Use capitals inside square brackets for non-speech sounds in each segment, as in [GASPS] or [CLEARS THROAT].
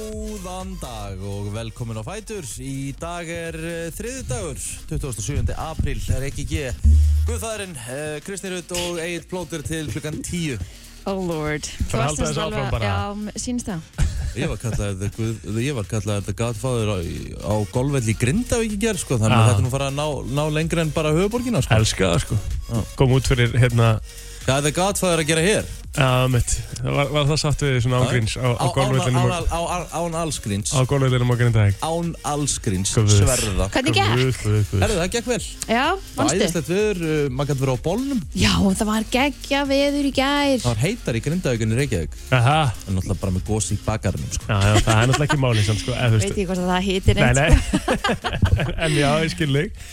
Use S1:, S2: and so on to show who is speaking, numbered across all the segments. S1: Góðan dag og velkomin á Fætur. Í dag er eh, þriði dagur, 27. apríl, er ekki ekki Guðfæðurinn, eh, Kristi Rutt og Egil Plóter til klukkan 10.
S2: Oh lord Þú
S3: að
S2: varst
S3: halda þessu
S2: alveg-
S3: áfram bara.
S2: Já, m- sýnist það
S1: Ég var kallaður The, Guð, ég var kallaður the Godfather á, á golfvelli í Grindavík í gerð, sko, þannig að
S3: Já.
S1: þetta er nú fara að ná, ná lengra en bara höfuborgina, sko.
S3: Elska það sko Kom út fyrir hérna
S1: Hvað er The Godfather að gera hér?
S3: Já, mitt Það var, var það satt við því svona ángríns á, á
S1: Á-
S3: golvöldinu
S1: án- án- á- á- Án allskrins.
S3: á golvöldinu á grindaðeg
S1: Án allskrins,
S3: Guð.
S1: sverða.
S2: Hvernig gekk?
S1: Herðu, það gekk vel.
S2: Já, vannstu?
S1: Æðislegt viður, uh, maður gæti verið á bólnum.
S2: Já, það var geggja veður í gær
S1: Það var heitar í Grindavík en í Reykjavík.
S3: Aha
S1: En náttúrulega bara með gósi í bakarnum, sko.
S3: Já, já, það er náttúrulega ekki máli samt sko eða, þú
S2: Veit
S3: veist,
S2: ég hvort að það hýtir
S3: Nei, [LAUGHS]
S2: neitt sko.
S3: nei En já, ég skil þig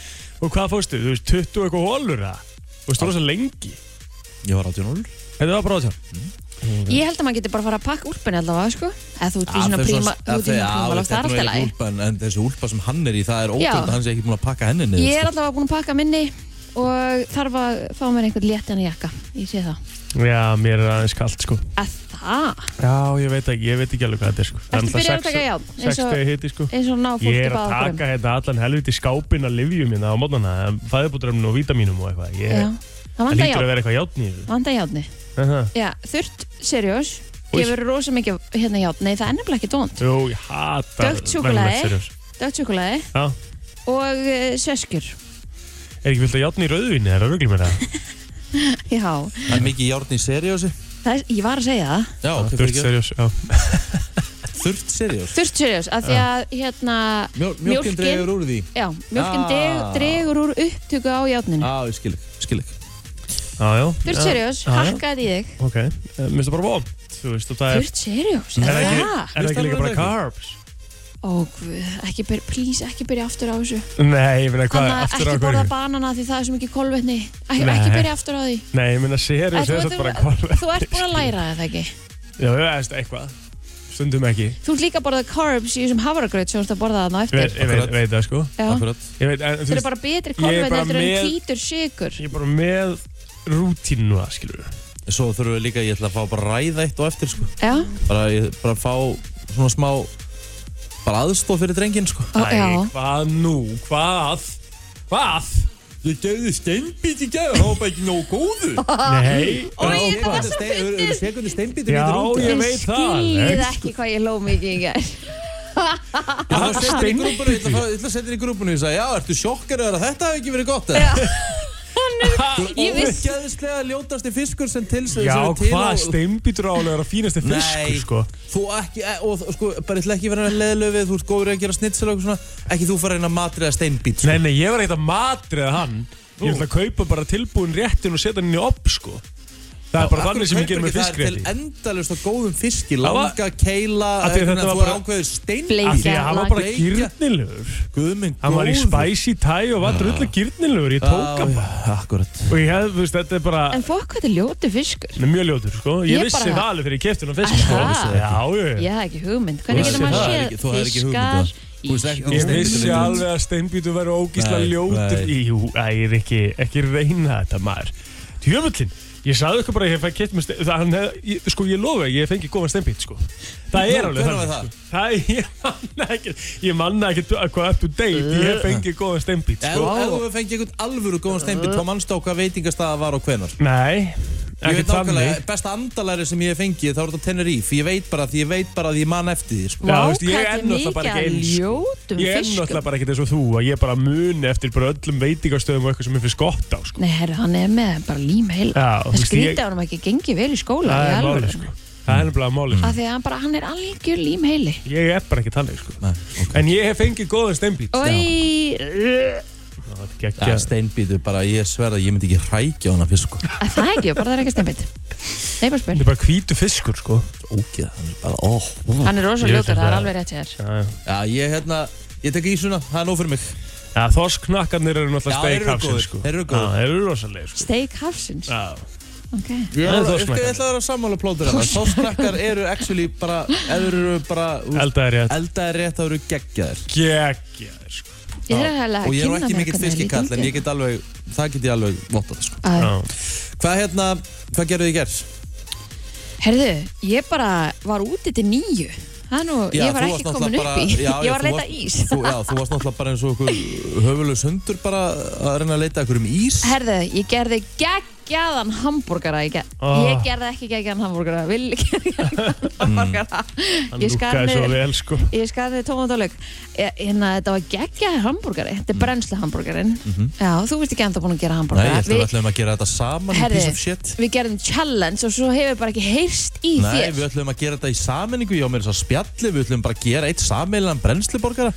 S3: Og hvað fórstu? Þú veist, 20 og eitthvað hólur það Þú veist, þú rosa lengi
S1: Ég var 18 árur.
S3: Þetta var bara átján
S2: Ég held að maður getur bara að fara að pakka úlpunni allavega, sko Eða þú ert í svona príma Þú ert í svona príma Það er alltaf læg
S1: Úlpan, en þessi úlpa sem hann er í, það er ótrúld
S2: Já.
S1: að hann sé ekki búin að pakka henni niður.
S2: Ég er
S1: sko.
S2: allavega búin að pakka minni Og þarf að fá mér einhvern léttan jakka Ég sé það
S3: Já, mér er aðeins kalt sko
S2: Að það
S3: Já, ég veit ekki, ég veit ekki alveg hvað þetta er sko
S2: Ertu byrjar að taka járn? Eins
S3: 6
S2: og-
S3: stegi hiti sko
S2: Eins og ná fólki
S3: Ég er að
S2: báðurum
S3: taka hérna allan helviti skápinn að livjum hérna á mótnana, fæðubútrömmun og vítamínum og eitthvað. Ég,
S2: Já, það
S3: það
S2: vanda
S3: lítur að
S2: járn
S3: vera eitthvað játn í þessu.
S2: Vanda járni
S3: Aha.
S2: Já, þurrt, seriós
S3: Új.
S2: Gefur rosa mikið hérna járn Nei, það er nefnilega ekki dónd
S3: Jú, ég hata
S2: Dökkt súkkulaði. Dögt sjokoladi
S3: Já,
S2: og uh, sveskjur
S3: er ekki vilt að játn í rauðvinni, það er örglum með það.
S2: Já,
S1: Það er mikið járn í seriósi.
S2: það er, ég var að segja það
S1: Já, ok, fyrir
S3: Dökkt
S1: ekki.
S3: serjós, já.
S1: Þurft seriós.
S2: Þurft seriós, af því að hérna
S1: Mjölkin,
S2: Mjólkin.
S1: dregur úr því.
S2: Já, mjölkin
S1: Ah.
S2: dreg, dregur úr upptöku á játninu
S1: Á, ég skil ekki, skil ekki.
S3: Já, já.
S2: Þurft seriós,
S3: Já, já.
S2: hakkaði í þig
S3: Ok, eh, mér finnst það bara vond, þú veist, og það er...
S2: Þurft seriós,
S3: Er
S2: er
S3: það ekki,
S2: það?
S3: er það
S1: Veist
S3: ekki
S1: alveg
S3: líka bara
S1: það
S3: carbs?
S2: Ó, guð, ekki byrja, please, ekki byrja aftur á þessu
S3: Nei, ég meina hvað,
S2: Þannig að
S3: aftur á
S2: ekki borða
S3: hverju?
S2: banana því það er svo mikið kolvetni Ek,
S3: Nei.
S2: Ekki byrja aftur á því
S3: Nei, ég meina
S2: Að
S3: serjós
S2: þú-
S3: er það
S2: þú-
S3: bara kolvetni,
S2: Þú ert búin að
S3: skilur.
S2: læra það ekki
S3: Já, ég veist, eitthvað. Stundum ekki.
S2: Þú ert líka að borða carbs í þessum havragraut sem þú ert að borða þarna á
S3: Ég veit,
S2: eftir
S3: ég veit, veit það sko.
S2: Já.
S1: Akkurat.
S3: Ég veit, en, þú
S2: Þetta
S3: veist,
S2: er bara betri
S3: Ég er
S2: kolvetni
S3: bara
S2: heldur en
S3: með-
S2: hvítur sykur
S3: ég er bara með rútínu það, skilur við.
S1: Svo þurfum við líka, ég ætla að fá bara að ræða eitt og eftir, sko.
S2: Já,
S1: Bara, ég, bara fá svona smá, bara aðstof fyrir drengin, sko.
S2: Ó, já
S3: hvað nú, hvað, hvað?
S1: Ég gerði steinbít í gerð, það var bara ekki nóg
S2: [LAUGHS]
S1: góður.
S3: Nei,
S2: Ó, ég þetta var svo fyndið.
S1: Sekundi steinbítum
S3: Já, ég
S2: Ég
S3: veit það
S2: skil
S3: alveg,
S2: ekki hvað ég ló mikið í gær
S1: Ég ætla að setja þér í grúpunni, ég ætla að fara- ég ætla að setja þér í grúpunni og ég sagði, já, ertu sjokkar eða þetta hafi ekki verið
S2: [LAUGHS]
S1: gott eða?
S2: Ég vissi
S1: Ógeðslega ljótasti fiskur sem til sem
S3: já,
S1: sem er til
S3: hvað,
S1: á-
S3: steinbítur álega er að
S1: [LAUGHS]
S3: fínasti fiskur,
S1: Nei.
S3: sko.
S1: Þú ekki, e- og þú- sko, bara ég ætla ekki að vera leðlöfið, þú ert góður í að gera snitsel og eitthvað svona Ekki þú fara að reyna að matriða steinbít, sko
S3: Nei, nei, ég var ekkert að matriða hann. Ég ætla að kaupa bara tilbúin réttin og setja hann inn í opp, sko. Það er bara
S1: Af
S3: þannig
S1: hverju
S3: sem ég
S1: kaupir
S3: ger með
S1: ekki það? Það er
S3: fiskrétti.
S1: til endalust og góðum fiski,
S3: Það var-
S1: langa, keila,
S3: Af því að
S1: þannig
S3: þetta
S1: að þú
S3: var
S1: er
S3: bara-
S1: ákveðið
S2: Bleik.
S1: steinbít
S3: Af því að hann var bara
S1: Leikja.
S3: gyrnilegur.
S1: Guðminn
S3: Hann var í spicy thai og var drullu gyrnilegur. Ég tók hann bara.
S1: Ah. Akkurat
S3: Og ég hef, þú veist, þetta er bara...
S2: En fokk hvað þetta er ljóti fiskur
S3: Hann er mjög ljótur, sko. Ég,
S2: Ég
S3: vissi
S2: bara-
S3: það alveg þegar ég kefti hann á fisk, sko.
S2: Aha.
S3: Já, já, já.
S2: Ég hafði ekki hugmynd Hvernig
S3: Þú
S2: getur
S3: veist
S2: maður
S3: það,
S1: það er ekki-
S2: séð
S1: þú hafðir ekki hugmynd um
S2: fiskar
S1: það. Þú veist ekki-
S3: Ég
S1: Steinbítur
S3: vissi
S1: myndi-
S3: alveg að steinbítur væri ógísla
S1: Nei,
S3: ljótur
S1: nei.
S3: í, Jú, æ, ekki, ekki reyna þetta maður Djöfullin, ég sagði ykkur bara að ég fæ kett með steinbít Það hann hef, ég, sko ég lofa, ég fengi góðan steinbít sko Það er
S1: Nú,
S3: alveg
S1: hvenær var það?
S3: þannig, sko. Það er, ég manna ekki Ég manna ekki að hvað up to date Ég fengi góðan steinbít
S1: Ef
S3: sko
S1: ef þú fengið einhvern alvöru góðan steinbít, þá mannstu á hvað veitingastaða var og hvenar
S3: Nei,
S1: Ég
S3: ekki
S1: veit nákvæmlega,
S3: þannig
S1: besta andalæri sem ég hef fengið þá er þetta Tenerife, ég veit bara því ég veit bara því ég man eftir því sko.
S3: Já,
S2: Vá, hvað
S3: þú veist, ég
S2: þetta
S3: er
S2: er
S3: náttúrulega
S2: mikið
S3: bara
S2: að
S3: ekki eins, sko.
S2: ljótum
S3: Ég er
S2: fiskum
S3: náttúrulega bara ekkert eins og þú að ég bara muni eftir bara öllum veitingastöðum og eitthvað sem er fyrir gott á sko.
S2: Nei, herru, hann er með bara lím heil
S3: Já, þú
S2: En
S3: veist, ég-
S2: skrítið á hann ekki gengið vel í skóla
S3: Það
S2: í
S3: er
S2: alvöru.
S3: máli sko. Það er nefnilega máli sko.
S2: Af því að hann bara, hann er algjör lím heili
S3: Ég er bara ekki þannig sko.
S1: Nei, ok.
S3: En ég hef fengið góðan steinbít
S2: Oi,
S3: Ná, þetta er
S1: Já,
S3: geggjað.
S1: steinbítu, bara ég sverða, ég myndi ekki hrækja á hana fyrst sko.
S2: Að það ekki, bara það er ekki steinbit Nei, bara
S3: Þetta
S2: spil
S3: er bara hvítu fiskur sko
S1: Ógeð, hann er bara, óh oh.
S2: Hann er rosa
S3: Ég veit
S2: ljótur, það er
S3: þetta.
S2: alveg rétt hjá þér
S3: Já, já.
S1: Já, ég hérna, ég tek ísuna, það er nóg fyrir mig
S3: Já, Þorsknakkarnir eru
S1: Já,
S3: náttúrulega
S1: þeir eru
S3: steikhafsir
S1: góðir,
S3: sko
S1: þeir eru góðir.
S3: Já, Þeir eru rosalegir sko
S2: Steak hafsins
S3: Já.
S2: Ok
S1: Ég
S3: Það er
S1: ætla ég
S3: þorsknakkar.
S1: ætla að vera sammála plótur hérna Þorsknakkar eru actually bara, eða eru bara
S3: Eldaðir rétt
S1: Eldaði rétt, það eru geggjaðir
S3: Geggjaðir sko
S2: Ég þarf að
S1: Og ég er nú
S2: kynna
S1: ekki
S2: mér
S1: mikill
S2: hvernig
S1: fiskikall,
S2: það
S1: en
S2: lítur
S1: ég get alveg, það get ég alveg vottað sko.
S2: út. Æ,
S3: Já.
S1: Hvað hérna, hvað gerðu þið gerð?
S2: Herðu, ég bara var úti til nýju Það nú,
S1: Já,
S2: ég var
S1: þú
S2: ekki
S1: varst
S2: komin upp í,
S1: náttúrulega bara- já,
S2: [LAUGHS] ég var að
S1: þú
S2: leita
S1: varst-
S2: ís.
S1: Þú, já, þú varst náttúrulega bara eins og okkur höfulegs hundur bara að reyna að leita okkur um ís.
S2: Herðu, ég gerði geggjaðan hambúrgara í gegn.
S3: Ah.
S2: Ég gerði ekki geggjaðan hambúrgara, vil [LAUGHS] ekki geggjaðan hambúrgara.
S1: Mm.
S2: Ég skar
S3: Lúkaði svo
S2: niður,
S3: vel sko
S2: ég skar niður tómatálaug. Hérna, þetta var geggjaði hambúrgari, þetta er brennslu hambúrgarin. Já, þú veist ekki ennþá búin að gera
S1: Mm. Mhm. Nei, ég
S2: hambúrgara.
S1: ætla við ætlum að gera þetta saman í piece of shit.
S2: við gerðum challenge og svo hefur bara ekki heyrst í
S1: Nei,
S2: þér.
S1: við ætlum að gera þetta í saminningu, já, mér er þess að spjalli, við ætlum bara að gera eitt sameilan brennsliborgara.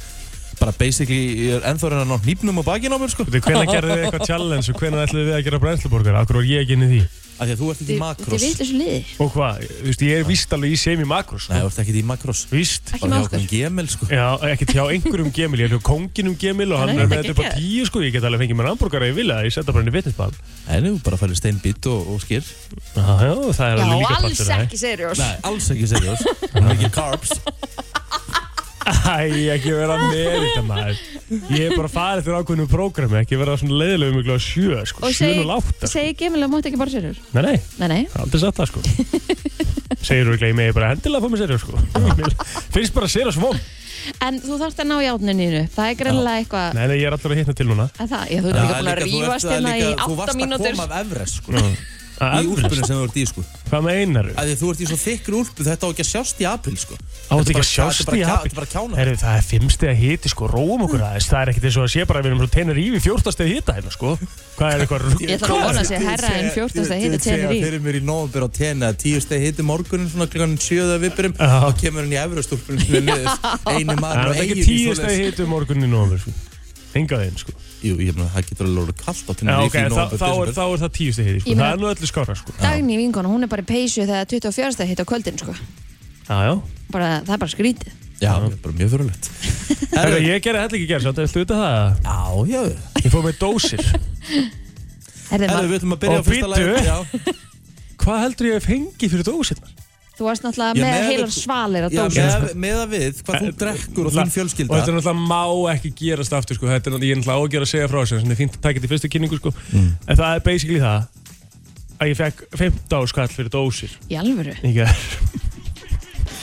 S1: Bara basically, ég er ennþá reyna að ná hnípnum og bakinn á mér, sko.
S3: Þú, Hvenær gerðu þið eitthvað
S1: [LAUGHS]
S3: challenge og hvenær ætluðu við að gera brænsluborgar? Akkur var ég ekki inn í því?
S1: Af því að þú ert ekki í makros.
S2: Þið vitlu svo liði,
S3: Og hvað? Þú veist, ég er víst alveg í semi makros
S1: Nei, þú
S3: sko.
S1: ert ekki í makros.
S3: Víst
S2: ekki
S1: Bara
S2: með
S1: hjá
S2: okkur.
S1: okkur gemel, sko.
S3: Já, ekki hjá einhverjum gemil, ég er hjá konginum gemil og hann
S2: Nei,
S3: er
S2: þetta
S3: með þetta upp á
S2: geggjaður.
S3: tíu sko, ég get alveg fengið mér hambúrgara ef ég vilja, ég setja bara henni vitnisball.
S1: En þú bara fælir steinbít og, og skýr.
S3: Já, já, það
S2: Já,
S3: er alveg líka
S2: alls
S3: partur af
S2: ekki, segir Jós.
S1: Nei, alls ekki
S3: [LAUGHS]
S1: seriós. Mikið carbs.
S3: Æ, ekki vera með þetta maður. Ég er bara farið fyrir ákveðinu prógrami, ekki vera svona leiðilegu miklu á sjö, sko,
S2: Og
S3: sjön
S2: segi,
S3: og látta.
S2: segi gemil að mátt ekki bara serjur.
S3: Nei, nei,
S2: Nei, nei.
S3: aldrei
S1: [LAUGHS]
S3: satt það, sko. Segir þú ekki, ég megi bara hendilega að fá mér serjó, sko. [LAUGHS] Mér Finnst bara serjó svo von.
S2: En þú þarft að ná játnininu, það er greinlega eitthvað
S3: Nei, nei, ég er alltaf að hitna til núna.
S2: að það, ég þú ert líka búin að rýfast hérna í
S1: þú
S2: 8
S1: varst að
S2: mínútur
S1: koma af Everest, sko.
S3: Að
S1: Í
S3: Everest?
S1: úlpunum sem þú ert í, sko.
S3: Hvað meinaru?
S1: Af því að þú ert í svo þykkur úlpu, þetta á ekki að sjást í april, sko.
S3: Áttu ekki að
S1: Þetta er bara-
S3: sjást
S1: þetta er
S3: í
S1: bara-
S3: apríl?
S1: Þetta er bara kjána.
S3: Herru, það er fimmsteg að hiti sko, róum okkur aðeins Það er ekkert eins og að sé bara að við erum svo teinar ívi fjórtasteg hita hérna sko Hvað er eitthvað rugg?
S2: Ég ætla að vona að segja herra en 14 stað hita tennir í
S1: Þegar fyrir mér í nóvambur á tenni að 10 stað hiti morgunin svona klukkan 7 að vipurum
S3: Já.
S1: þá kemur hann í efraustúlpunum sem er
S2: [LAUGHS]
S1: niður einu
S3: Það
S1: maður
S3: er
S1: og
S3: ekki
S1: eigin í
S3: tíu steg
S1: svoleiðis.
S3: hiti um morgunin og sko Enga þeim sko
S1: Jú, ég meina, það getur alveg orðið kallt á
S3: Já,
S1: tenni
S3: ok,
S1: í
S3: þá,
S1: nóvambur
S3: þá, er, þá er það tíu steg hiti sko
S2: Ég meina-
S3: Það er nú öllu skára sko
S2: Dagný vinkona, hún er bara í peysu þegar 24 stað hita á kvöldin sko.
S3: Já, já
S2: bara, það er bara skrítið
S1: Já, það er bara mjög fyrirlegt
S3: Herru, ég gerði hellingi gerð, svo þetta er sluta það
S1: Já, já
S3: Ég fór með dósir
S2: Herði,
S1: Herðu,
S2: Herði,
S1: við ætlum að byrja
S3: Og
S1: á fyrsta
S3: bíddu.
S1: lagi Já,
S3: Hvað heldur ég að fengi fyrir dósirnar?
S2: Þú varst
S1: Ég
S2: náttúrulega með
S1: með-
S2: heilar svalir að
S1: já
S2: dósa
S1: með, með að við, hvað þú drekkur og þín
S3: Eh, Og þetta
S1: fjölskylda
S3: er náttúrulega má ekki gerast aftur sko. Þetta er náttúrulega, ég er náttúrulega ágjör að segja frá þessu Þannig er fínt að taka þetta í fyrstu kynningu sko.
S1: Mm.
S3: En það er basically það Að ég fekk 15 skall fyrir dósir
S2: Í alvöru,
S3: Ég er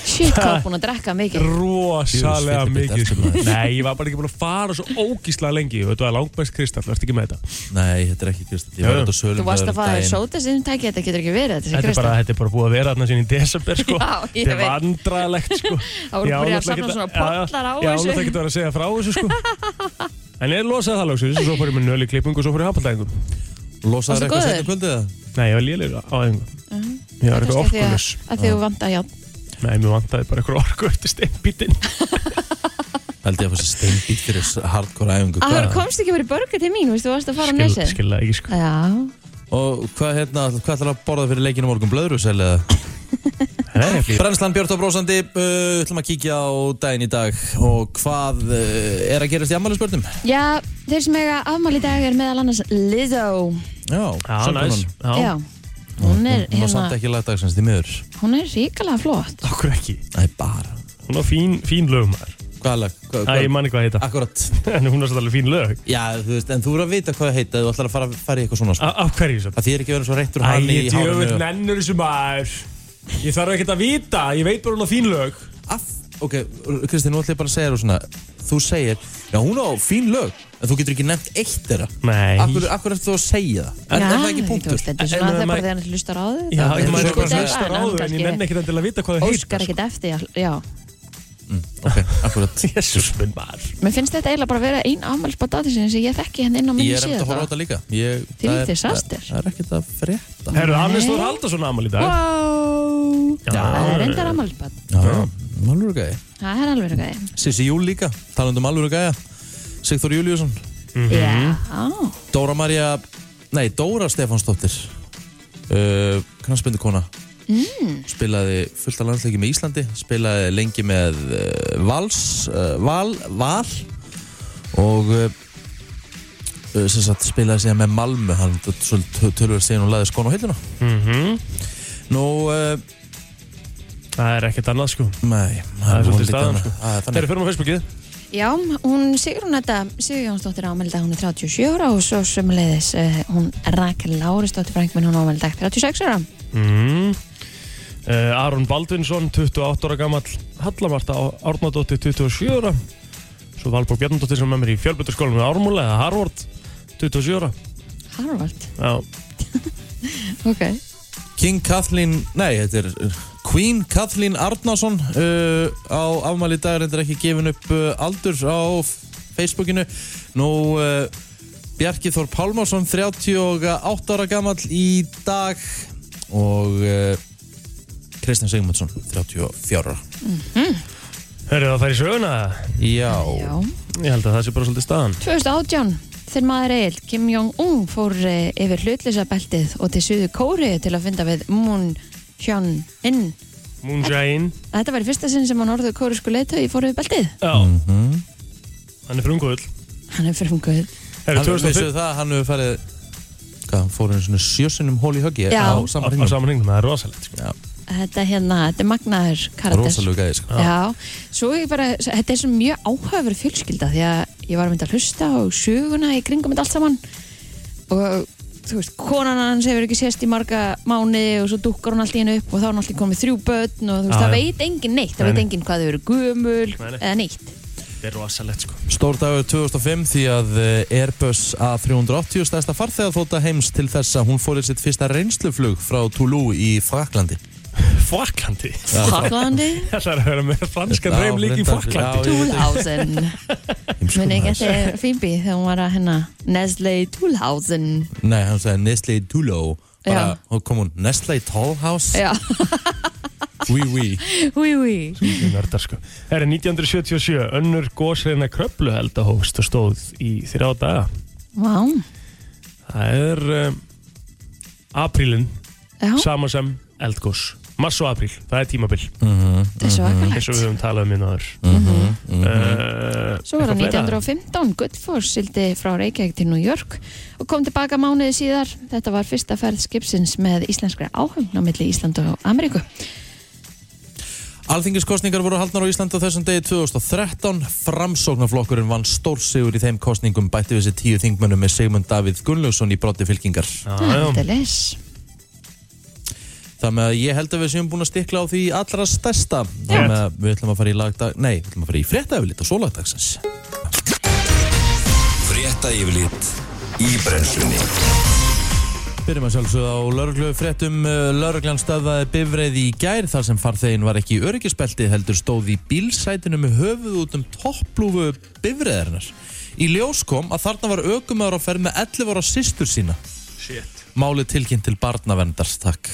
S2: shit hvað er búin að drekka mikið
S3: rosalega
S1: Jú,
S3: mikið
S1: svitabytta,
S3: sko. [LAUGHS] Nei, ég var bara ekki búin að fara svo ógíslega lengi Og þetta var langbæst kristall, verður ekki með þetta
S1: Nei, þetta er ekki Kristall, ég var
S3: Já.
S1: út á sölum
S2: Þú varst
S1: um
S2: að fara í
S1: daginn.
S2: sóta sinum tæki þetta getur ekki verið þetta sé
S3: Þetta er bara,
S2: Kristall
S3: þetta er bara búið að vera þarna sinni í desember
S2: [LAUGHS]
S3: sko.
S2: Já, ég
S3: Þetta er
S2: veit.
S3: vandralegt sko.
S2: [LAUGHS] Það voru
S3: Ég á
S2: byrjað að safna
S3: náttúrulega ekki-
S2: svona
S3: Já, já.
S2: pollar á
S3: Ég
S2: þessu.
S3: álega ekki að vera að segja frá þessu
S2: [LAUGHS]
S3: sko. En ég losaði það lagsins Svo fór ég með nöli klippingu og svo fór ég handbaldæðingum
S1: Losaður
S2: Varstu
S1: eitthvað
S2: góður?
S1: setna kvöldið það?
S3: Nei, ég var lélegur á þeim Ég var eitthvað
S2: Kannski af Mhm. því að- af því
S3: orkulis
S2: að þú vant að játn
S3: Nei, mér vantaði bara eitthvað orku eftir steinbítinn
S1: [LAUGHS] Held ég að fá sér steinbít fyrir hardcore æfingu
S2: Það
S1: hvað-
S2: komst ekki verið börgur til mín, veistu, þú varst að fara á
S3: Skil,
S2: nesið
S3: Skilða ekki sko
S2: Já,
S1: Og hvað hérna, hvað ætlar að borða fyrir leikinu morgun? Blöðrus eða?
S3: [LAUGHS] Nei, ég flýr
S1: Brennslan Björn og Brósandi, uh, ætlum að kíkja á daginn í dag og hvað uh, er að gerast í ammælisbörnum?
S2: Já, þeir sem eiga afmæli í dag er meðal annars Lizzo
S1: Já,
S3: Já, næs
S2: Já,
S3: Já,
S2: hún er
S1: Hún var samt
S2: hérna,
S1: ekki lagdagsins því miður.
S2: hún er ríkalega flott
S3: okkur ekki
S1: Nei, bara.
S3: Hún á fín, fín lög maður
S1: Hvað lag? Hva,
S3: Æ, ég manni hvað heita
S1: Akkurat.
S3: [LAUGHS] En hún á svolítið alveg fín lög
S1: Já, þú veist, en þú verður að vita hvað það heita, þú ætlar að fara, fara í eitthvað svona. Sko.
S3: Á á hverju svo?
S1: Það þýr ekki að vera svo reittur
S3: Æ,
S1: hann í
S3: ég djöfull
S1: hárinu.
S3: nennur þessu maður Ég þarf ekkert að vita, ég veit bara hún á fín lög
S1: Af, ok, Kristi, nú ætlum ég bara að segja þér svona. Þú segir, já, hún á fín lög, en þú getur ekki nefnt eitt þeirra.
S3: Nei
S1: Akkur, akkur eftir þú að segja það?
S2: Já,
S1: Er, er það ekki
S2: þú
S1: punktur?
S2: veist, Þetta er
S3: En-
S2: svona
S3: en
S2: það er bara
S3: maður-
S2: þegar hann hlustar á þig
S3: Já,
S2: það
S3: ég
S2: er
S3: maður sko. er
S2: sko
S3: bara
S2: dagan,
S3: að hlusta
S2: hann
S3: ráður En ég
S2: kannski
S3: nenni ekkert endilega að vita hvað það heita
S2: Óskar ekkert eftir, já, já
S1: Ok,
S3: [LAUGHS]
S1: akkurat.
S3: Jésús minn maður
S2: Mér finnst þetta eiginlega bara að vera ein afmælis bara datisinn sem ég þekki henni inn á
S1: Ég
S2: minni
S1: er eftir að horfa á
S2: síðu
S1: þetta líka ég,
S2: Þvílíkt
S1: það er-
S2: disaster.
S1: Það er ekkert að frétta
S3: Herru, Hannes
S2: Nei.
S3: Þór Haldarsson ámali í dag
S2: Wow
S3: Já.
S2: Það er endar afmælis
S1: Alvöru gæði
S2: Það er alveg gæði
S1: Sissi Júl líka, talandi um alvöru gæja Sigþór Júliusson
S3: Mhm.
S2: Já,
S1: Dóra Maria, nei Dóra Stefánsdóttir uh, Knarsbyndukona mm. Spilaði fullt af landsleiki með Íslandi Spilaði lengi með uh, Vals uh, Val, Val Og uh, uh, sem sagt, spilaði síðan með Malmö Hann tölverð síðan og laði skon á hilluna
S3: Mhm.
S1: Nú uh,
S3: Það er ekkert annað sko
S1: Nei,
S3: Það er
S1: nú
S3: svolítið
S1: lítið
S3: staðan
S1: annað.
S3: sko
S1: Það er
S3: Þeir
S1: þannig
S3: eru fyrir á Facebookið
S2: Já, hún Sigrunetta Sigurjónsdóttir ámeldag, hún er 37 ára og svo sömuleiðis eh, uh, hún Rakel Lárisdóttir frængminn, hún ámeldag 36 ára.
S3: mm. Uh, Aron Baldvinsson, 28 ára gammal Hallamarta Árnadóttir, 27 ára Svo Valborg Bjarnadóttir sem er með mér í fjölbyrtarskólanum í Ármúla eða Harvard, 27 ára
S2: Harvard,
S3: Já,
S2: ok
S1: King Kathleen, nei, þetta er uh, Queen Kathleen Arnason uh, á afmæli í dag, þetta er ekki gefin upp uh, aldur á f- Facebookinu Nú, uh, Bjarki Þór Pálmarsson, 38 ára gamall í dag og uh, Kristján Sigmundsson, 34 ára
S2: Mhm.
S3: Hörðu það að fara í söguna?
S1: Já,
S2: Já,
S3: Ég held að það sé bara svolítið staðan
S2: 2018 Þegar maður Egil Kim Jong-un fór eh, yfir hlutlýsabeltið og til suðu Kóri til að funda við Moon Hyun-in
S3: Moon Jain
S2: Þetta var í fyrsta sinn sem hann orðið kórisku leiðtögi fór yfir beltið
S3: Já,
S1: Mhm.
S3: hann er frungull
S2: Hann er frumgöð
S3: Hörðu,
S1: hann, vissu
S3: 2005
S1: það, hann hefur farið hvað, hann fór einu svona sjösunum hól í höggi
S2: Já.
S1: á
S3: á,
S1: saman
S3: á
S1: hringum
S3: samanhengnum, það er rosalegt sko.
S1: Já,
S2: Þetta er hérna, þetta er magnaður karakter
S1: rosalega gæði sko.
S2: Já, svo ég bara, þetta er svo mjög áhafur fjölskylda því að ég var að mynda að hlusta og söguna í kringum þetta allt saman og þú veist, konan hans hefur ekki sést í marga mánuði og svo dukkar hún allt í hennu upp og þá er hún alltaf komið þrjú börn og þú veist,
S3: Já,
S2: það
S3: já.
S2: veit engin neitt, það
S3: Nei,
S2: veit
S3: nei.
S2: engin hvað þau eru gömul
S3: Nei, nei.
S2: eða neitt.
S3: Það er rosalegt sko
S1: Stór dagur 2005 því að eh, Airbus A380 stærsta farþega þóta heims til þess að hún fór í sitt fyrsta reynsluflug frá Toulouse í Fraklandi.
S3: Faklandi [LAUGHS]
S2: Fraklandi,
S3: Það er að vera með franska
S1: Já,
S3: dreim líka í
S1: reyndar.
S3: Faklandi
S1: Já, ég veit
S2: Túlhausen
S1: ekki.
S2: Muni ekki
S1: Heimskum,
S2: þetta er Fimbi þegar hún var að hérna Nestle Túlhausen
S1: maður. Nei, hann sagði Nestle Toulouse. Bara,
S2: Já.
S1: og kom hún, Nestle Tollhouse?
S2: Já,
S1: Oui, oui.
S2: húi húi
S3: Mikið nördar sko. Það er 1977, önnur gósreina kröplu held að hófst og stóð í þrjá daga.
S2: Vá,
S3: Það er um, aprílin,
S2: já,
S3: sama sem eldgós. Mars og apríl, það er tímabil, Mhm,
S2: þetta er svakalegt
S3: eins og við höfum talað um hérna áður. mhm. Uh,
S2: Svo var það
S3: eitthvað fleira?
S2: 1915, Guttfoss sildi frá Reykjavík til New York og kom tilbaka mánuði síðar. Þetta var fyrsta ferð skipsins með íslenskri áhöfn á milli Ísland og Ameríku.
S1: Alþingiskostningar voru haldnar á Íslandi á þessum degi 2013. Framsóknarflokkurinn vann stórsigur í þeim kostningum bætti við sér tíu þingmönnum með Sigmund Davíð Gunnlaugsson í brotti fylkingar.
S3: Já, já.
S2: Þetta er les.
S1: Það með að ég held að við séum búin að stikla á því allra stærsta. Það með að við ætlum að fara í lagdag... Nei, við ætlum að fara í fréttaeflit og sólagdagsins.
S4: Frétta yfirlit í brennslunni
S1: Byrjum að sjálfsögða á lauruglu fréttum lauruglan staðaði bifreið í gær þar sem farþegin var ekki í öryggisbelti heldur stóð í bílsætinu með höfuð út um topplúfu bifreiðarinnar. Í ljós kom að þarna var ökumæður á ferð með 11 ára systur sína.
S3: Shit.
S1: Máli tilkynnt til barnavendarstak.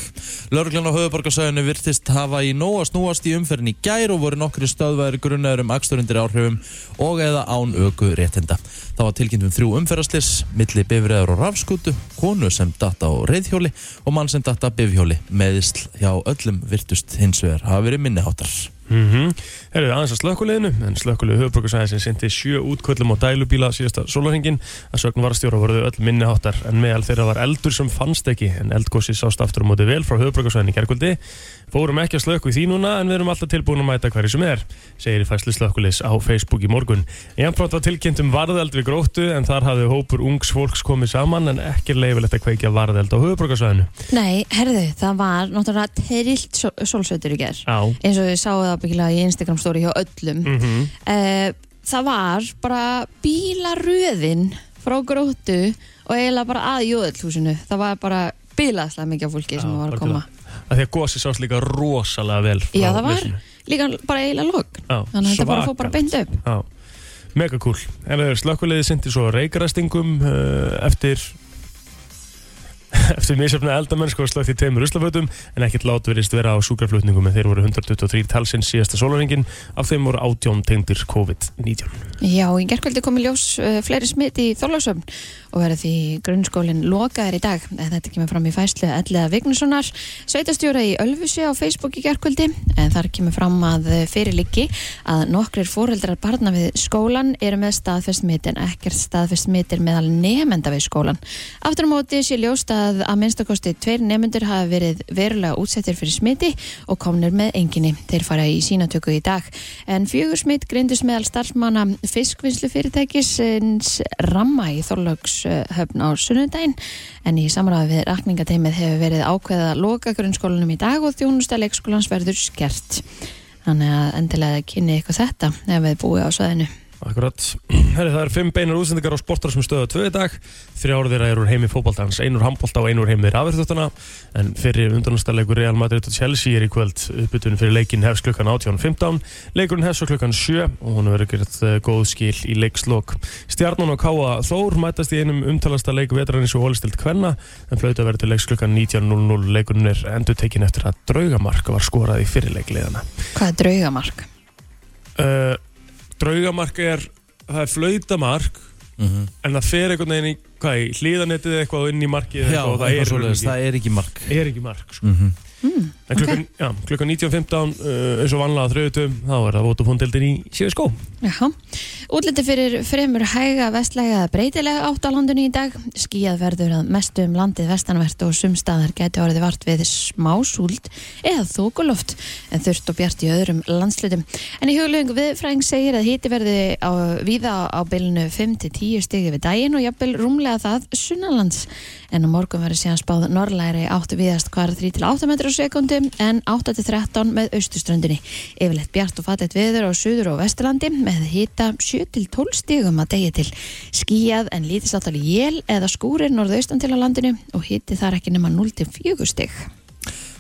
S1: Lörglan á höfuborgarsæðinu virtist hafa í nóa snúast í umferðin í gær og voru nokkri stöðvæðir grunnaður um aksturundir áhrifum og eða án öku réttinda. Það var tilkynnt um þrjú umferðaslis, milli bifræður og rafskútu, konu sem datta á reyðhjóli og mann sem datta á bifhjóli. Meðisl hjá öllum virtust hins vegar hafa verið minniháttar.
S3: Mm Herðu aðeins að slökkuleginu, en slökkuleg höfbrukarsæðin sem sendi sjö útkvöllum á dælubíla síðasta sólarhingin að sögn varastjóra voruðu öll minniháttar en meðal þeirra var eldur sem fannst ekki en eldgósi sást aftur á móti vel frá höfbrukarsæðin í gerkvöldi. Fórum ekki að slökku í því núna en við erum alltaf tilbúin að mæta hverju sem er, segir í fæslu slökkulegs á Facebook í morgun. Jánfrátt var tilkynnt um varðeld við gróttu en þar hafði hópur ungs fólks komið saman en ekki er leifilegt að kveikja varðeld á höfbrukarsæðinu.
S2: Nei, herðu, það var náttúrulega terilt sól sólsveitur í gerð.
S3: Á.
S2: Eins og ég sá það byggilega í Instagram story hjá öllum.
S3: Mm
S2: Eh, það var bara bílaröðin frá gróttu og eiginlega bara að jöðullhúsinu. Það var bara bílaðslega mikið af fólki sem
S3: Já,
S2: var
S3: bara
S2: að koma.
S3: Af því að gósi sást líka rosalega vel frá
S2: Já, það var
S3: ljósinu.
S2: líka bara eiginlega logg.
S3: Já,
S2: Þannig að þetta bara fór bara
S3: svakalegt.
S2: beint upp.
S3: Já, mega cool En það er slökkulegði sindi svo reykræstingum uh, eftir [LAUGHS] eftir misjöfna eldamenn sko slögt í tveimur ruslafötum en ekkert lát verist vera á sjúkraflutningum en þeir voru 123 talsinn síðasta sólaringin af þeim voru 18 tengdir COVID-19
S2: Já, í gerkvöldi kom í ljós uh, fleiri smitt í Þorlásöfn og verði því grunnskólinn lokaður í dag. En Þetta kemur fram í fæslu Elliða Vignessonar, sveitastjóra í Ölfusi á Facebook í gerkvöldi. En þar kemur fram að uh, fyrirliggi að nokkrir fóreldrar barna við skólan eru með staðfest smitt en ekkert staðfest smittir meðal nefenda við skólan. Aftur á móti sé ljóst að að að minnstakosti tveir nemyndur hafa verið verulega útsettir fyrir smiti og komnir með enginni. Þeir fara í sínatöku í dag. En fjögur smitt grindist meðal starfsmanna fiskvinnslu fyrirtækisins ramma í Þorlökshöfn á sunnudaginn. En í samræði við rakningateimið hefur verið ákveðið að loka grunnskólanum í dag og þjónusta leikskólans verður skert. Þannig að endilega kynni ykkur þetta ef við búið á svæðinu.
S3: Akkurat. Herri, það er fimm beinar útsendingar á sportar sem stöðu tvö í dag. Þrjára þeirra eru úr heimi fótboltans, einur handbolta og einur heimi rafirþjóttana. En fyrir undanúrstalegur Real Madrid og Chelsea er í kvöld uppbytun fyrir leikin hefst klukkan 18.15. Leikurinn hefst svo klukkan 7 og hún verður gert eh, góð skil í leikslokk. Stjarnan og Káa Þór mætast í einum umtalasta leik vetrarins og hólistild kvenna. En flauta verður til leiks klukkan 19.00. Leikurinn er endur tekin eftir að draugamark var skorað í fyrirleikliðana.
S2: Hvað er draugamark?
S3: Uh, draugamark er, það er flautamark
S1: Mhm.
S3: en það fer einhvern veginn í, hvað, í hlýðanettið eitthvað og inn í markið
S1: Já,
S3: eitthvað, og
S1: eitthvað
S3: það er,
S1: svoleiðis,
S3: ekki,
S1: það er ekki mark
S3: er ekki mark sko.
S1: mm
S2: Mm,
S3: en klukkan, já, klukkan 19.15 uh, eins og vanlega á þriðutum þá er það votupóndildin í CSGO
S2: Já, útliti fyrir fremur hæga vestlæga eða breytilega átt á landinu í dag. Skíað verður að mestu um landið vestanvert og sumstaðar geti orðið vart við smá súld eða þókuloft en þurft og bjart í öðrum landslutum. En í huglöfingu viðfræðing segir að hiti verði á, víða á bylunu 5-10 stigi við daginn og jafnvel rúmlega það sunnalands. En á morgun verður síðan spáð norrlæri áttu viðast hvar 3-8 metrur sekundum en 8-13 með austurströndinni. Yfirleitt bjart og fallet viður á suður og vesturlandi með hita 7-12 stigum að degi til. Skíjað en lítist áttal jél eða skúrir norðaustan til á landinu og hiti þar ekki nema 0-4 stig.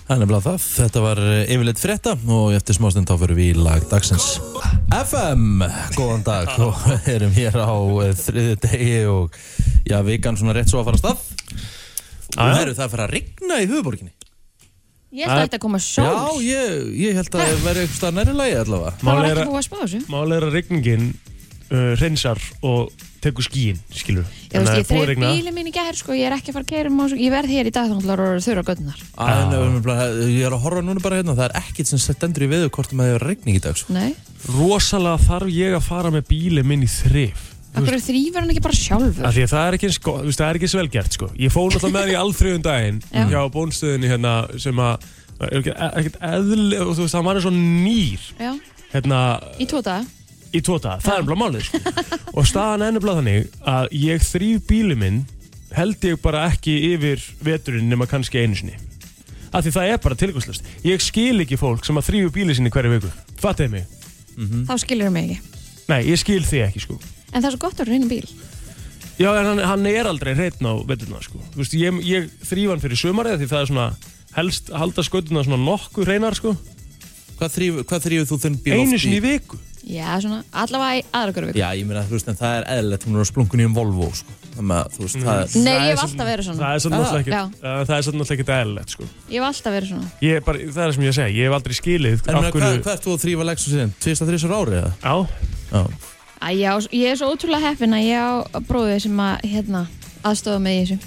S1: Það er nefnilega það, þetta var eh, yfirleitt frétta og eftir smástund þá fyrir við í lag dagsins FM, góðan
S3: [LAUGHS]
S1: dag og erum hér á eh, þriðju degi og já, vikan svona rétt svo að fara að stað og
S3: já.
S1: það eru það að fara að rigna í höfuborginni
S2: Ég held að
S3: Að-
S2: þetta koma sól.
S1: Já, ég, Eh, ég held að það verði eitthvað stað nærri lagi allavega
S2: Það var
S3: Málið er
S2: ekki
S3: að-
S2: búið að spá þessu.
S3: mál er að regningin uh, reynsar og tekur skíin skilur
S2: Ég veist, ég þreif
S3: regna
S2: bílið mín í gær, sko, ég er ekki að fara að keira um ás ég verð hér í dag þannig að þurra göddunar.
S1: En ef við bara- ég er að horfa núna bara hérna, það er ekkit sem stendur í veðukortum að það er rigning í dag sko.
S2: Nei,
S3: rosalega þarf ég að fara með bíli minn í þrif Þú
S2: akkur þrýfur hann ekki bara sjálfur?
S3: Af því að það er ekki eins, go- þú veist, það er ekki eins velgert sko. Ég fór náttúrulega með hann í allþriðun daginn
S2: Já.
S3: hjá bónstöðinni hérna sem að er ekki- e- ekkert eðli og þú veist, hann var eins og nýr
S2: Já,
S3: hérna
S2: í tvo daga.
S3: í tóta, það er bara málið sko. og staðan er nefnilega þannig að ég þrýf bílu minn held ég bara ekki yfir veturinn nema kannski einu sinni af því það er bara tilgangslust ég skil ekki fólk sem að þrýfu bíli sinni hverju viku fattiði mig,
S2: Þá skilur mig ekki.
S3: nei ég skil þig ekki sko
S2: En það er svo gott að reyna bíl.
S3: Já, en hann, hann er aldrei hreitn á veturna, sko. Þú veist, ég, ég þrýf hann fyrir sumarið því það er svona helst að halda skötuna svona nokkuð hreinar, sko.
S1: Hvað þrýfur hvað þrífur þú þinn bíl
S3: Einu
S1: oft
S3: sinni í viku.
S2: Já, svona, allavega í aðra hverju viku.
S1: Já, ég meina, þú veist, en það er eðlilegt, hún er á splunkunni um Volvo sko. Þannig að,
S3: Mm.
S1: þú veist, það er
S2: Nei,
S3: Það
S2: ég
S3: er
S2: hef
S3: samt-
S2: alltaf verið svona.
S3: Það er svona
S1: Ah,
S3: náttúrulega
S2: já.
S3: ekkert, uh, það er svona náttúrulega ekkert eðlilegt, sko.
S2: Ég hef alltaf verið svona.
S3: Ég er bara, það er sem ég að segja, ég hef aldrei skilið
S1: En
S3: af
S1: meina, hvað,
S3: hverju...
S1: hvað ert þú að þrýfa Lexusin? Tvista þrísar ári eða?
S3: Já,
S1: Já.
S2: Æ, já, ég er svo ótrúlega heppin að ég á bróðið sem að, hérna, aðstofa mig í þessu.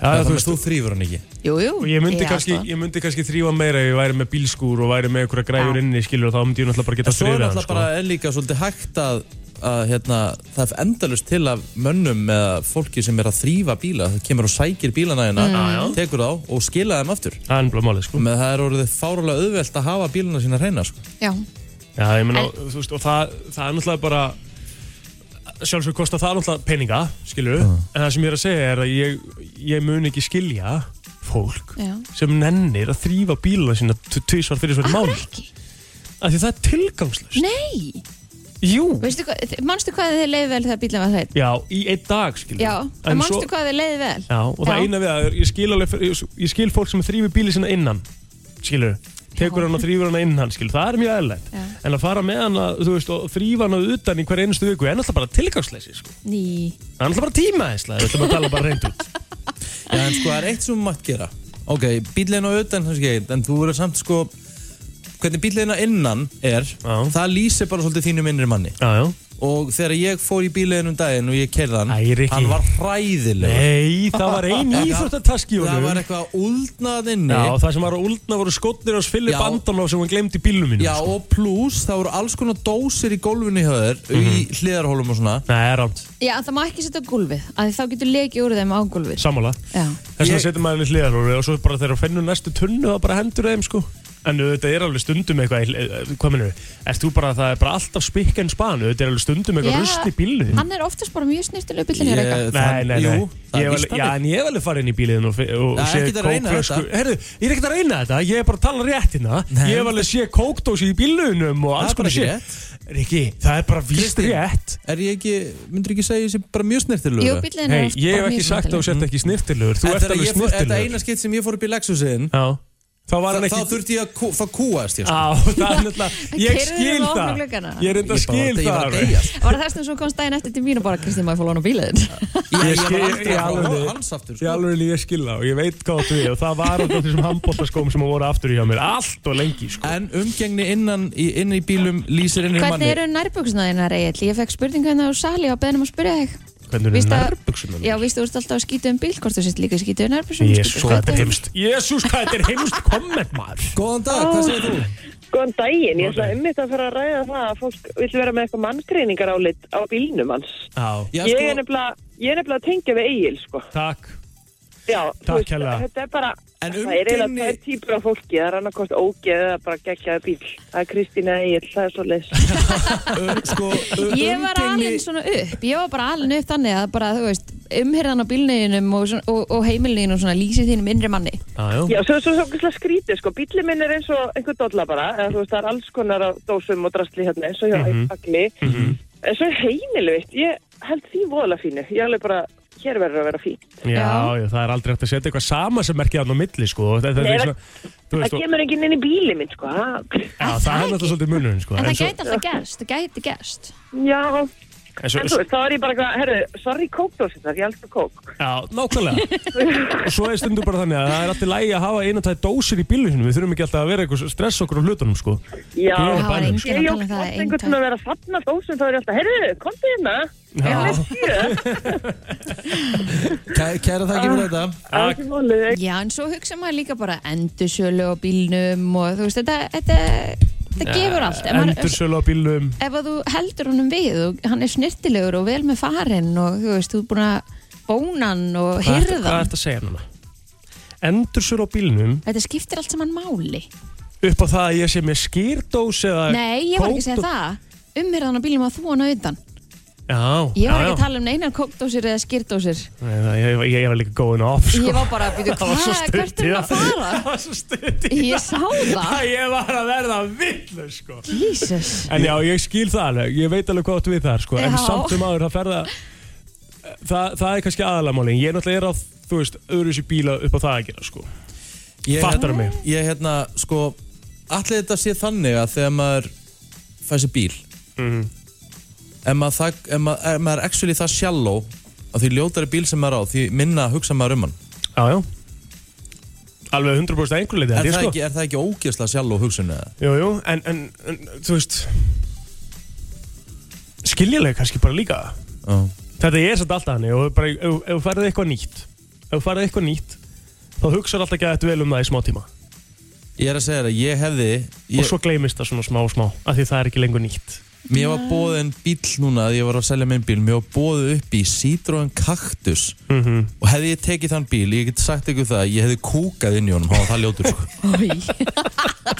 S1: Það,
S3: já, þú
S1: þannig að
S3: veist,
S1: þú þrýfur hann ekki?
S2: Jú, jú.
S3: og ég myndi,
S2: er
S3: kannski,
S2: aðstoða.
S3: ég myndi kannski þrýfa meira ef ég væri með bílskúr og væri með einhverja græjur
S2: Já.
S3: inni, skilur, og þá myndi ég náttúrulega
S1: En
S3: bara geta
S1: svo er
S3: þrýfið hann,
S1: náttúrulega
S3: sko.
S1: bara er líka svolítið hægt að, að hérna, það er endalust til af mönnum eða fólki sem er að þrýfa bíla það kemur og sækir bílana hérna, tekur þá og skila þeim aftur
S3: Mm. Það er náttúrulega málið, sko.
S1: með það er orðið fárulega auðvelt að hafa bílana sína hreina sko.
S2: Já,
S3: Já, ég meina,
S2: En-
S3: og, þú veist, og það, það er náttúrulega bara sjálfsög kostar það náttúrulega peninga, skilur en það sem ég er að segja er að ég, ég mun ekki skilja fólk
S2: já.
S3: sem nennir að þrýfa bíluna sína tvísvar fyrir svar
S2: Akkur
S3: mánu
S2: ekki.
S3: af því það er tilgangslust
S2: Nei.
S3: Jú,
S2: Veistu hvað, manstu hvað þið leiði vel þegar bílinn var hreitt?
S3: já, í einn dag, skilur
S2: Já, en
S3: en
S2: manstu
S3: svo,
S2: hvað þið leiði vel?
S3: já, og það
S2: Já.
S3: eina við það er ég skil, alveg, ég, ég skil fólk sem þrýfi bíli sína innan skilur, tekur
S2: Já.
S3: hann og þrýfur hann innan skilur, það er mjög eðlægt
S2: Já.
S3: en að fara með hann að, þú veist, og þrýfa hann utan í hver einustu viku, er náttúrulega bara tilgangsleysi sko.
S2: Ný.
S3: Það er alltaf bara tíma æsla, við ætlum að tala bara reynd út.
S1: Já, en sko það er eitt sem þú mátt gera ok, bílina utan, kannski, en þú verður samt sko hvernig bíliðina innan er
S3: Já.
S1: það lýsir bara svolítið þínum innri manni
S3: Já, já.
S1: og þegar ég fór í bíliðin um daginn og ég kerði hann
S3: Æ, Rikki.
S1: hann var hræðilegur
S3: Nei, það var
S1: [LAUGHS]
S3: ein íþróttataski í
S1: það
S3: honum.
S1: var eitthvað að úldna að inni
S3: Já, það sem var að úldna voru skotnir hans Filip
S1: Já.
S3: Andanov sem hann glemdi í sko. bílum mínu
S1: Já, og pluss það voru alls konar dósir í gólfinu hjá þér í hliðarhólum og svona
S3: Mhm. Nei, það er rámt,
S2: Já, en það má ekki setja á gólfið, að þá getur lekið úr þeim á gólfið.
S3: sammála
S2: Já.
S3: Þess vegna
S1: Ég-
S3: setjum maður í hliðar og svo bara þegar finnur næstu tunnu þá bara hendur þeim sko En auðvitað er alveg stundum eitthvað, í- eh, hvað minnur við, ert þú bara, það er bara alltaf spikk en span, auðvitað er alveg stundum eitthvað
S2: Já,
S3: rust í bílum þínum.
S2: Hann er oftast bara mjög snirtilegu bílinni reyka.
S1: Ég-
S3: Nei, nei, nei,
S1: Jú, það er
S3: ég hef
S1: víst
S3: alveg, já,
S1: þannig.
S3: en ég hef alveg farið inn í bílinn og, og
S1: Já,
S3: sé
S1: ekkert að reyna
S3: kókflösku
S1: þetta.
S3: Herðu, ég er ekkert að reyna þetta, ég er bara að tala rétt hérna
S1: Nei.
S3: Ég hef alveg sé kókdósi í bílunum og
S1: Það er
S3: alls
S1: bara
S3: konar
S1: ekki
S3: sé
S1: rétt
S3: Rikki, það er bara víst
S1: Kristín.
S3: rétt
S1: Er ég ekki, myndur ekki segja ég sem bara mjög snirtilegur?
S2: Jú, bílinni
S3: Hei,
S2: er oft
S3: ég hef
S2: bara
S3: ekki
S2: mjög
S3: sagt að þú
S2: snyrtilegur.
S3: sett ekki snirtilegur Þú
S1: En
S3: ert
S1: þegar
S3: alveg
S1: ég fór- Þetta
S3: snirtilegur
S1: eina skipt sem ég fór upp í Lexusin
S3: Já, þá
S1: Þa,
S3: var
S1: Þá
S3: hann ekki
S1: þurfti ég að kú, fá kúast ég, sko.
S3: Á, það er náttúrulega,
S2: [LAUGHS]
S3: ég
S2: Keyrðu
S3: skil
S2: þú á opna
S3: það
S2: gluggana?
S3: Ég er enda
S1: Ég bara-
S3: skil
S1: ég var að
S3: það
S1: deyja, sko.
S2: Var það þess að þú komst daginn eftir til mín og bara Kristín, má ég fór lóna bílinn?
S1: Ég- Ég
S3: skil-
S1: var aldrei
S3: ég
S1: að
S3: alveg-
S1: fá hans aftur
S3: Ég
S1: sko.
S3: alveg ég skil það og ég veit hvað þú er og það var út af þessum handbóttaskóm sem voru aftur hjá mér allt og lengi sko
S1: En umgengni innan í, inn í bílum lýsir inn í
S2: Hvernig
S1: manni
S2: eru nærböksnaðina reyðil? Ég fekk spurningu hérna á sali og beðnum að spyrja þig.
S3: Hvernig
S2: Víst
S3: eru
S2: að-
S3: nærbuxunum?
S2: Já, vístu, þú ert alltaf að skýta um bíl, hvort þú sett líka skýta um nærböksum.
S3: Jésús, hvað sko, þetta er heimst Jésús, hvað þetta er heimst komment maður
S1: Góðan dag, hvað segir þú?
S5: Góðan daginn, ég ætla einmitt að fara að ræða það að fólk vil vera með eitthvað manngreiningar álit á bílnum hans.
S3: Já,
S1: Já,
S5: ég,
S1: sko,
S5: er nefnilega, ég er nefnilega að tengja við eigil, sko.
S3: takk
S5: Já, þú
S3: Takk hérlega.
S5: þetta er bara,
S1: En
S5: það er eiginlega
S1: umgengni-
S5: tvær típur af fólki, það er annarkost ógeð eða bara geggjaði bíl. Það er Kristín eða eigil, það er svo leys.
S1: um, sko um,
S2: Ég var alveg svona upp, ég var bara alveg upp þannig að bara, þú veist, umherðan á bílneginum og, svona- og, og heimilneginum svona lýsið þínum innri manni.
S3: Já, já
S5: Já, svo er svo svo skrítið, sko. Bílinn minn er eins og einhver dolla bara, eða þú veist, það er alls konar af dósum og drastli hérna, eins og hjá mm
S3: Mhm.
S5: Agni. En svo er heimilvitt, ég held því voðalega fínu. Ég er alveg bara, hér verður að vera fín.
S3: Já, já, það er aldrei hægt að setja eitthvað sama sem merkja hann á milli, sko. og Það, það,
S5: Nei,
S3: það, það,
S5: Það
S3: veist, og-
S5: kemur enginn inn í bílinn minn, sko. Það-
S3: já, það er
S2: það
S3: alltaf
S2: ekki.
S3: svolítið munurinn, sko.
S2: En það
S3: svo-
S2: gæti alltaf gerst, það gæti gerst.
S5: Já,
S3: en
S5: en þú
S3: svo,
S5: veist, þá er ég bara eitthvað, herru, sorry kókdósið þar, ég elskar kók.
S3: já, nákvæmlega. og svo er stundur bara þannig að það er alltaf lægi að hafa einu tæði dósir í bílunum. Við þurfum ekki alltaf að vera eitthvað stress okkur á hlutunum, sko.
S5: [LAUGHS] Já,
S2: Já,
S3: Guð er bænum,
S5: ég
S2: enginn að tala
S5: jók
S2: um það, enginn
S5: hvort einhvern veginn að vera að safna dósum, þá er ég alltaf, herru, komdu hérna.
S3: Já,
S5: Sjö,
S1: Kæ- Kæra þakki
S2: Ah.
S1: fyrir þetta
S5: það er ekki mólið.
S2: Já, en svo hugsa maður líka bara endursjölu á bílnum og þú veist, þetta, þetta, þetta gefur allt. Ef, maður,
S3: endursölu á bílum.
S2: ef að þú heldur honum við og hann er snirtilegur og vel með farinn og þú veist, þú er búin að bóna hann og
S3: Hvað ertu-
S2: hyrða
S3: Hvað
S2: hann.
S3: ert að segja núna? Endursölu á bílunum
S2: Þetta skiptir allt saman máli.
S3: upp á það að ég sé með skýrdós eða...
S2: Nei, ég var ekki að segja
S3: kókdó-
S2: það. Umherðan á bílnum að þú hann auðan.
S3: Já,
S2: Ég var ekki
S3: já, já.
S2: að tala um neinar kókdósir eða skýrdósir.
S3: Nei, það- Ég, ég, ég var líka góðin off, sko.
S2: Ég var bara að byrja,
S3: [LAUGHS] Það var svo
S2: hvað,
S3: stutt
S2: hvert er hann
S3: í
S2: að
S3: það.
S2: fara?
S3: Það var svo stutt í
S2: Ég
S3: það.
S2: sá það.
S3: [LAUGHS] Ég var að verða villu sko
S2: Jesus.
S3: En já, ég skil það alveg, ég veit alveg hvað áttu við þar sko En
S2: Já.
S3: samt um áður, það ferða það, það er kannski aðalamálin Ég náttúrulega er á, þú veist, öðruvísi bíla upp á það að gera sko
S1: Ég-
S3: Fattar mig
S1: Ég hérna, sko Allir þetta sé þannig að þegar maður fær sér bíl
S3: mm.
S1: ef maður, það, ef maður, ef maður er actually það shallow að því ljótari bíl sem maður á því minna hugsa maður um hann
S3: Já, já Alveg 100% að einhverju leiti
S1: Er,
S3: held ég,
S1: það,
S3: sko.
S1: ekki, er það ekki ógeðslega sjallow hugsun eða?
S3: Jú, jú, en, en, en þú veist Skiljaleg kannski bara líka
S1: Já.
S3: Þetta er satt alltaf hannig og bara, ef, ef þú færði eitthvað nýtt Ef þú færði eitthvað nýtt þá hugsar alltaf ekki að þetta vel um það í smá tíma
S1: Ég er að segja þér að ég hefði
S3: og
S1: ég,
S3: svo gleymist það svona smá og smá af því það er ekki lengur nýtt
S1: Mér var bóðin bíl núna að ég var að selja minn bíl Mér var bóðið upp í Citroen Cactus
S3: mm -hmm.
S1: og hefði ég tekið þann bíl, ég get sagt ykkur það ég hefði kúkað inn í honum, hann var það ljótur sko.
S2: [LAUGHS] Oj.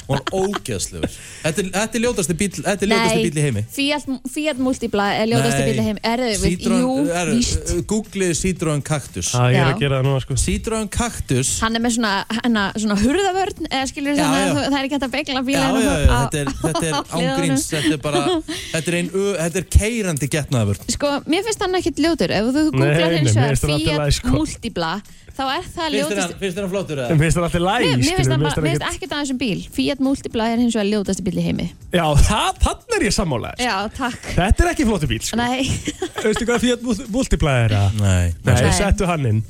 S1: og hann ógeðslegur Þetta er- þetta er ljótasti bíl, þetta er ljótasti
S2: Nei,
S1: bíl í heimi
S2: Fiat, Fiat Multipla er ljótasti
S1: Nei.
S2: bíl í heim Er þau,
S1: Citroen-
S2: jú,
S1: er-
S2: víst
S1: eh, Googlið Citroen Cactus
S3: að ég er að
S2: Já.
S3: gera það núna sko
S1: Citroen Cactus
S2: Hann er með svona, hana, svona hurðavörn eða skilur
S1: Já,
S2: þannig
S1: já.
S2: að þú- það er ekki hægt að begla bíla
S1: Já, já, já, þetta er,
S2: [LAUGHS]
S1: þetta er
S2: á hliðunum.
S1: ángríns, þetta er bara, þetta er ein, ö, þetta er keirandi getnaður.
S2: Sko, mér finnst hann ekkit ljótur Ef þú
S3: Nei,
S2: googlar
S3: nei,
S2: hins vegar
S3: mér finnst hann alltaf
S2: Fiat
S3: læg, sko.
S2: Multipla þá er það
S1: Finnst þér
S2: ljótasti
S1: hann- finnst þér hann flottur
S3: en
S1: eða?
S3: finnst það alltaf læg
S2: Mér, mér
S3: skilur,
S2: finnst hann
S3: mér
S2: bara,
S3: það
S2: mér finnst
S3: ekkert-
S2: ekkert að þessum bíl Fiat Multipla er hins vegar ljótasti bíl í heimi
S3: já, það, þannig er ég sammála sko.
S2: Já, takk
S3: þetta er ekki flottu bíl [LAUGHS] sko.
S2: Nei,
S3: veistu hvað Fiat Multipla er að
S1: Nei,
S3: Nei,
S2: Nei.
S3: settu hann inn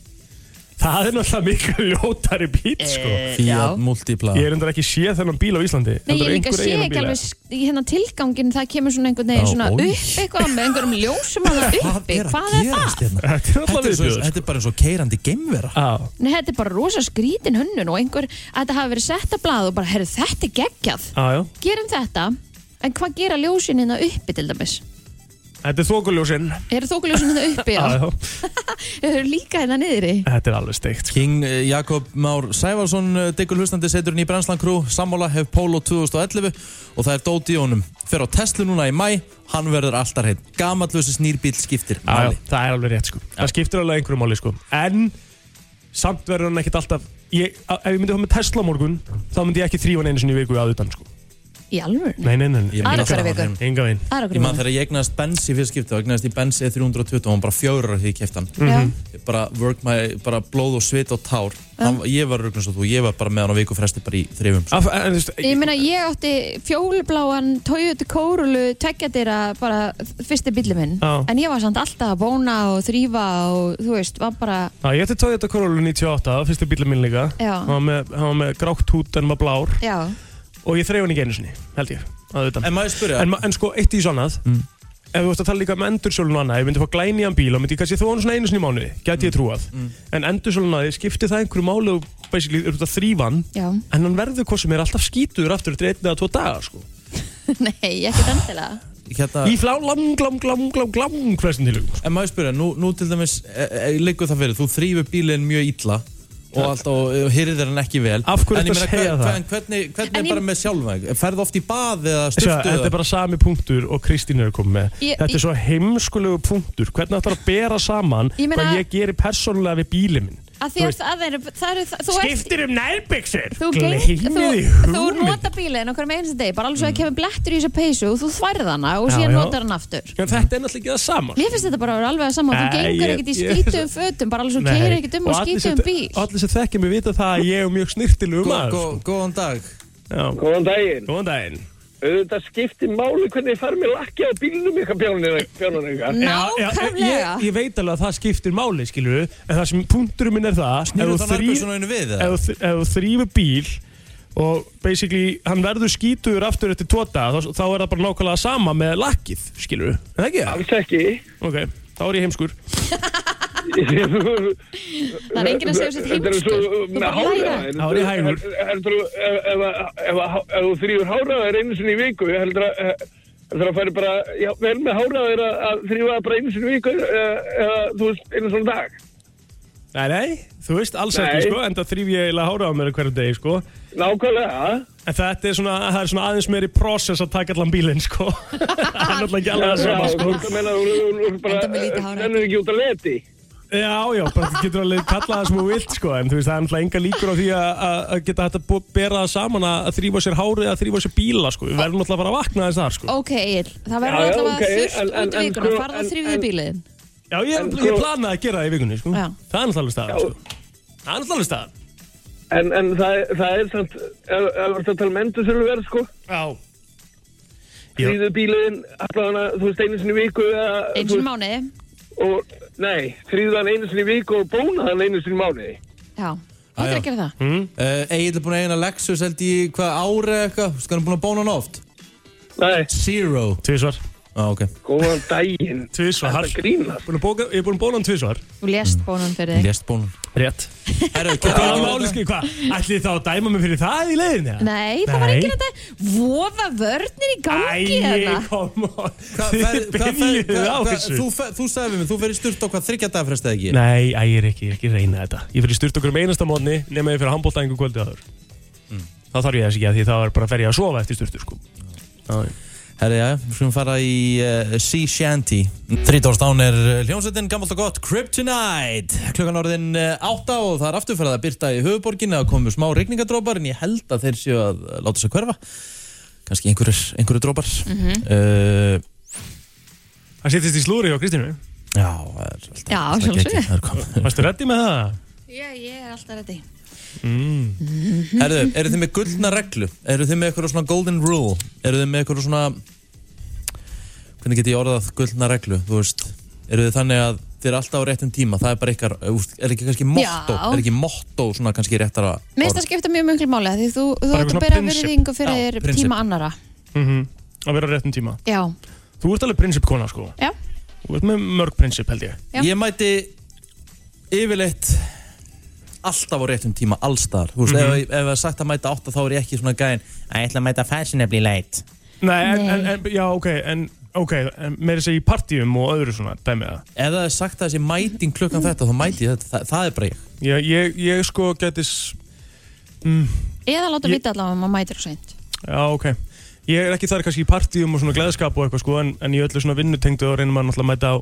S3: Það er náttúrulega miklu ljótari bíl sko.
S2: Eh, já.
S1: Fiat Multipla
S3: Ég er endur ekki séð þennan bíl á Íslandi
S2: Nei, ég
S3: Heldur
S2: líka
S3: einhver
S2: sé
S3: eigi þennan
S2: ekki
S3: bíl,
S2: alveg
S3: eða?
S2: s- í hérna tilgangin það kemur svona einhvern veginn
S1: Já,
S2: svona
S1: oj.
S2: upp eitthvað með einhverjum ljósum að það uppi Hvað er það?
S1: hérna?
S3: Þetta er
S1: Þetta
S3: náttúrulega
S1: er, svo,
S3: viðbjöður
S1: þetta er bara eins og keirandi geimvera
S3: Já,
S2: Nei, þetta er bara rosa skrítin hönnun og einhver að þetta hafi verið sett að blað og bara, herru, þetta er geggjað
S3: já, Ah, já
S2: Gerum þetta, en hvað gera ljósin hérna uppi til dæmis?
S3: Þetta er þokuljósinn
S2: Eru þókuljósin hérna uppi?
S3: Já,
S2: Já,
S3: já.
S2: eru líka hérna niðri
S3: Þetta er alveg steikt sko.
S1: King eh, Jakob Már Sævarsson eh, Diggur hlustandi seturinn í Brænslan Crew Sammála hef Polo 2011 og það er Dóti í honum Fer á Tesla núna í mæ Hann verður alltaf hreinn Gamallösi snýrbíl skiptir
S3: já, já,
S1: máli.
S3: Það er alveg rétt sko Það skiptir alveg einhverju máli sko En samt verður hann ekkert alltaf ég, a- Ef ég myndi fá með Tesla á morgun Þá myndi ég ekki þrýfa hann einu sinni í viku að utan sko
S2: Í alvöru?
S3: Nei, nei, nei, nei.
S1: Ég meina
S2: Aðra hverja
S1: það,
S2: viku.
S1: hann-
S3: Enga veginn
S2: Það er okkur
S1: Ég
S2: í
S1: maður
S2: mál.
S1: þegar ég egnaðist Benz í fyrir skipti og egnaðist í Benz E320 og hann bara fjórar því ég kefti hann
S3: Mhm.
S2: Já.
S1: Ég bara work my, bara blóð og svit og tár hann, ég var rögnast og þú, ég var bara með hann á viku fresti bara í þrifum sko.
S3: Af- en, þú veist,
S2: Ég meina, ég átti fjólbláan Toyota Corolla tveggjadýra bara fyrsti bílli minn
S3: Já.
S2: en ég var samt alltaf að bóna og þrýfa og þú veist, var bara
S3: Já, ég ætti Toyota Corolla 98, það var fyrstu bílum minn líka
S2: Já.
S3: Hann var með, hann var með grátt hút en var blár
S2: já, [LAUGHS]
S3: Og ég þreif hann ekki einu sinni, held ég að utan.
S1: En maður spyrja,
S3: en, ma- en sko, eitt í sannað Ef þú ert að tala líka um endursölun og annað Ef ég myndi fá glænýjan bíl og myndi ég kannski þó hann svona einu sinni í mánuði Gæti ég trúað En endursölun að þið skipti það einhverju máli Og basically eru þetta þrývan
S2: já,
S3: En hann verður hvað sem er alltaf skítur aftur Þetta er einn eða tvo daga sko
S2: nei, ekkert endilega
S1: hérna,
S3: Í flá lang, lang, lang, lang, lang Flestin tilugum sko.
S1: en maður spyrja nú, nú til dæmis, e, e, liggur það fyrir þú þrýfur bílinn mjög illa og allt og e, hirðir hann ekki vel
S3: Af hverju
S1: En ég meina,
S3: ertu að segja
S1: hver-
S3: það?
S1: hver- Hvernig, hvernig
S2: En
S1: er
S2: ég-
S1: bara með sjálfvæg? Ferðu oft í bað eða
S3: Sjá,
S1: sturtu?
S3: Þetta er bara sami punktur og Kristín er að koma með
S2: Ég- ég-
S3: Þetta er svo heimskulegu punktur Hvernig ætlar að bera saman
S2: Ég meina-
S3: Hvað ég geri persónulega við bíli minn
S2: að því
S3: Þú
S2: að
S3: veist,
S2: það eru, það eru það- þú ert
S3: Skiptir um nærbyggsin
S2: Þú, gleym- þú,
S3: Gleimið í
S2: þú
S3: hugmynd
S2: nota bílinn okkur með einstu degi, bara alveg svo að kemur blettur í þessu peysu og þú þværð hana og
S3: Mhm. Já,
S2: síðan
S3: já.
S2: notar hann aftur.
S3: En þetta er náttúrulega ekki það saman
S2: Mér finnst þetta bara að vera alveg að sama, þú
S3: Nei,
S2: gengur
S3: ég-
S2: ekkert í
S3: ég-
S2: skítum fötum, bara alveg svo keirir ekkert um og
S3: allir
S2: skítum
S3: sem-
S2: bíl.
S3: Allir sem þekkja mig vita það að ég er mjög snirtilegu
S1: Gó-
S3: maður sko.
S1: gó- Góðan dag
S3: Já,
S5: Góðan daginn.
S3: Góðan daginn
S5: Auðvitað skiptir máli hvernig þið farið með lakki á bílnum ykkar bjánunum ykkar.
S3: Já, já,
S2: Nákvæmlega.
S3: ég, ég veit alveg að það skiptir máli skilur en það sem punkturum minn er það
S1: Snýrðu
S3: ef þú
S1: þá nærbuxunum
S3: þrý-
S1: einu við, eða?
S3: ef þú þ- ef þú þrýfur bíl og basically hann verður skítur aftur eftir tóta þá, þá er það bara nákvæmlega sama með lakkið skilur við, en ekki það?
S5: Alls ekki.
S3: Ok, þá er ég
S5: [LAUGHS]
S3: heimskur [LAUGHS]
S5: Það
S2: Það er enginn að segja sér heimskur. Þú bara læra.
S3: Hárið hægur.
S5: Heldur þú, ef- ef ef- ef- ef þú þrýfur háraðar einu sinni í viku, heldur að eh, heldur að færi bara, já, vel með háraðar að, að þrýfa það bara einu sinni í viku eh, eða, þú veist, einu svona dag.
S3: Nei, nei, þú veist alls
S5: Nei.
S3: ekki sko en það þrýf ég eiginlega hára á mér hverjum degi sko en
S5: Nákvæmlega.
S3: þetta er svona, það er svona aðeins meiri process að taka allan bílinn sko [LAUGHS] það er náttúrulega ekki alveg
S5: Já,
S3: það sama
S5: þú
S3: sko
S5: veist, það meina, þú- þú þú- þú
S2: Enda með lítið
S5: bara,
S2: hár.
S5: þennir ekki út að leti.
S3: Já, já, bara þú getur alveg kallað það sem þú vilt sko, en þú veist, það er náttúrulega enga líkur á því að- að að geta hægt að bú- bera það saman að þrýfa sér hárið, að þrýfa sér bíla sko, við verðum náttúrulega bara að vakna þess þar sko.
S2: Ok, Egil, það verður
S5: Já, já,
S2: alltaf að
S5: ok, en-
S2: þurft
S5: en-
S2: út í
S5: en
S2: vikuna,
S5: sko-
S2: farða
S5: en-
S2: þrýfið
S5: en-
S2: bíliðin.
S3: Já, ég,
S5: En
S3: ég
S5: sko-
S3: planaði að gera það í vikunni sko,
S2: Já.
S3: það er náttúrulega alveg staðan sko, það er náttúrulega alveg staðan.
S5: En, en það, er- það er samt, ef ef þú ert að tala um endursöluverð, sko,
S3: Já. Já.
S5: þrýðu bílinn, allan að, þú veist, einu sinni í viku eða,
S2: Eins og
S5: þú veist,
S2: mánuði.
S5: og, nei, þrýðu hann einu sinni í viku og bóna hann einu sinni í mánuði.
S2: Já, þetta er
S1: já.
S2: að gera það.
S3: Hmm?
S1: Uh, Egil er búin að eigina Lexus held í hvað ári eitthvað, sko hann er búin að bóna hann oft
S5: Nei,
S1: Zero
S3: Tvísvar,
S1: ah, okay.
S5: góðan daginn.
S3: tvísvar,
S5: Það grínast.
S3: Búin að bóka- ég er búin að bóna hann tvísvar.
S2: Þú lést bónan fyrir þig.
S1: Lest bónan
S3: Rétt.
S1: Herru,
S3: Það er
S1: getur
S3: ekki
S1: ekki
S3: máli
S1: málið
S3: sko, hvað, ætli þá að dæma mig fyrir það í leiðinni? eða?
S2: Nei, það var
S3: Nei.
S2: enginn að þetta vofa vörnir í gangi
S3: Æi,
S2: hérna.
S3: kom on,
S1: Hvað
S3: þið
S1: fer- hvað fer-
S3: byrjuðu á
S1: hvað- hvað-
S3: þessu.
S1: Þú, fer- þú sagði við mig, þú fyrir sturt á hvað þryggja dagfresta ekki
S3: Nei, æ, ég er ekki, ég er ekki að reyna þetta Ég fyrir styrt okkur um einasta mótni nema ég fyrir handbóltæðingu kvöldið aður mm. Þá þarf ég þess ekki að því þá er bara að fer ég að sofa eftir styrtu sko. Já,
S1: Herru, já, við skulum fara í uh, Sea Shanty 13. án er eh, hljómsveitin, gammalt og gott, Kryptonite Klukkan orðin eh, átta og það er afturferð að byrta í höfuborgin að komu smá regningadrópar en ég held að þeir séu að eh, láta sig hverfa kannski einhverjur, einhverjur drópar mm
S2: Mhm.
S3: Það sittist í slúri hjá Kristínu
S1: Já, það er alltaf
S2: Já,
S1: það er
S2: sjálfsögðu.
S1: geggjað, það er komið.
S3: Varstu reddi með það?
S2: Já, ég er alltaf reddi.
S1: Mm. Herðu, eru þið með gullna reglu? Eru þið með eitthvað svona golden rule? Eru þið með eitthvað svona Hvernig get ég orðað gullna reglu? Þú veist, eru þið þannig að þið mætir alltaf á réttum tíma það er bara ykkar, eh, úst, er ekki kannski motto
S2: Já.
S1: er ekki motto svona kannski réttara
S2: Mér finnst það skipta mjög mjög máli af því þú, þú
S3: Bara
S2: átt
S3: eitthvað
S2: að bera
S3: svona prinsip.
S2: virðingu fyrir
S1: Já, prinsip.
S2: tíma annara
S3: Mhm, að vera á réttum tíma
S2: Já,
S3: Þú ert alveg prinsipkona sko
S2: já,
S3: Þú ert með mörg prinsip held ég
S2: Já.
S1: ég mæti yfirleitt alltaf á réttum tíma allstaðar þú veist, ef, ef það er sagt að mæta 8 þá er ég ekki svona gæðin að ég ætla að mæta fashionably late
S3: Nei, en,
S2: Nei.
S3: en, en já, ok, en, okay, en meira segja í partíum og öðru svona dæmið það
S1: ef það er sagt að þessi mæting klukkan þetta þá mæti ég þetta, það, það er bara ég
S3: Já, ég, ég sko getis
S2: eða láta
S3: Ég-
S2: vita allavega um að maður mætir og seint
S3: Já, ok Ég er ekki þar kannski í partíum og svona gleðskap og eitthvað sko En, en í öllu svona vinnutengdu og reynir maður náttúrulega að mæta á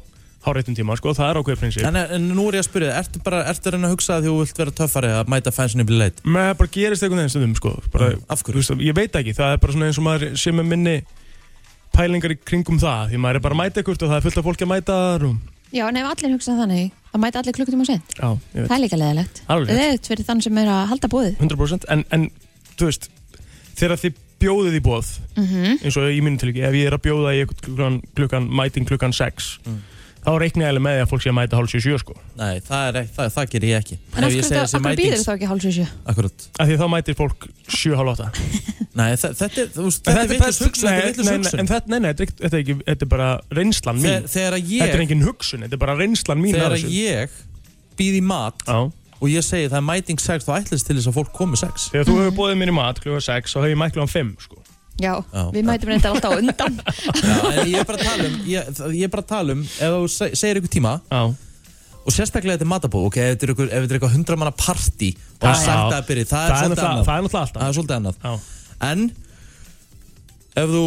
S3: háréttum tíma sko Það er ákveðið prinsip
S1: en, en nú er ég að spyrja, þig, ertu bara ertu að reyna að hugsa að þú vilt vera töffari að mæta fashionably late
S3: Með bara gerist eitthvað þeim stundum sko bara,
S1: Mm, Af
S3: Þú
S1: hverju?
S3: veist, Ég veit ekki, það er bara svona eins og maður sé með minni pælingar í kringum það Því maður er bara að mæta eitthvað og það er fullt af fólki að mæta þar og...
S2: Já, en ef allir hugsa þannig, þá mæta allir klukkutíma seint
S3: Já, ég veit
S2: Það er líka leðilegt
S3: Alveg rétt.
S2: Leðilegt fyrir þann sem er að halda bóðið
S3: 100% en, en þú veist, þegar þið bjóðið í bóð
S2: Mhm.
S3: eins og í mínu tilviki, ef ég er að bjóða í einhvern klukkan, klukkan mæting klukkan 6 þá reikna ég alveg með því að fólk sé að mæta hálf 7 sko,
S1: Mm. nei, það, er, ekki- það, það ger ég ekki
S2: En af
S1: ef ég
S2: hverju
S1: segi
S2: þá-
S1: þessi
S2: af hverju býður
S1: mæting
S2: þá ekki hálfsvísju?
S1: akkurat,
S3: af því að þá mætir fólk 7 hálf 8
S1: [LAUGHS] nei, þa- þetta er þú veist, þetta er vitlaus hugsun þetta er
S3: nei,
S1: vitlaus
S3: nei, nei, en
S1: hugsun
S3: þetta, nei, nei, þetta er ekki- þetta er ekki þetta er bara reynslan mín
S1: Þegar- þegar að
S3: þetta er
S1: ég
S3: engin hugsun, þetta er bara reynslan mín
S1: þegar að ég býð í mat
S3: á,
S1: og ég segi það er mæting 6 þá ætlist til þess að fólk komi 6
S3: þegar þú hefur bóðið mér í mat klukkan 6 þá hefur ég mætt klukkan 5 sko.
S2: Já,
S1: Já.
S2: við mætum reyndar alltaf á undan
S1: Já, en ég er bara að tala um ég, það- ég er bara að tala um ef þú se- segir ykkur tíma
S3: á,
S1: og sérstaklega þetta er matabóð ok, ef þetta er ykkur- ef þetta er eitthvað 100 manna partí og það er sagt að byrja það er svolítið
S3: náttúrulega-
S1: annað
S3: það er náttúrulega alltaf
S1: það er svolítið annað
S3: Já.
S1: en ef þú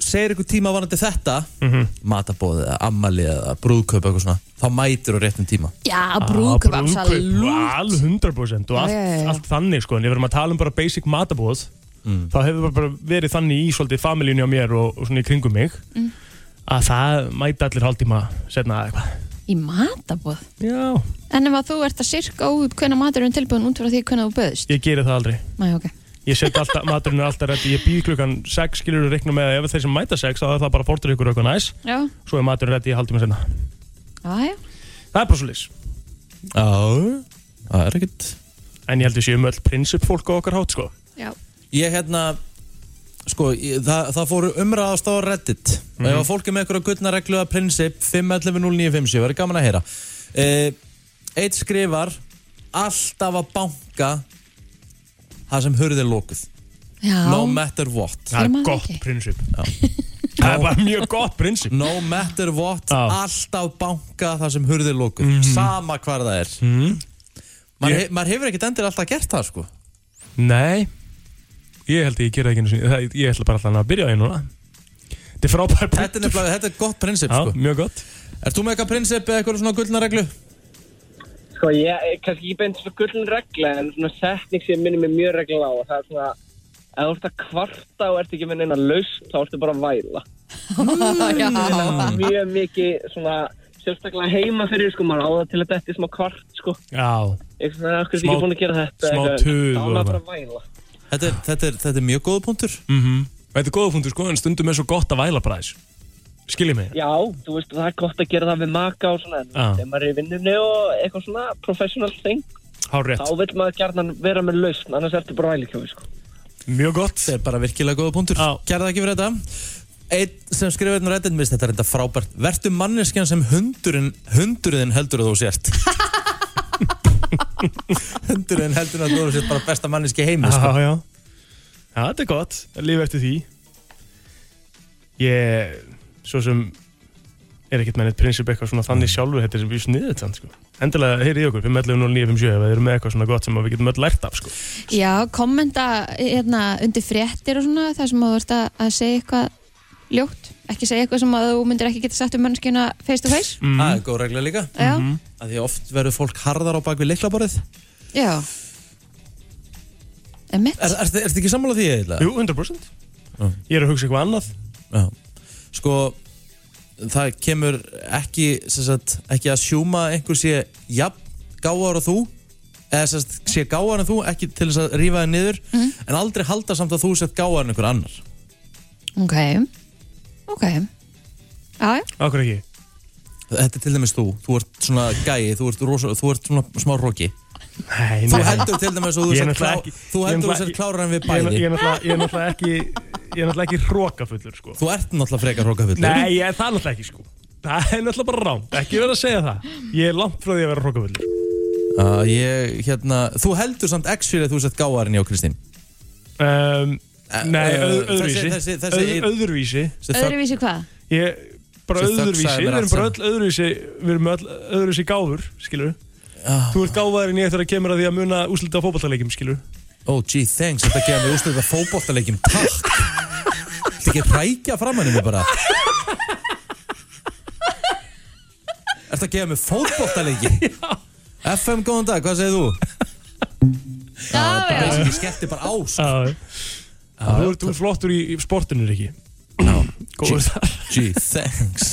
S1: segir ykkur tíma varandi þetta mm
S3: Mhm.
S1: matabóð eða ammali eða brúðkaup eitthvað svona þá mætir þú réttum tíma
S2: [LAUGHS] Já, brúkup,
S3: Ah, brúðkaup,
S2: absolutt
S3: alveg 100%
S2: Já,
S3: og allt,
S2: já, já, já.
S3: allt þannig sko en ef við erum að tala um bara basic matabóð
S1: Mm.
S3: þá hefur það bara verið þannig í svolítið familíunni á mér og, og svona í kringum mig
S2: Mm.
S3: að það mæta allir hálftíma setna eða eitthvað
S2: Í matabóð
S3: Já,
S2: En ef að þú ert að sirka út hvenna maturinn tilbúin út frá því hvenna þú böðist
S3: ég geri það aldrei
S2: Næ, ok
S3: Ég
S2: [LAUGHS]
S3: set alltaf, maturinn er alltaf reddi, ég býð klukkan 6 skilur og reikna með að ef þeir sem mæta 6 þá er það bara fórtur ykkur eitthvað næs
S2: Já,
S3: svo er maturinn reddi í hálftíma setna
S2: já, já
S3: Það er bara svo
S1: já, það er ekkert
S3: En ég held við séum öll prinsip fólk á okkar hátt sko
S2: Já,
S1: ég hérna sko, ég, það, það fóru umræðast á Reddit og
S3: Mhm.
S1: ef að fólk er með einhverja gullna reglu að prinsip 511957, verður gaman að heyra eh, eitt skrifar alltaf að banka það sem hurðið er lókuð
S2: já
S1: no matter what
S3: Það
S2: Er
S3: er
S2: maður
S3: gott
S2: ekki?
S3: prinsip [LAUGHS] Það er bara mjög gott prinsip
S1: no matter what,
S3: Já. Mhm.
S1: alltaf banka það sem hurðið er lókuð, sama hvar það er mm maður,
S3: Ég-
S1: he, maður hefur ekkert endur alltaf gert það sko
S3: Nei Ég held að ég gera það ekki einu sinni Það- Ég ætla bara alltaf að byrja á því núna Þetta er frábær
S1: þetta er nefnilega, þetta er gott prinsip
S3: Já,
S1: sko
S3: mjög gott
S1: Ert þú með eitthvað prinsip eða eitthvað svona gullna reglu?
S6: Sko, ég er kannski ekki beint svona gullin regla en svona setning sem minnir mig mjög regla á og það er svona ef þú ert að kvarta og ert ekki með neina laust þá ertu bara að væla.
S2: Já,
S6: Mjög mikið svona sérstaklega heima fyrir sko, maður á það til að þetta er smá kvart sko.
S3: Já,
S6: Eitthvað svona, af hverju er
S3: Smá-
S6: ekki búin að gera þetta?
S3: smá
S6: eitthvað.
S3: tug
S6: Þá
S3: og
S6: er maður bara
S3: eitthvað.
S6: að væla.
S1: Þetta er, þetta, er, þetta er mjög góða punktur
S3: Mhm. þetta er góða punktur sko En stundum er svo gott að væla bara þess Skiljið mig
S6: Já, þú veist, það er gott að gera það við maka og svona en
S3: Já.
S6: þegar maður er í vinnunni og eitthvað svona professional thing
S3: Hár
S6: þá
S3: rétt
S6: vil maður gjarnan vera með laust annars ertu bara vælikjófi sko.
S3: Mjög gott
S1: Þetta er bara virkilega góða punktur
S3: Já.
S1: Gerða ekki fyrir þetta Einn sem skrifaði hérna á reddit mist, þetta er þetta frábært Vertu manneskjan sem hundurinn hundurinn heldur að þú sért [LAUGHS] Hundurinn heldur að þú sért bara besta manneski heimi sko.
S3: Já, já Já, þetta er gott Líf eftir því Ég Svo sem Er ekkert með neitt prinsip eitthvað svona þannig sjálfur Þetta er sem við sniðið þetta sko Endilega, heyrið í okkur 5.11.09.57 Ef þið eru með eitthvað svona gott sem að við getum öll lært af sko
S2: Já, kommenta hérna, undir fréttir og svona þar sem þú ert að, að segja eitthvað ljótt, ekki segja eitthvað sem að þú myndir ekki geta sagt um mannskjuna face to face
S1: Það
S3: Mm.
S1: er góð regla líka
S2: Já,
S1: að Því oft verður fólk harðar á bak við leiklaborðið
S2: já Emmett,
S1: Er, er, Ertu ekki sammála því eiginlega?
S3: Jú, 100% Ég er að hugsa eitthvað annað
S1: Já. Sko það kemur ekki sem sagt, ekki að sjúma að einhver sé jafn gáðar og þú eða sem sagt, sé gáðar en þú ekki til þess að rífa þig niður en aldrei halda samt að þú sett gáðar en einhver annar
S2: ok Ok Já, já,
S3: Akkur ekki
S1: Þetta er til dæmis þú, þú ert svona gæi, þú ert, rosa, þú ert svona smá roki
S3: Nei,
S1: Þú
S3: nei.
S1: heldur til dæmis að þú
S3: Ég
S1: sér
S3: er náttúrulega
S1: klá-
S3: ekki-
S1: þú heldur að
S3: ég er
S1: þú
S3: náttúrulega-
S1: sér klárar en við
S3: Ég er
S1: bæði
S3: náttúrulega- ég er náttúrulega- ég er náttúrulega ekki Ég er náttúrulega ekki hrókafullur sko
S1: Þú ert náttúrulega frekar hrókafullur
S3: Nei, ég, það er náttúrulega ekki sko Það er náttúrulega bara rámt, ekki verið að segja það Ég er langt frá því að vera hrókafullur
S1: uh, ég, hérna, Þú heldur samt x fyrir að þú sér gáðarinn já Kristín
S3: um, Nei,
S1: eh,
S3: öð,
S1: þessi-
S3: öðruvísi
S1: þessi- þessi-
S3: Öð- Öðruvísi
S1: Þessi þögn-
S2: Öðruvísi hvað?
S3: ég, Bara
S1: Þessi þögn
S3: öðruvísi,
S1: sagði mér
S3: við erum
S1: allt
S3: bara öll öðruvísi Við erum öll öðruvísi gáfur, skilur Þú ert gáfaðir en ég þegar að kemur að því að muna úslita á fótballtaleikjum, skilur
S1: Oh gee thanks, þetta gefa mig úrstöðu að fótboltaleikjum Takk Þetta ekki að hrækja fram henni mig bara Þetta gefa mig
S3: [LAUGHS]
S1: fótboltaleiki FM góðan dag, hvað segir þú?
S2: Já, já,
S1: Það er skellti bara á sko.
S3: Já, Þú ert þú ert flottur í, í sportinu, Riki Góður þar
S1: Gee thanks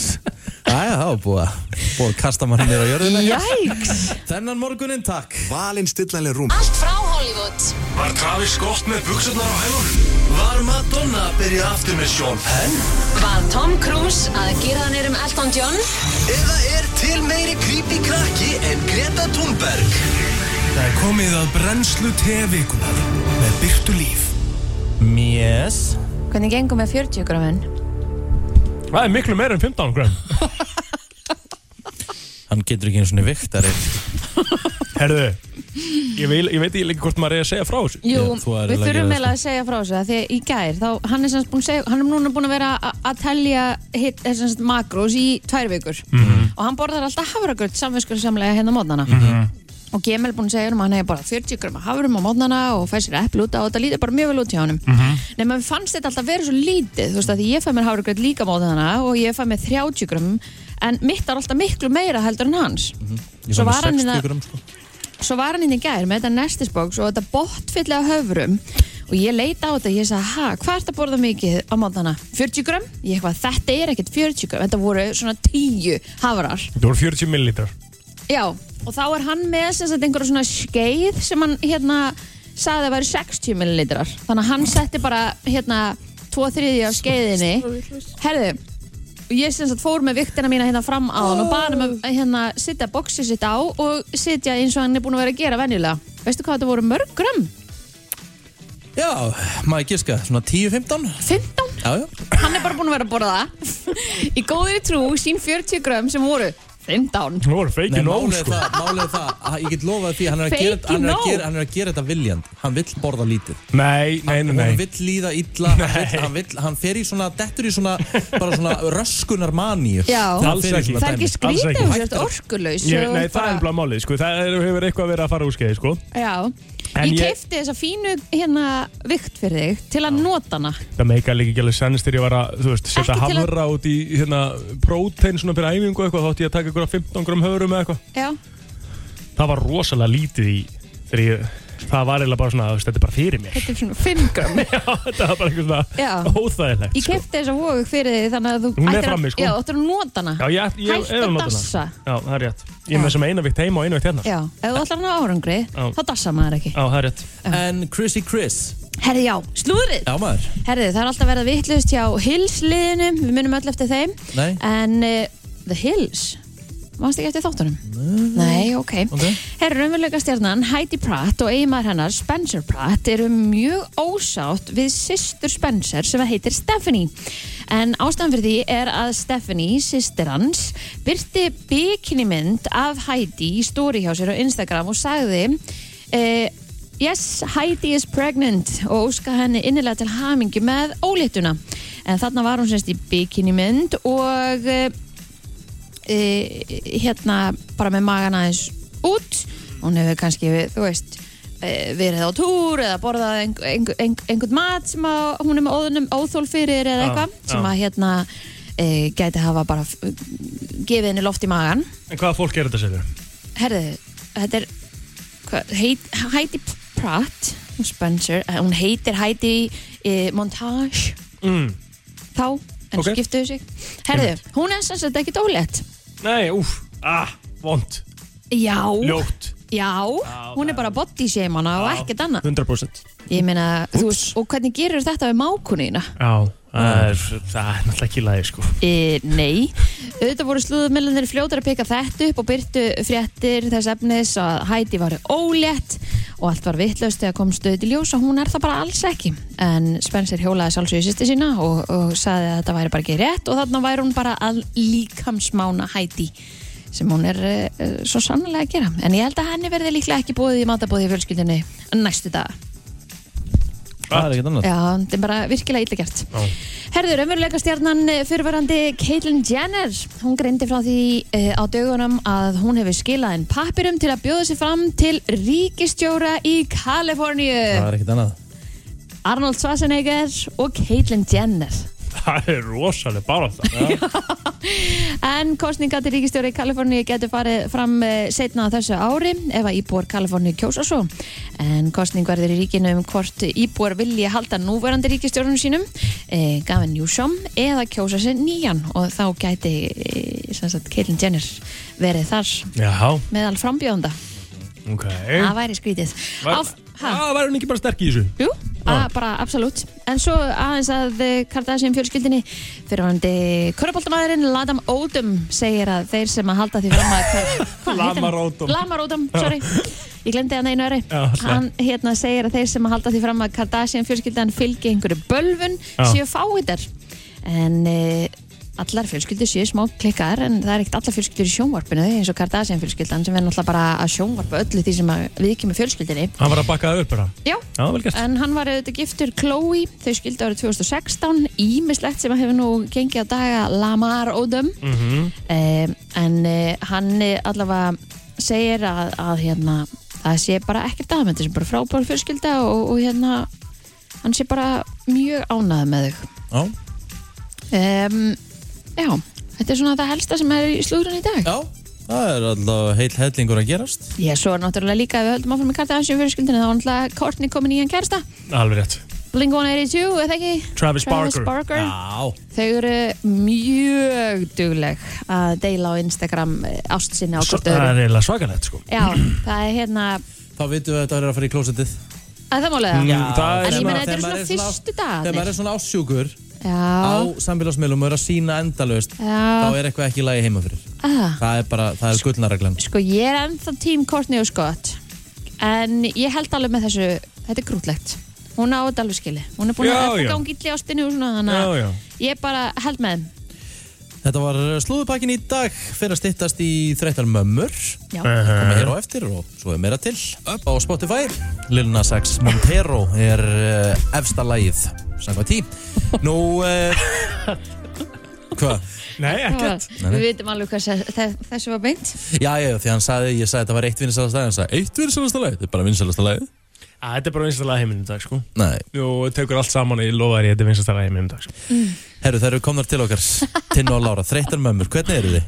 S1: Æja, það var búið að búið að kasta mann mér á jörðina
S2: Jæks
S1: Þennan morguninn, takk
S4: Valinn stillanlega rúm
S7: Allt frá Hollywood
S4: Var Travis Scott með buksunar á hælunum? Var Madonna að byrja aftur með Sean Penn?
S7: Var Tom Cruise að gera hann erum Elton John?
S4: Eða er til meiri creepy krakki en Greta Thunberg? Það er komið að brennslu tevikunar með byrtu líf.
S1: Mjess
S2: Hvernig gengum með 40 grámin?
S3: Það er miklu meira en 15 gram
S1: Hann getur ekki einu svona viktari
S3: Herðu, ég, vil, ég veit ekki líka hvort maður er að segja frá þessu
S2: Jú,
S1: Já, þú er
S2: við
S1: eiginlega
S2: þurfum
S1: að gera það, sko.
S2: eiginlega að segja frá þessu af Því að í gær, þá hann er, sem sagt búinn að segja, hann er núna búin að vera a- að telja hit, er, sem sagt, makrós í tvær vikur
S1: Mhm.
S2: og hann borðar alltaf hafragröð samvinskur samlega hérna á mótnana
S1: Mhm.
S2: og Gemil búin að segja um að hann hefur bara 40 gröma hafrum á mótnana og fær sér eppi út og þetta lítið bara mjög vel út hjá honum
S3: Mm-hmm.
S2: Nei, maður fannst þetta alltaf vera svo lítið þú veist að því ég fæ mér hafragröð líka á mótnana og ég fæ mér 30 grömm en mitt er alltaf miklu meira heldur en hans
S1: Mhm. Ég
S2: Svo
S1: fann
S2: var hann hérna-
S1: 60 gram sko
S2: svo var hann inn í gær með þetta nestisbox og þetta botfylli af höfrum og ég leita á þetta, ég sagði, ha, hvað ert að borða mikið á mótana? 40 grömm? Ég eitthvað, þetta er ekkert 40 grömm, þetta voru svona 10 hafrar.
S3: Þetta voru 40 millilitrar
S2: Já, og þá er hann með sem sagt einhverja svona skeið sem hann hérna sagði að væri 60 millilitrar. Þannig að hann setti bara hérna 2 þriði af skeiðinni. Herðu, og ég sem sagt fór með viktina mína hérna fram á hann og bara um að hérna sitja boxið sitt á og sitja eins og hann er búin að vera að gera venjulega. Veistu hvað þetta voru mörg grömm?
S1: Já, maður giska, svona 10-15
S2: 15?
S1: Já, já
S2: Hann er bara búin að vera að borða það [LAUGHS] í góðri trú sín 40 grömm sem voru 15
S3: Nú voru
S1: Nei,
S3: feikin nóg,
S1: málið er
S3: sko
S1: það, málið er það, að ég get lofað því að hann er að gera,
S2: Fake
S1: hann er
S2: no.
S1: að gera, hann er að gera þetta viljand Hann vill borða lítið
S3: Nei, nei, nei,
S1: Hann
S3: nei
S1: vill líða illa, hann, vill,
S3: Nei.
S1: hann, vill, hann fer í svona, dettur í svona, bara svona röskunar maníu
S2: Já.
S1: Þegar hann fer í
S3: Alls ekki.
S1: svona
S2: Það er ekki skrítið
S1: dæmi.
S3: Alls
S2: ef
S3: ekki.
S2: þú ert orkulegs
S3: Ég, nei, það er nefnilega málið, sko, það er, hefur eitthvað verið að fara úr skeið, sko.
S2: Já,
S3: En
S2: ég,
S3: ég-
S2: keipti þessa fínu hérna vikt fyrir þig til að nota hana
S3: Það meika líka ekki alveg sennist þegar ég var að, þú veist, setja
S2: Ekki til að-
S3: hamra út í, hérna, prótein svona fyrir æfingu og eitthvað, þátt ég að taka eitthvað 15 gram höfrum eða eitthvað.
S2: Já,
S3: Það var rosalega lítið í, þegar ég, það var eiginlega bara svona, þú veist, þetta er bara fyrir mér.
S2: þetta er svona 5 gram
S3: [LAUGHS] Já, þetta var bara eitthvað
S2: Já.
S3: svona óþægilegt,
S2: Ég
S3: sko.
S2: keipti þessa vógu fyrir þig þannig að þú
S3: Hún er
S2: ættir
S3: frammi,
S2: að,
S3: sko.
S2: já, ættir að nota hana
S3: Já, ég, ég,
S2: Hætt
S3: er að
S2: að
S3: nota hana.
S2: dassa.
S3: Já, það er rétt. Ég er með sem eina vikt heima og eina vikt hérna.
S2: Já, ef þú ætlar hana árangri,
S3: Já.
S2: þá dassa maður ekki
S3: Já, það er rétt.
S1: En Chrissy Chris
S2: Herði, já, slúðrið
S1: Já maður
S2: Herði, það er alltaf verið vittlust hjá Hills liðinu, við munum öll eftir þeim
S1: Nei.
S2: En uh, The Hills, mannst ekki eftir þáttunum? Nei, ok,
S1: Ok.
S2: Herri, raunveruleika stjarnan Heidi Pratt og eiginmaður hennar Spencer Pratt eru mjög ósátt við systur Spencer sem að heitir Stephanie en ástæðan fyrir því er að Stephanie, systir hans byrti bikinimynd af Heidi í stóri hjá sér á Instagram og sagði eh, Yes, Heidi is pregnant og óska henni innilega til hamingi með óléttuna. En þarna var hún semst í bikinimynd og eh, e, hérna bara með magan aðeins út hún hefur kannski, þú veist e, verið á túr eða borðað einh einh einh einhvern mat sem að hún er með óðunum óþól fyrir eða
S3: Já,
S2: eitthvað
S3: já.
S2: sem að hérna e, gæti hafa bara f- gefið henni loft í magan
S3: En hvaða fólk er þetta, segir
S2: herðu, þetta er hva, heit, Heidi Pratt hún Spencer, eh, hún heitir Heidi e, Montage
S3: Mm.
S2: þá, en
S3: Ok.
S2: skiptuðu sig herðu, hún er sem sagt ekki dólett
S3: Nei, úf, ah, vond,
S2: já,
S3: ljótt.
S2: Já, hún er bara body shaman og
S3: Já.
S2: ekkert annað
S3: 100%
S2: Ég meina, þú veist, og hvernig gerur þetta við mákunina?
S3: Já, já, Það er, það er náttúrulega ekki lægi sko
S2: E, nei, auðvitað voru slúðumillanir fljótar að peka þetta upp og byrtu fréttir þess efnis að Heidi var ólétt og allt var vitlaust þegar kom stöð til ljós og hún er það bara alls ekki en Spencer hjólaði sálsögju sýsti sína og, og saði að þetta væri bara ekki rétt og þarna væri hún bara að líkamsmána Heidi sem hún er uh, svo sannlega að gera en ég held að henni verði líklega ekki búið í matabóði í fjölskyldinni næstu dag
S1: Það er ekkert annað
S2: Já, þetta er bara virkilega illa gert. Herður, ömurleika stjarnan fyrirvarandi eh, Caitlyn Jenner, hún greindi frá því eh, á dögunum að hún hefur skilað inn pappirum til að bjóða sig fram til ríkistjóra í Kaliforníu.
S1: Það er ekkert annað
S2: Arnold Schwarzenegger og Caitlyn Jenner.
S3: Það er rosalega bara það
S2: En kostninga til ríkistjóra í Kaliforníu getur farið fram setna á þessu ári ef að íbúar Kaliforníu kjósa svo. En kostning verður í ríkinu um hvort íbúar vilji halda núverandi ríkistjórunum sínum, e, Gavin Newsom, eða kjósa sér nýjan og þá gæti e, sem sagt, Caitlyn Jenner verið þar
S3: Já,
S2: meðal frambjóðanda.
S3: ok
S2: Það væri skrítið.
S3: Var-
S2: Áf- ha?
S3: Já, væri hún ekki bara sterk í þessu?
S2: Jú,
S3: Ah.
S2: að, Ah, bara absolutt. En svo aðeins að eh, Kardashian fjölskyldinni fyrirvandi köruboltamæðurinn Ladam Odom segir að þeir sem að halda því fram að
S3: [LAUGHS]
S2: hvað- hvað heitir hann?
S3: Lamar Odom.
S2: Lamar Odom, sorry. Ég glemdi hann einu öri.
S3: Já, slæmt.
S2: Hann hérna segir að þeir sem að halda því fram að Kardashian fjölskyldan fylgi einhverju bölvun
S3: Já.
S2: séu fáiðar. En e, allar fjölskyldur séu smá klikkar en það er ekkert allar fjölskyldur í sjónvarpinu eins og Kardashian fjölskyldan sem er náttúrulega bara að sjónvarpa öllu því sem að við kemur fjölskyldinni.
S3: Hann var að bakka það upp bara
S2: Já,
S3: Já, vel gert
S2: En hann var auðvitað giftur Chloe, þau skildu árið 2016, ímislegt sem hefur nú gengið á daga Lamar Odom. Mm
S3: Mm-hmm.
S2: en uh, hann eh, allavega segir að, að hérna, það sé bara ekkert að þetta sem bara frábær fjölskylda og, og hérna, hann sé bara mjög ánað með þau.
S1: Já,
S2: Um, já, þetta er svona það helsta sem er í slúðrun í dag.
S1: já Það er alltaf heil hellingur að gerast
S2: Já, svo er náttúrulega líka ef við höldum áfram með Kardashian fjölskyldinu, þá er náttúrulega Courtney komin í hann kærsta.
S3: Alveg rétt
S2: Blink-182, eða ekki?
S3: Travis Barker.
S2: Barker.
S1: Já,
S2: Þau eru mjög dugleg að deila á Instagram eh, ást sinni á
S3: Svo-
S2: hvort
S3: Það
S2: öðru.
S3: er eiginlega svakalegt sko
S2: Já, það er hérna,
S1: þá vitum við að þetta er að fara í klósetið
S2: að það málega það.
S3: Mm, það er
S2: En ég
S3: svona-
S2: meina þetta
S1: þegar
S2: eru
S1: maður
S2: svona
S1: er svona-
S2: fyrstu
S1: Þegar maður
S2: dagarnir.
S1: er svona ássjúkur á
S2: Já,
S1: samfélagsmiðlum og er að sína endalaust þá
S2: já,
S1: er eitthvað ekki í lagi heima fyrir
S2: að.
S1: Það er bara, það er gullnareglan
S2: Ah, Sko ég er ennþá tím Courtney og Scott, en ég held alveg með þessu, þetta er grútlegt. Hún á þetta alveg skili. Hún er búin
S3: Já,
S2: að
S3: já.
S2: gangi illi ástinu og svona, þannig
S3: Já,
S2: að
S3: já
S2: ég bara held með þeim.
S1: Þetta var slúðupakkin í dag fyrir að styttast í þreytar mömmur
S2: Já.
S1: koma hér á eftir og svo er meira til upp á Spotify Lil Nas X Montero er uh, efsta lagið samkvæmt tí Nú uh, [LAUGHS] Hvað?
S3: Nei, ekkert
S1: Nei, nei.
S2: Við vitum alveg hvað þess- þe- þessu var beint.
S1: Já, já, því hann sagði, ég sagði þetta var eitt vinsalasta lagið hann sagði, eitt vinsalasta lagið? Þetta er bara vinsalasta lagið?
S3: Æ, Þetta er bara vinstastæla heiminn í dag sko
S1: Nei,
S3: Jú, tekur allt saman og ég lofa þér ég, þetta er vinstastæla heiminn í dag sko
S8: Mm.
S1: herru, það eru komnar til okkar Tinn og Lára, þreytar mömmur, hvernig eru þið?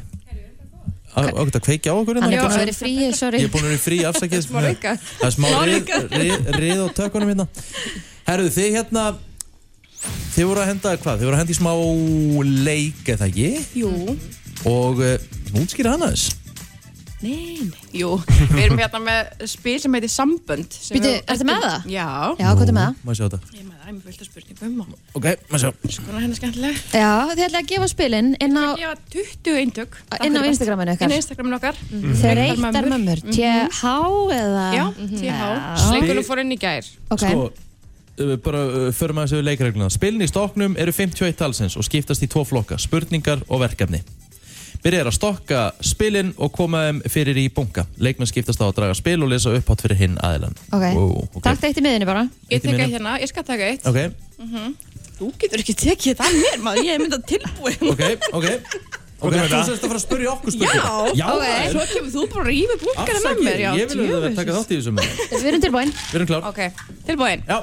S1: Okkur að kveikja á okkur
S2: Hann er
S1: hérna?
S2: búin að vera í fríi, sorry.
S1: Ég er búin að vera í frí
S2: [LAUGHS]
S1: afsakið Smá reyka Það er smá rið, rið, rið á tökunum hérna Herðu þið hérna Þið voru að henda hvað? Þið voru að henda í smá leik eða ekki? Jú Og uh, útskýra hana þess
S9: Jú, við erum hérna með spil sem heitir Sambönd sem
S2: Býtu,
S9: við-
S2: ertu með það?
S9: Já,
S2: Já, hvað er með það?
S1: Má ég sjá þetta
S9: ég er með það, ég er með fullt af spurningum og
S1: Ok, má ég sjá
S2: Sko,
S9: skoðan hérna skemmtileg
S2: Já, þið ætlaði að gefa spilin inn á,
S9: Ég var 20 eintök Takk
S2: inn á
S9: fyrir.
S2: Instagraminu
S9: Inn
S2: ykkar
S9: á Instagraminu okkar Hérna
S2: Þreytar
S9: Mömmur. Mhm.
S2: mömmur, TH eða Mhm.
S9: Já, TH
S10: Slengunum fór inn í gær
S2: ok,
S1: Sko, uh, bara uh, förum að þessu leikregluna Spilin í stokknum eru 51 talsins og skiptast í tvo flokka Spurningar og verkefni Byrjar að stokka spilin og koma þeim fyrir í bunga Leikmenn skiptast á að draga spil og lesa upphátt fyrir hinn aðilan
S2: ok
S1: Wow, ok.
S2: Takk þetta í miðinni bara
S10: Ég
S1: Eitt í Mhm.
S10: tek
S1: mínum.
S10: eitt hérna, ég skal taka eitt
S1: Ok,
S9: Þú getur ekki tekið þetta af mér maður, ég hef myndað tilbúin
S1: ok, ok Ok, þú sérst að fara að spyrja okkur spurningar Já,
S9: okay. Svo kemur þú bara að rífa búkana með mér
S1: afsakið,
S9: já,
S1: ég vil að
S9: djöfusins.
S1: taka þátt í þessu [LAUGHS] með
S2: Við erum tilbúin
S1: Við erum klár
S10: Ok, tilbúin
S1: Já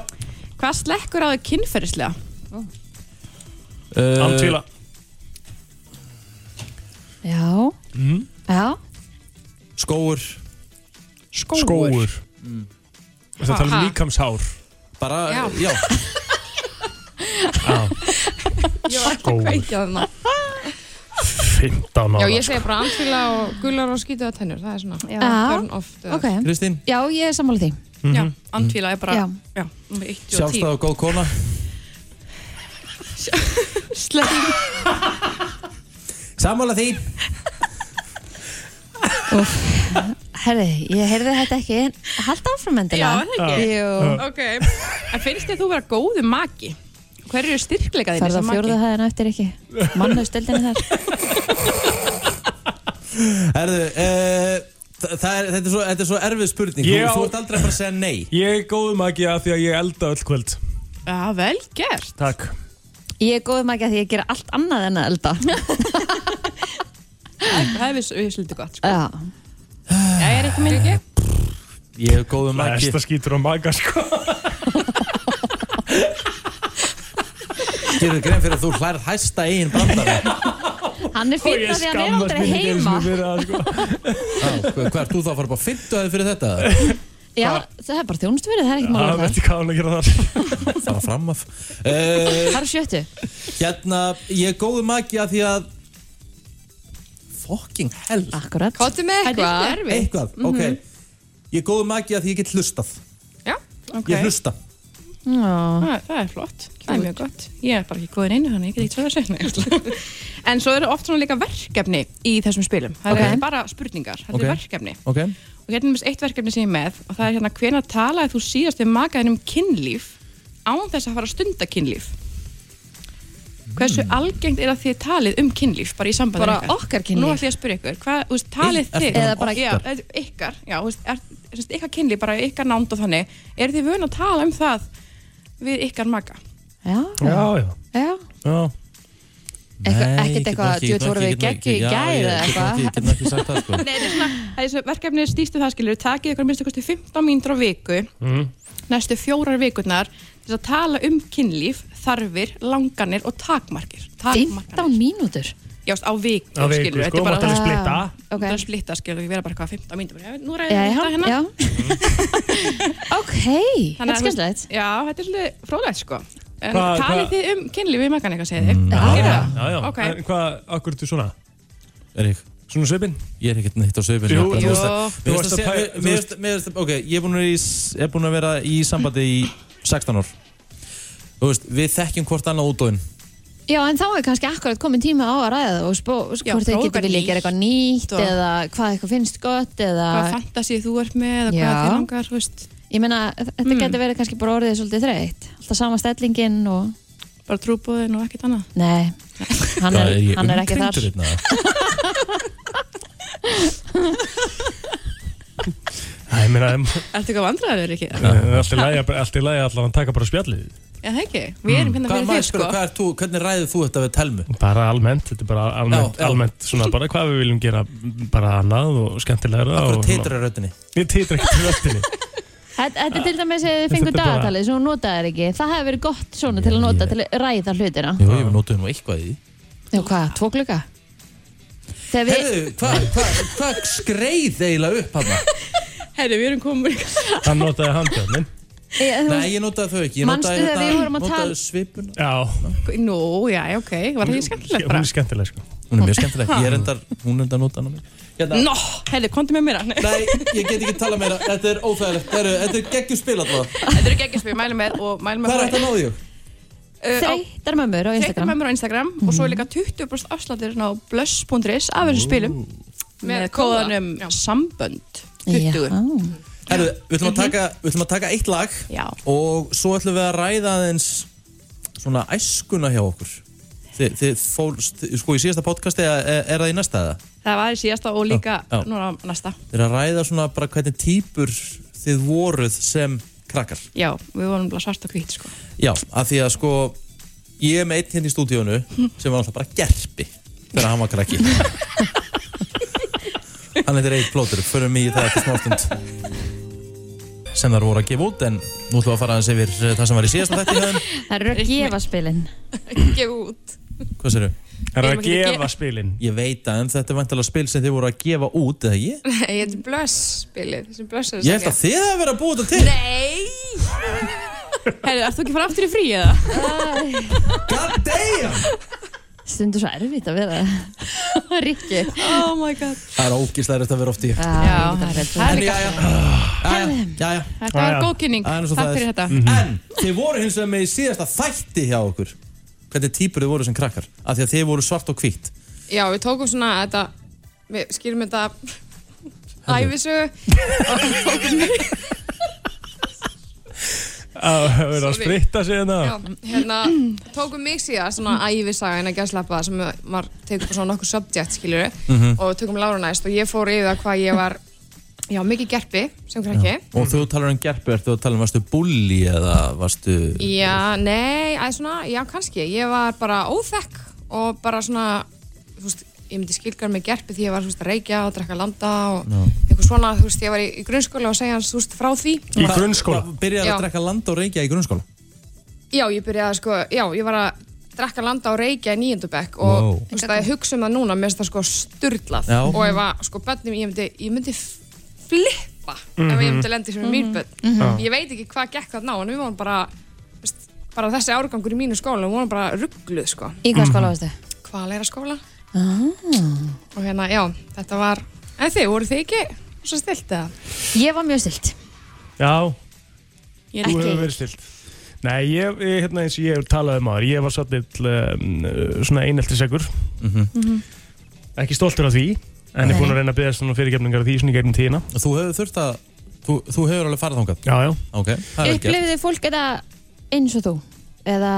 S10: Hvað slekkur á þau kynferðislega?
S1: uh,
S3: Antvíla
S2: Já,
S1: Eh, Mhm.
S2: já,
S9: [LAUGHS]
S1: Skóur,
S10: Skóur,
S3: Skóur Það tala um
S10: Mm. Ha.
S3: líkamshár
S1: bara, já,
S10: Já.
S1: já.
S3: Skóur
S10: Kveikja þarna
S3: 15 ára
S10: Já, ég segi bara andfýla og gullar og skýtu á tennur Það er svona
S9: Já.
S10: Turn off the-
S2: ok
S1: Kristín
S2: Já, ég er sammála því
S1: Mhm.
S9: Já, andfíla er bara
S2: Já.
S9: Já, númer 1 og 10
S1: Sjálfstæð og góð kona
S9: Sleppum
S1: Samála því
S2: Herði, ég heyrði þetta ekki en halda áfram endilega.
S9: Já, er það ekki?
S2: Jú,
S9: Ok En finnst þér þú vera góðu maki? Hver eru styrkleika þínir
S2: ferða
S9: sem maki?
S2: fjórða hæðina eftir ekki. Mannlaustöldinni þar.
S1: Herðu, uh, það er, þetta, er svo, þetta er svo erfið spurning
S3: Ég
S1: þú,
S3: á-
S1: þú ert aldrei að fara að segja nei
S3: Ég er góðum ekki að því að ég elda öll kvöld
S9: [LAUGHS] Já, vel gert
S3: Takk
S2: Ég er góðum ekki að því ég gera allt annað en að elda.
S9: [LAUGHS]
S2: [LAUGHS]
S9: Það er viss, viss lítið gott sko.
S2: Já.
S9: Já, ég er ekki minn
S1: Ég er góðum ekki
S3: Æsta skýtur á maga sko
S1: Gerðu grein fyrir að þú hlærð hæsta eigin brandara
S2: Hann er fyrir því að hann er aldrei heima.
S1: Á, sko. Hvað hvað ert þú þá að fara bara 50 aðeins fyrir þetta?
S2: Já, það er bara þjónustu verið, það er ekki
S3: Það
S2: mála það.
S3: veit ég hvað hann er að gera þar
S1: Fara fram af uh,
S2: Það er sjöttu.
S1: Hérna, ég er góðum ekki að því að Fucking hell
S2: Akkurat.
S10: Kottu með
S9: Það er
S10: eitthvað.
S9: ekki erfið
S1: Eitthvað, ok Ég er góðum ekki að því ég get hlustað
S9: Já, ok
S1: Ég hlusta
S2: Já.
S9: Það, það er flott, það er mjög gott. Ég er bara ekki góðin einu, þannig ég get ekki tvöða
S2: [LAUGHS]
S9: segni. en svo eru oft svona líka verkefni í þessum spilum. Það
S1: Ok.
S9: eru ekki bara spurningar, það
S1: Ok.
S9: eru verkefni.
S1: Ok
S9: Og hérna er mér eitt verkefni sem ég er með og það er hérna hvena talaði þú síðast við makaðin um kynlíf án þess að fara að stunda kynlíf. Hversu algengt er að þið talið um kynlíf bara í sambandi
S2: Bara
S9: ykkar?
S2: okkar kynlíf?
S9: Nú ætlum ég að spyrja ykkur, hvað, þú veist, talið
S1: Ykkar
S9: þið?
S2: Eða bara
S9: já, eða ykkar, já, þú veist, er, þú veist, ykkar kynlíf, bara ykkar nánd og þannig. Er þið vun að tala um það við ykkar maka?
S2: Já.
S3: Já, já,
S2: Já.
S3: já
S2: Eitthvað-
S1: Nei,
S2: ekkert
S1: ég get nú
S2: eitthvað,
S1: ekki- ég get nú
S2: djöfull voru
S1: ekki-
S2: við
S1: ég get nú ekki-
S2: geggjuð í
S1: já,
S2: gær eða
S1: ég get nú
S2: eitthvað.
S1: ekki- Ég get nú ekki sagt það sko
S9: Nei, þetta er svona, það er svo verkefni stýstu það skilur, takið ykkur að minnstu kosti 15 mínútur á viku,
S3: Mm-hmm.
S9: næstu fjórar vikurnar, til þess að tala um kynlíf, þarfir, langanir og takmarkir.
S2: 15
S9: Takmarkanir.
S2: mínútur.
S9: Já, veist, á viku,
S3: Á viku,
S9: skilur,
S3: sko,
S9: bara
S3: maður tala-
S9: það.
S3: Splitta.
S2: Ah, ok.
S9: Það er splitta, skilur, ég vera bara hvað 15 mínútur, já, nú ræðum
S2: Já,
S9: við
S2: já,
S9: þetta hérna.
S2: já.
S9: [LAUGHS]
S2: Ok, þetta er
S9: að, þú veist,
S2: skemmtilegt.
S9: Já, þetta er svolítið frólægt, sko. En
S3: Hvað-
S9: talið
S3: hvað- Mm,
S9: þið um kynlíf við makan eitthvað, segið þið.
S2: Já.
S9: Gerið það?
S3: Já, já,
S9: Ok.
S3: en hvað, akkur ertu svona?
S1: Erik,
S3: Svona svipinn?
S1: ég er ekkert neitt á sögubinu
S3: Jú, þú veist
S9: að-
S1: Mér
S3: þú
S1: finnst að
S3: veist að
S1: segja- mér-
S3: pæ-
S1: mér finnst- mér finnst að- Ok, ég er búin að, vera í, er búin að vera í sambandi í 16 ár Þú veist, við þekkjum hvort annað útóin
S2: Já, en þá er kannski akkurat komin tíma á að ræða það og spó, sko,
S9: Já,
S2: hvort þau
S9: prófa
S2: getur
S9: eitthvað
S2: vilja gera eitthvað nýtt
S9: og-
S2: eða hvað eitthvað finnst gott eða,
S9: Hvað fantasið þú ert með og
S2: Já.
S9: hvað þið langar, þú veist, Mm.
S2: ég meina, þetta getur verið kannski bara orðið svolítið þreytt, alltaf sama stellingin og,
S9: bara trúbóðin og ekkert annað. [LAUGHS]
S2: nei, hann er,
S1: ég
S2: hann er ekki þar.
S1: umkringdur hérna?
S3: Æ, ég meina, em-
S9: [LAUGHS] Ertu eitthvað vandræður ekki? Já,
S3: allt í lagi að- allt í lagi allavega taka bara spjallið
S9: það ekki. Við erum
S3: Mm.
S9: hérna
S1: Hvað
S9: fyrir
S1: maður
S9: þér,
S1: spyrir,
S9: sko.
S1: hvað er þú, hvernig ræðið þú þetta við telmu?
S3: Bara almennt, þetta er bara
S1: Já,
S3: almennt,
S1: já.
S3: almennt svona bara hvað við viljum gera bara annað og skemmtilegra
S1: Akkur
S3: og
S1: titrar röddinni
S3: Ég titra ekki til
S1: [LAUGHS]
S3: röttinni
S2: Þetta þetta er til dæmis að þið fengur
S3: Þetta bara-
S2: dagatalið sem hún notaði ekki, það hefur verið gott svona til að
S1: Já,
S2: nota
S1: ég-
S2: til að ræða hlutina.
S1: Jú, ég notuði nú eitthvað í
S2: Já, hvað, tvo klukka? Þegar við,
S1: Herðu, hvað hva, hva skreið eiginlega upp hann?
S9: Herri, við erum komin
S3: Hann notaði handjörnin
S2: ég, þú
S1: Nei,
S2: veist,
S1: ég notaði þau ekki Ég
S2: Manstu
S1: notaði
S2: þegar við vorum að tala-
S1: notaði svipuna
S3: Já,
S9: Nú, já, ok, var það ekki skemmtilegt
S3: hún
S9: bara
S3: er skemmtileg sko
S1: Hún er mjög skemmtileg, ég er endar, hún er endar notaði hann á mig Hérna,
S9: Nó, herri, komdu með mér Þetta
S1: Nei, ég get ekki tala meira, þetta er óþægilegt Herru, Þetta er geggjum spil alltaf
S9: eru geggjast við mælum með og mælum
S1: Hvað
S9: með
S1: er þetta náðu ég?
S2: þreytar mömmur á
S9: Þreikta
S2: Instagram.
S9: með mér á Instagram Mhm. og svo er líka 20% afslættir hérna á blöss.is af þessum spilum með kóðanum sambönd 20
S2: Já.
S1: Herru, við ætlum að taka, við ætlum að taka eitt lag
S9: Já.
S1: og svo ætlum við að ræða aðeins svona æskuna hjá okkur. Þið, þið fólst, sko í síðasta podcasti eða er, er það í næsta eða?
S9: Það var í síðasta og líka
S1: Já, já.
S9: núna næsta
S1: Þið er að ræða svona bara hvernig típur þið voruð sem krakkar.
S9: Já, við vorum bara svart og hvít sko
S1: Já, af því að sko ég er með einn hérna í stúdíónu sem var alltaf bara gerpi þegar hann var krakki. hann heitir Eitt Plótur, förum í það eftir smástund sem þar voru að gefa út en nú ætlum við að fara aðeins yfir eh, það sem var í síðasta þætti hjá þeim.
S2: Það eru að gefa spilin.
S9: Gef út
S1: Hvað séru?
S3: Það er
S9: Við erum
S3: að
S9: ekki að
S3: gefa spilin
S1: Ég veit að en þetta er vantilega spil sem þið voru að gefa út, eða ég?
S10: Ég heiti Blöss spilið, þessi Blöss er
S1: Ég held að þið hefur verið að búa þetta til.
S9: Nei Herri, ert þú ekki að fara aftur í frí eða?
S1: God damn!
S2: Stundu svo erfitt að vera Rikki.
S9: Oh my god
S1: Það er ógislega rétt að vera oft í.
S9: Já,
S2: Já,
S9: það er
S2: það
S1: En já, já, já, já, já.
S9: Þetta var góð kynning,
S1: Það er Mhm. nú svo
S9: takk
S1: það
S9: fyrir
S1: er.
S9: þetta
S1: En þið voru hins vegar með í síðasta þætti hjá okkur. hvernig týpur þið voru sem krakkar af því að þið voru svart og hvitt
S10: Já, við tókum svona þetta, við skýrum þetta æfisögu og tókum
S3: að vera að
S10: Sorry.
S3: spritta sig
S10: Já,
S3: hérna
S10: hérna, tókum mig síðan svona æfisaga en að gæslappa sem var tegur svona nokkuð subject, skiljur
S1: Mhm.
S10: og tökum Láru næst og ég fór yfir það hvað ég var já, mikið gerpi sem krakki
S1: og þú talar um gerpi, ertu að tala um varstu bulli eða varstu
S10: Já, nei, að svona, já, kannski ég var bara óþekk og bara svona, þú veist ég myndi skilgar með gerpi því ég var, þú veist, að reykja og drekka landa og eitthvað svona þú veist, ég var í, í grunnskóla og segja hans, þú veist, frá því
S1: Í grunnskóla? Byrjaði
S10: Já.
S1: að drekka landa og reykja í grunnskóla
S10: Já, ég byrjaði sko, já, ég var að drekka landa og reykja í nýjöndubekk og
S1: Wow.
S10: þú veist að ég hugsa um það núna, mér finnst það sko styrlað
S1: Já.
S10: og ef að sko bönnum, ég myndi, ég myndi flippa ef
S8: Mhm.
S10: ég myndi lendi sem mm mín bönn.
S8: Mhm.
S10: Ég veit ekki hvað gekk þarna á en við vorum bara, þú veist, bara þessi árgangur í mínu skóla, við vorum bara ruggluð sko.
S2: Í hvað skóla varstu?
S10: Hvað að læra skóla?
S2: Ah.
S10: Og hérna, já, þetta var, en þið, voru þið ekki svo stilt eða?
S2: Ég var mjög stilt.
S3: Já,
S2: Ég
S3: þú
S2: ekki.
S3: hefur verið stilt Nei, ég, ég, hérna eins og ég hef talað um aður Ég var sattill um, svona eineltri segur
S1: Mhm.
S11: Mhm.
S3: Ekki stoltur af því En ég er búin að reyna að byggja svona fyrirgefningar af því svona í gegnum tíðina
S1: Þú hefur þurft að, þú, þú hefur alveg farið þangað
S3: Já, já
S1: Ok, það er vel gert
S2: Upplifið þið fólk þetta eins og þú? Eða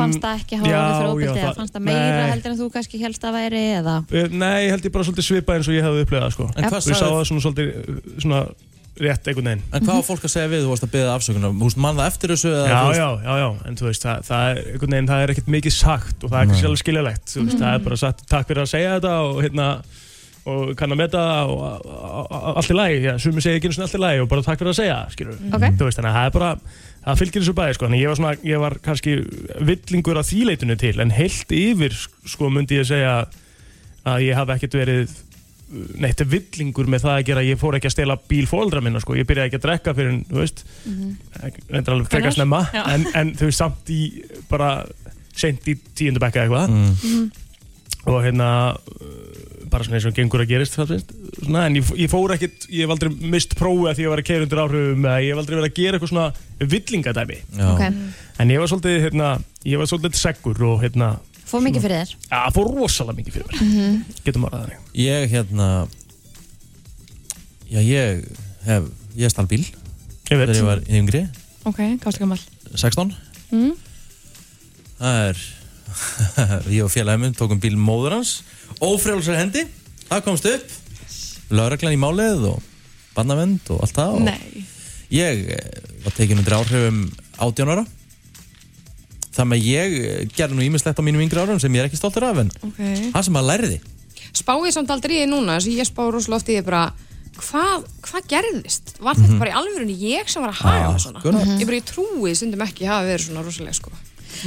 S2: fannst það ekki hafa
S3: Mm, já,
S2: orðið fyrir ofbeldi?
S3: já,
S2: Eða
S3: það-
S2: fannst það meira
S3: nei.
S2: heldur en þú kannski helst að væri? Eða...
S3: Eh, Nei, ég held ég bara svolítið svipað eins og ég hefði upplegað sko.
S1: En hvað
S3: Ég sá
S1: sagði-
S3: það svona svolítið uh, svona rétt einhvern veginn
S1: En hvað á fólk að segja við, þú varst að beða afsökunar Þú veist, mann það eftir þessu eða,
S3: Já,
S1: þú veist-
S3: já, já, já, en þú veist, það, það, er, einhvern veginn, það er ekkert mikið sagt og það er ekki sjálf skiljalegt, þú veist,
S1: Mhm.
S3: það er bara sagt takk fyrir að segja þetta og hérna og kann að meta og a- a- a- allt í lagi, já, sumi segja ekki einu svona allt í lagi og bara takk fyrir að segja, skilur
S1: Mhm.
S2: Ok.
S3: þú veist, þannig að það er bara, það fylgir þessu bæði, sko, þannig að ég var svona, ég var kannski villingur að þýleitinu til, en heilt yfir, sko, myndi ég segja að ég hafi ekkert verið uh, neitt villingur með það að gera ég fór ekki að stela bíl fóldra minna sko. ég byrjaði ekki að drekka fyrir en, þú veist
S2: Mhm.
S11: Mhm.
S3: reyndar alveg frekar
S11: Hvenær?
S3: snemma
S11: Já.
S3: en, en þau samt í bara sent í tíundu bekka eitthvað
S1: Mm.
S11: Mhm.
S3: og hérna uh, bara svona eins og gengur að gerist það finnst, svona, en ég, f- ég fór ekkit, ég hef aldrei mist prófið að því ég var að keira undir áhrifum eða ég hef aldrei verið að gera eitthvað svona villingadæmi
S1: Já. Ok.
S3: en ég var svolítið hérna, ég var svolítið seggur og hérna,
S2: Fóð mikið fyrir þér?
S3: að fór rosalega mikið fyrir mér
S2: Mhm.
S3: getum að ræða þannig
S1: Ég, hérna Já, ég hef, ég stal bíl
S3: Ég
S1: Þegar ég var yngri,
S9: Ok, gástu gammal.
S1: 16
S9: Mm.
S1: Það er, [LAUGHS] ég og félagið minn tókum bíl móður hans Ófrjálsar hendi, það komst upp Lögreglan í málið og Bannavend og allt það og
S9: Nei.
S1: Ég eh, var tekin undir áhrifum 18 ára Þannig að ég eh, gerði nú ímislegt á mínum yngri árum sem ég er ekki stoltur af
S10: Mm.
S1: en
S10: Okay.
S1: það sem maður lærði
S10: spáði samt aldrei í því núna þess að ég spáði rosalega oft í því bara hvað hva gerðist? Var þetta
S1: Mhm.
S10: bara í alvörunni ég sem var að haga ah, svona?
S1: Akkurat.
S10: Ég bara ég trúi stundum ekki að hafa verið svona rosalega sko.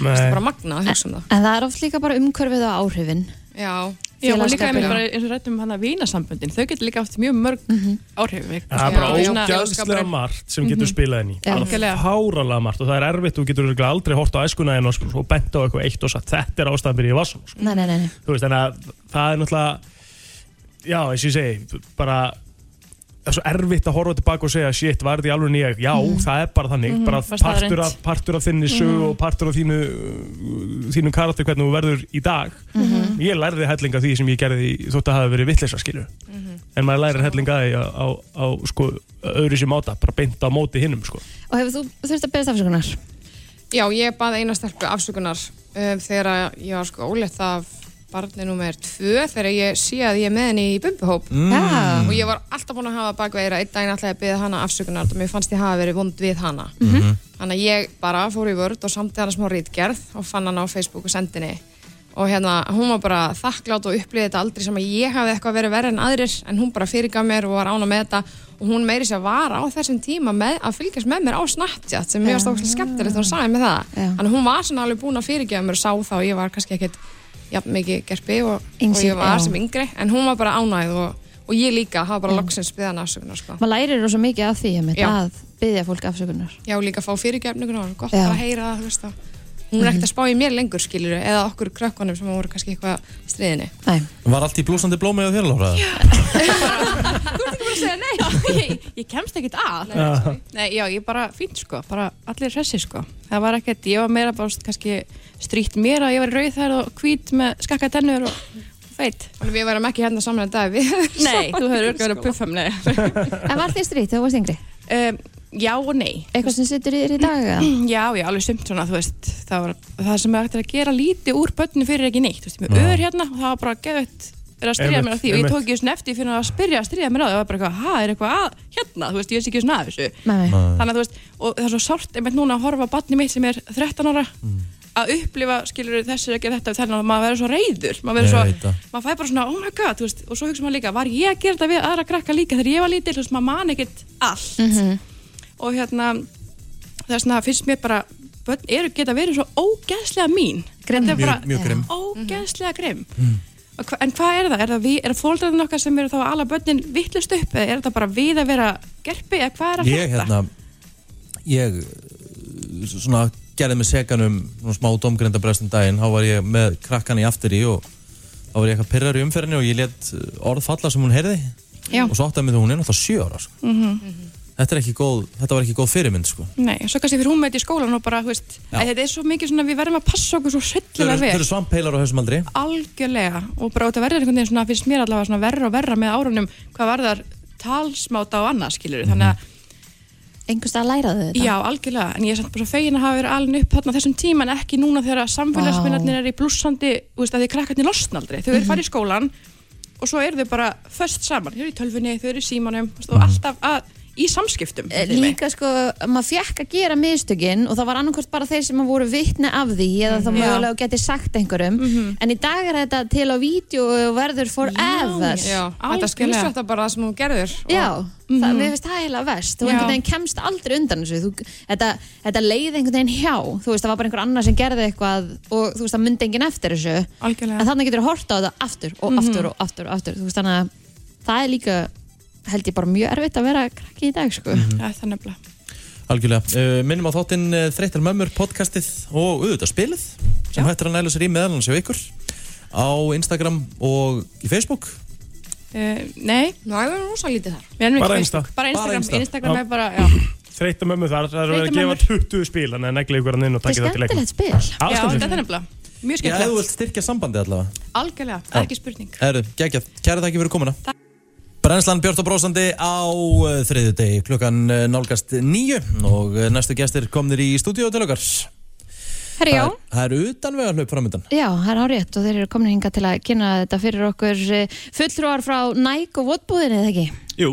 S3: Nei.
S10: Það er bara magnað að hugsa um það.
S2: En það er oft líka bara um umkörfið á áhrifin.
S10: Já.
S9: Já, og líka
S2: Félagsskapur,
S9: einmitt
S2: já.
S9: bara eins og rættum hann að vinasamböndin, þau getur líka haft mjög mörg áhrif.
S3: Það er bara
S9: Já, já.
S3: ógæðslega margt sem getur
S9: Mhm.
S3: spilað inn í
S9: Já.
S3: Alveg Háralega margt og það er erfitt og getur örugglega aldrei hort á æskuna en og bent á eitthvað eitt og sagt þetta er ástæðan byrja í vassum
S2: Nei, nei, nei. nei.
S9: Mm.
S3: þú veist, þannig að það er náttúrulega já, eins og ég segi bara það er svo erfitt að horfa tilbaka og segja shit, var þetta í alveg nýja já, það er bara þannig
S11: Mhm,
S3: bara
S11: var
S3: partur
S11: staðreynd.
S3: af, partur af þinni sögu
S11: Mhm.
S3: og partur af þínu uh, þínu karakter hvernig þú verður í dag ég lærði hellinga því sem ég gerði í- þótt að hafa verið vitleisa skilur en maður lærir hellinga því á, á, á sko, öðru sem áta, bara beint á móti hinnum sko.
S2: Og hefur þú þurft að beðast afsökunar?
S10: Já, ég baði eina stelpu afsökunar um, þegar að ég var sko ólegt af barni nummer tvö þegar ég sé að ég er með henni í bumbuhóp
S2: Mm. Já.
S10: og ég var alltaf búin að hafa bakveira einn daginn alltaf að beða hana afsökunar og mér fannst ég hafa verið vond við hana
S8: Mhm.
S10: þannig að ég bara fór í vörð og samti hana smá rítgerð og fann hana á Facebook og sendinni og hérna, hún var bara þakklátt og upplýði þetta aldrei sem að ég hafði eitthvað verið verið en aðrir en hún bara fyrirgaf mér og var ána með þetta og hún meiri sér var á þessum tíma með, að fylgjast með mér á Snapchat sem mjög stókslega skemmtilegt, hún sagði með það þannig að hún var svona alveg búin að fyrirgefa mér og sá það og ég var kannski ekkit jafn mikið gerpi og, og
S2: Yngri,
S10: ég var
S2: já.
S10: sem yngri en hún var bara ánægð og, og ég líka hafa bara loksins byggðan afsökunar sko.
S2: Maður lærir rosa mikið af því einmitt,
S10: Já.
S2: að beðja fólk afsökunar.
S10: Já, líka fá fyrirgefningur og gott
S2: Já.
S10: að heyra það, þú veist það. hún er ekkert að spá í mér lengur skilur eða okkur krökkunum sem voru kannski eitthvað í stríðinni
S1: Var allt í blúsandi blómi á þér, Lára? Já.
S9: [LAUGHS] ég, ég kemst ekkert að
S1: Já.
S9: Nei, já, ég bara fínt sko, bara allir hressi sko það var ekkert, ég var meira bara þú veist, kannski strýtt mér að ég var rauð þær og hvít með skakka tennur og og feit
S10: Við varum ekki hérna saman að dag við
S9: Nei, þú hefur örgulega verið um að puffa mig
S2: En var þið strýtt þegar þú varst yngri?
S9: um, Já og nei
S2: Eitthvað sem situr í þér í dag?
S9: [CLEARS THROAT]
S2: eða?
S9: Já, já, alveg sumt svona, þú veist það, var, það sem er hægt er að gera lítið úr börninu fyrir ekki neitt, þú veist, ég er með
S1: Já.
S9: ör hérna og það var bara geðvett verið að styrja
S3: Einmitt,
S9: mér á því og ég
S3: einmitt.
S9: tók ekki svona eftir fyrir að spyrja að styrja mér á því það var bara eitthvað, ha, er eitthvað að hérna, þú veist, ég veist ekki svona að þessu
S2: Nei, nei.
S9: þannig að þú veist, og það er svo sárt einmitt núna að horfa á barni mitt sem er 13 ára
S1: Mm.
S9: að upplifa, skilur þessi er að gera þetta og þennan, maður verður svo reyður maður
S1: Ég
S9: verður
S1: veit
S9: svo,
S1: það.
S9: maður fær bara svona, oh my god þú veist, og svo hugsa maður líka, var ég að gera þetta við aðra krakka líka þegar ég var lítil, þú veist, maður man ekkert allt
S2: Mhm.
S9: og hérna það er svona, finnst mér bara börn eru geta verið svo ógeðslega mín
S2: Grimm.
S9: Þetta er bara,
S1: Mjög- mjög grimm. Mm.
S9: ógeðslega grimm Og hva, en hvað er það? Er það, við, er það fóldrarinn okkar sem eru þá að ala börnin vittlust upp eða er það bara við að vera gerpi eða hvað er að
S1: Ég, hérna, ég uh, svona gerði mig segan um svona smá domgrindabrest um daginn, þá var ég með krakkan í aftur í og þá var ég eitthvað pyrrar í umferðinni og ég let orð falla sem hún heyrði
S2: Já.
S1: og svo áttaði mig því að hún er náttúrulega sjö ára sko. þetta, er ekki góð, þetta var ekki góð fyrirmynd sko.
S9: Mhm. Nei, svo kannski fyrir hún með þetta í skólan og bara, þú veist,
S1: Já.
S9: að þetta er svo mikið svona, við verðum að passa okkur svo
S1: Þau
S9: hryllilega
S1: eru- þau
S9: vel,
S1: eru svampheilar á þessum aldri
S9: algjörlega og bara út að verða einhvern veginn svona, finnst mér allavega svona verra og verra með árunum hvað varðar talsmáta og annað, skilur þannig að,
S2: Einhvers stað læraðu þetta?
S9: já, algjörlega, en ég er samt bara svo fegin að hafa verið alveg upp þarna á þessum tíma en ekki núna þegar að samfélagsminnarnir
S2: Vá. Mhm.
S9: er í blússandi, þú veist, að því krakkarnir losna aldrei, þau eru farið í skólan og svo eru þau bara föst saman, þau eru í tölfunni, þau eru í símanum þú veist, og alltaf að, í samskiptum
S2: Mhm. Eh,
S9: við mig.
S2: Líka sko, maður fekk að gera mistökin og það var annarkvort bara þeir sem voru vitni af því eða þá
S9: Mhm. Já. Mhm.
S2: mögulega geti sagt einhverjum en í dag er þetta til á vídeo og verður forever
S10: Já, þetta
S9: Algjörlega.
S10: skilsvætta bara það sem hún gerður og
S2: Já, það, mér finnst það heila verst þú
S9: Mhm. Já.
S2: einhvern veginn kemst aldrei undan þessu þú, þetta, þetta leið einhvern veginn hjá þú veist, það var bara einhver annar sem gerði eitthvað og þú veist, það myndi enginn eftir þessu
S9: Algjörlega. Mhm.
S2: en þannig getur þú horta á þetta aftur og aftur og aftur og aftur þú veist, þannig að það er líka held ég bara mjög erfitt að vera krakki í dag sko.
S9: Það er það nefnilega.
S1: Algjörlega. Uh, minnum á þáttinn uh, Þreytar mömmur podcastið og auðvitað spilið sem hættir að næla sér í meðalans hjá ykkur á Instagram og í Facebook.
S9: Uh, nei,
S10: það er rosa lítið þar
S9: við erum ekki
S3: Bara
S9: Facebook.
S3: Insta.
S9: Bara Instagram,
S1: Bara Insta.
S9: Instagram
S3: Já.
S9: er bara, já.
S3: Þreytta mömmu þar, það er verið að gefa
S9: Þreytta
S3: 20 spil Þannig að negli ykkur hann inn og
S2: það er
S3: takki það til leikum
S2: skemmtilegt spil
S9: Já, þetta er
S3: Áskendilegt
S9: nefnilega. Mjög
S1: Já, þú
S9: skemmtilegt.
S1: vilt styrkja sambandi allavega.
S9: Algjörlega, það er ekki spurning.
S1: Eru, geggjað. Kæra þakki fyrir komuna. Brennslan Björn og Brósandi á uh, þriðju degi klukkan uh, nálgast nýju og uh, næstu gestir komnir í stúdíu til okkar.
S2: Herri, já.
S1: Það er- Það er utanvega hlaup framöndan.
S2: Já, það er árétt og þeir eru komin hingað til að kynna þetta fyrir okkur eh, fulltrúar frá Nike og Votbúðinni, eða ekki?
S8: Jú,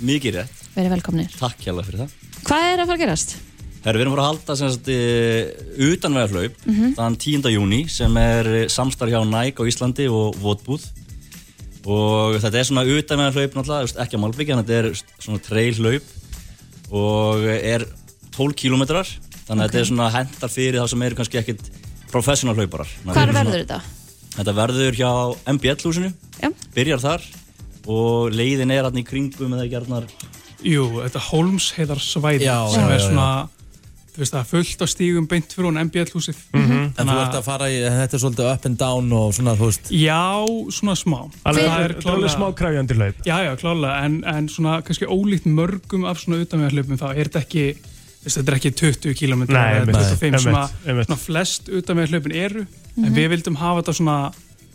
S8: mikið rétt.
S2: Verið velkomnir.
S8: Takk hjálpa fyrir það.
S2: Hvað er að fara að gerast?
S8: Herra, við erum voru að halda sem sagt eh, utanvegarhlaup mm -hmm. þann 10. júni sem er eh, samstarf hjá Nike á Íslandi og Votbúð og þetta er svona utanvegarhlaup náttúrulega, þú veist, ekki á Malbygg en þetta er svona trailhlaup og er 12 kilometrar þannig að þetta er svona hendar fyrir þá sem eru kannski ekkit professional hlauparar. Þannig að
S2: Hvar
S8: þetta er
S2: verður
S8: svona-
S2: þetta?
S8: Þetta verður hjá MBL-húsinu,
S2: Já.
S8: byrjar þar og leiðin er hann í kringum eða gerðnar
S11: Jú, þetta Holmsheiðarsvæði
S1: Já,
S11: sem
S1: já,
S11: er
S1: já,
S11: svona, þú veist það, er fullt á stígum beint fyrir hún MBL-húsið.
S3: Mm.
S1: En þú ert að fara í, þetta er svolítið up and down og svona, þú veist.
S11: Já, svona smá. Það
S3: Alveg, það
S11: er
S3: er klálega smá krafjandi laup
S11: Já, já, klálega, en, en svona kannski ólíkt mörgum af svona utanvegarhlaupum þá er þetta ekki, þú veist, þetta er ekki 20 km
S3: Nei,
S11: eða
S3: einmitt,
S11: 25
S3: einmitt,
S11: svona,
S3: einmitt.
S11: svona flest utanvegarhlaupin eru,
S2: Mhm.
S11: en við vildum hafa þetta svona,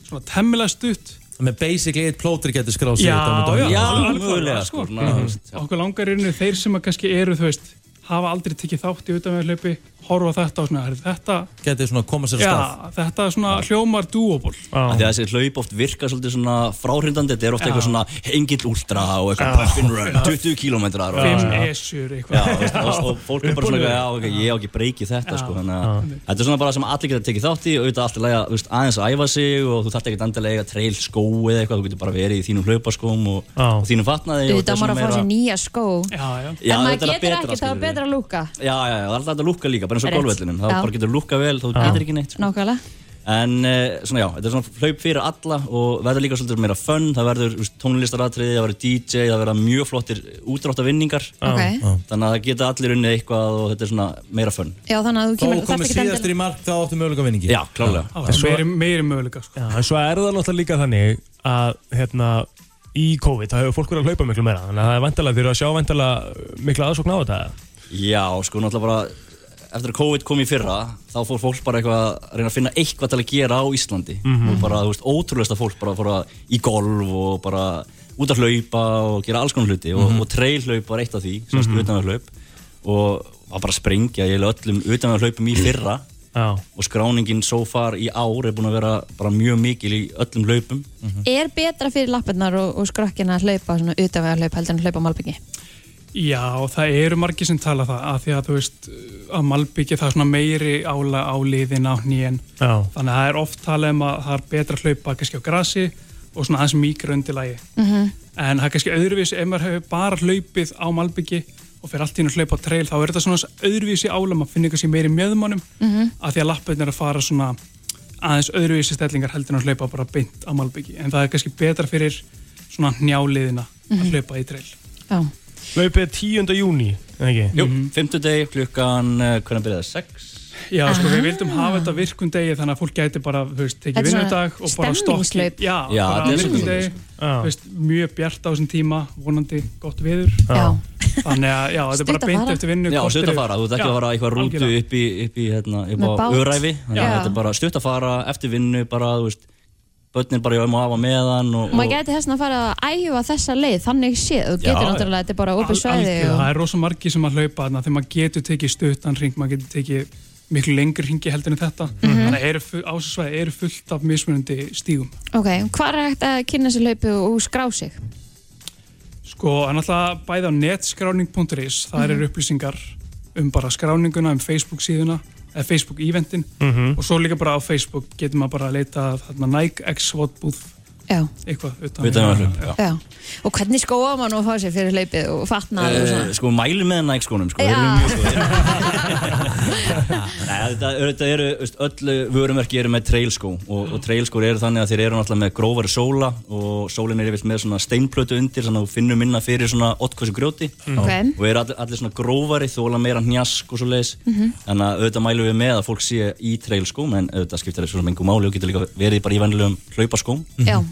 S11: svona temmilega stutt
S1: Með basically eitt plótur getur skráð sig
S11: Já,
S1: utan um þetta.
S11: já. alveg
S8: mögulega
S11: klárlega, sko.
S8: sko. ná, þú veist, já.
S11: okkur langar einu þeir sem að kannski eru, þú veist, hafa aldrei tekið þátt í utanvegarhlaupi, horfa á þetta og svona, "Herri, þetta,
S1: Getur svona koma sér að stað.
S11: já, þetta er svona hljómar dúoból.
S8: Af því að þessi hlaup oft virka svolítið svona fráhrindandi þetta er oft
S11: Já.
S8: eitthvað svona hengill ultra og eitthvað puff and run, 20 kilometrar og,
S11: fimm
S8: já,
S11: esjur
S8: já,
S11: eitthvað
S8: veist, og, og fólk er bara svona já, ok, ég á ekki breykið þetta sko, þannig að þetta er svona bara sem allir geta tekið þátt í og auðvitað allt er lægja, veist, aðeins að æfa sig og þú þarft ekkert endilega að eiga trail skó eða eitthvað, þú getur bara verið í þínum hlaupaskóm og,
S3: Já.
S8: og þínum fatnaði og
S2: Þetta maður að fá sér nýja skó.
S11: já, já.
S8: Já,
S2: en maður
S8: þetta er
S2: getur
S8: að betra,
S2: ekki, þá er
S8: skilurðu.
S2: betra að lúka.
S8: Já, já, já, það er alltaf að lúka líka, bara eins og
S2: Rétt.
S8: golvvellinum, þá
S2: Já.
S8: bara getur lúka vel, þá getur ekki neitt sko.
S2: Nákvæmlega.
S8: En eh, svona já, þetta er svona hlaup fyrir alla og verður líka svolítið meira fun, það verður þú veist, tónlistaratriði, það verður DJ, það verður mjög flottir útráttavinningar.
S2: Ok. Já.
S8: Þannig að það geta allir unnið eitthvað og þetta er svona meira fun.
S2: Já, þannig að þú kemur
S1: Þó komið síðastur í mark þá áttu möguleika vinningi
S8: Já, klálega
S3: En svo-
S11: meiri, meiri möguleika sko.
S3: Já, en svo er það náttúrulega líka þannig að hérna, í COVID þá hefur fólk verið að hlaupa miklu meira þannig að það er vantalega fyrir að sjá vantalega mikla aðsókn á þetta
S8: Já, sko, náttúrulega bara eftir að COVID kom í fyrra þá fór fólk bara eitthvað að reyna að finna eitthvað til að gera á Íslandi
S3: Mhm.
S8: og bara, þú veist, ótrúlegasta fólk bara fór að í golf og bara út að hlaupa og gera alls konar hluti og,
S3: Mhm.
S8: og trailhlaup var eitt af því, sem mm
S3: Mhm.
S8: -hmm. utanverðhlaup og var bara að sprengja ég öllum utanverðhlaupum í fyrra
S3: Já.
S8: og skráningin so far í ár er búin að vera bara mjög mikil í öllum hlaupum
S2: Er betra fyrir lappirnar og, og skrokkina að hlaupa svona utanvega hlaup heldur en að hlaupa á malbyggi?
S11: Já, það eru margir sem tala það að því að þú veist að malbyggja það er svona meiri ála á liðin á nýjen
S3: Já.
S11: þannig að það er oft talað um að það er betra að hlaupa kannski á grasi og svona aðeins mýkra undirlægi
S12: Mhm.
S11: en það er kannski öðruvísi ef maður hefur bara hlaupið á malbyggi og fyrir allt í einu að hlaupa á trail þá er þetta svona öðruvísi ála, maður finnir kannski meiri mjöðumannum
S12: Mhm.
S11: að því að lappin er að fara svona aðeins öðruvísi stellingar heldur en að hlaupa bara beint á malbyggi en það er kannski betra fyrir svona njáliðina að
S2: Mhm.
S11: hlaupa í trail
S2: Já.
S3: Hlaupið 10. júni, ekki?
S8: Jú, 50 deg klukkan, eh, hvenær byrjaði það? 6?
S11: Já, sko,
S8: Ah.
S11: við vildum hafa þetta virkum degi þannig að fólk gæti bara, þú veist,
S2: Þetta
S11: tekið
S2: er svona
S11: vinnudag og bara stokki.
S2: stemningshlaup.
S8: Já,
S11: Já,
S8: þetta
S11: bara
S8: er
S11: virkum
S8: svolítið
S11: degi,
S8: svoleiðis,
S11: þú veist, mjög bjart á þessum tíma, vonandi gott viður. Já. Þannig að, já, þetta er
S8: Stutt
S11: bara
S8: að
S11: beint
S8: fara.
S11: eftir vinnu.
S8: Já,
S11: korter
S8: stutt að
S11: yfir.
S8: fara, þú ert ekki að
S11: Já,
S8: fara í eitthvað rútu
S11: algjörlega.
S8: upp í, upp í hérna, upp á
S11: Með bát.
S8: öðræfi Þannig að
S2: Já.
S8: þetta er bara stutt að fara, eftir vinnu bara, þú veist Börnin bara hjá um og af á meðan og,
S2: Maður
S8: og
S2: gæti þess að fara að æfa þessa leið þannig séð, þú
S8: Já,
S2: getur
S8: já.
S2: náttúrulega þetta er bara opið svæði
S11: Algjörlega,
S2: og...
S11: Það er rosa margi sem að hlaupa þarna þegar maður getur tekið stuttan ring, maður getur tekið miklu lengur ringi heldur en þetta. Þannig að eru fu- á þessu svæði eru fullt af mismunandi stígum.
S2: Ok, hvað er hægt að kynna sér hlaupu og skrá sig?
S11: Sko, en alltaf bæði á netskráning.is, það
S2: Mhm.
S11: eru upplýsingar um bara skráninguna, um Facebook síðuna, eða Facebook eventin
S3: Mhm.
S11: og svo líka bara á Facebook getur maður bara að leita þarna Nike X Votbúð,
S2: Já.
S11: eitthvað
S8: Utanvegahlaup, já. Eh,
S2: Já. Og hvernig skóa maður nú að fá sér fyrir hlaupið og fatnað og
S8: Eh,
S2: svona?
S8: sko mælu með Nike skónum sko, þeir eru
S2: Já.
S8: mjög góðir. Nei, þetta, þetta eru þú veist, öll vörumerki eru með trailskó og, og trailskór eru þannig að þeir eru náttúrulega með grófari sóla og sólin er yfirlt með svona steinplötu undir þannig að þú finnur minna fyrir svona ottkvæsu grjóti
S2: Mm. Ok.
S8: og eru allir, allir svona grófari þóla meira njask og svo leiðis
S2: Mhm.
S8: þannig að auðvitað mælum við með að fólk sé í trailskóm en auðvitað skiptir þessu mengu máli og getur líka verið bara í vennilegum hlaupaskóm
S2: Já.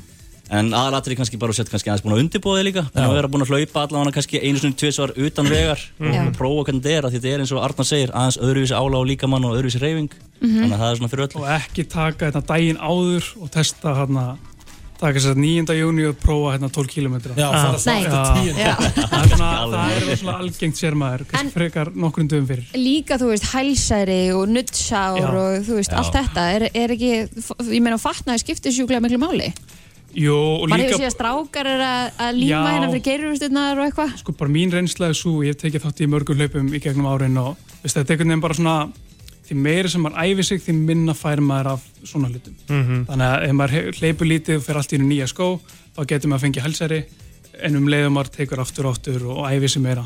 S8: En aðalatrið kannski bara að setja kannski aðeins búin að undirbúa þig líka Búin að vera búin að hlaupa allavega kannski einu sinni tvisvar utan vegar
S11: Mm.
S8: og,
S2: Já.
S8: og prófa hvernig þetta er af því þetta er eins og Arnar segir aðeins öðruvísi ála á líkamann og öðruvísi reyfing
S11: Mhm.
S8: Þannig að það er svona fyrir öll
S11: og ekki taka þetta daginn áður og testa hérna taka sér 9. júni og prófa hérna 12 km
S1: Já, fara svo Nei. aftur 10. Já.
S11: það er svona, það er svona algengt sér maður kannski frekar nokkrum dögum fyrir
S2: Líka, þú veist, hælsæri og nuttsár
S11: Já.
S2: og þú veist,
S11: Já.
S2: allt þetta er, er ekki, ég meina, fatnaði skiptir sjúklega miklu máli.
S11: Jó, og
S2: Maður
S11: líka
S2: hefur síðan strákar er að, að líma
S11: Já.
S2: hérna fyrir geirurustinnar og eitthvað.
S11: sko bara mín reynsla er svo ég hef tekið þátt í mörgum hlaupum í gegnum árin og veist, þetta er einhvern veginn bara svona því meira sem maður æfi sig því minna fær maður af svona hlutum
S3: Mhm.
S11: þannig að ef maður he- hleypur lítið og fer allt í einu nýja skó þá getur maður að fengja helsæri en um leiðum maður tekur aftur og aftur og æfi sig meira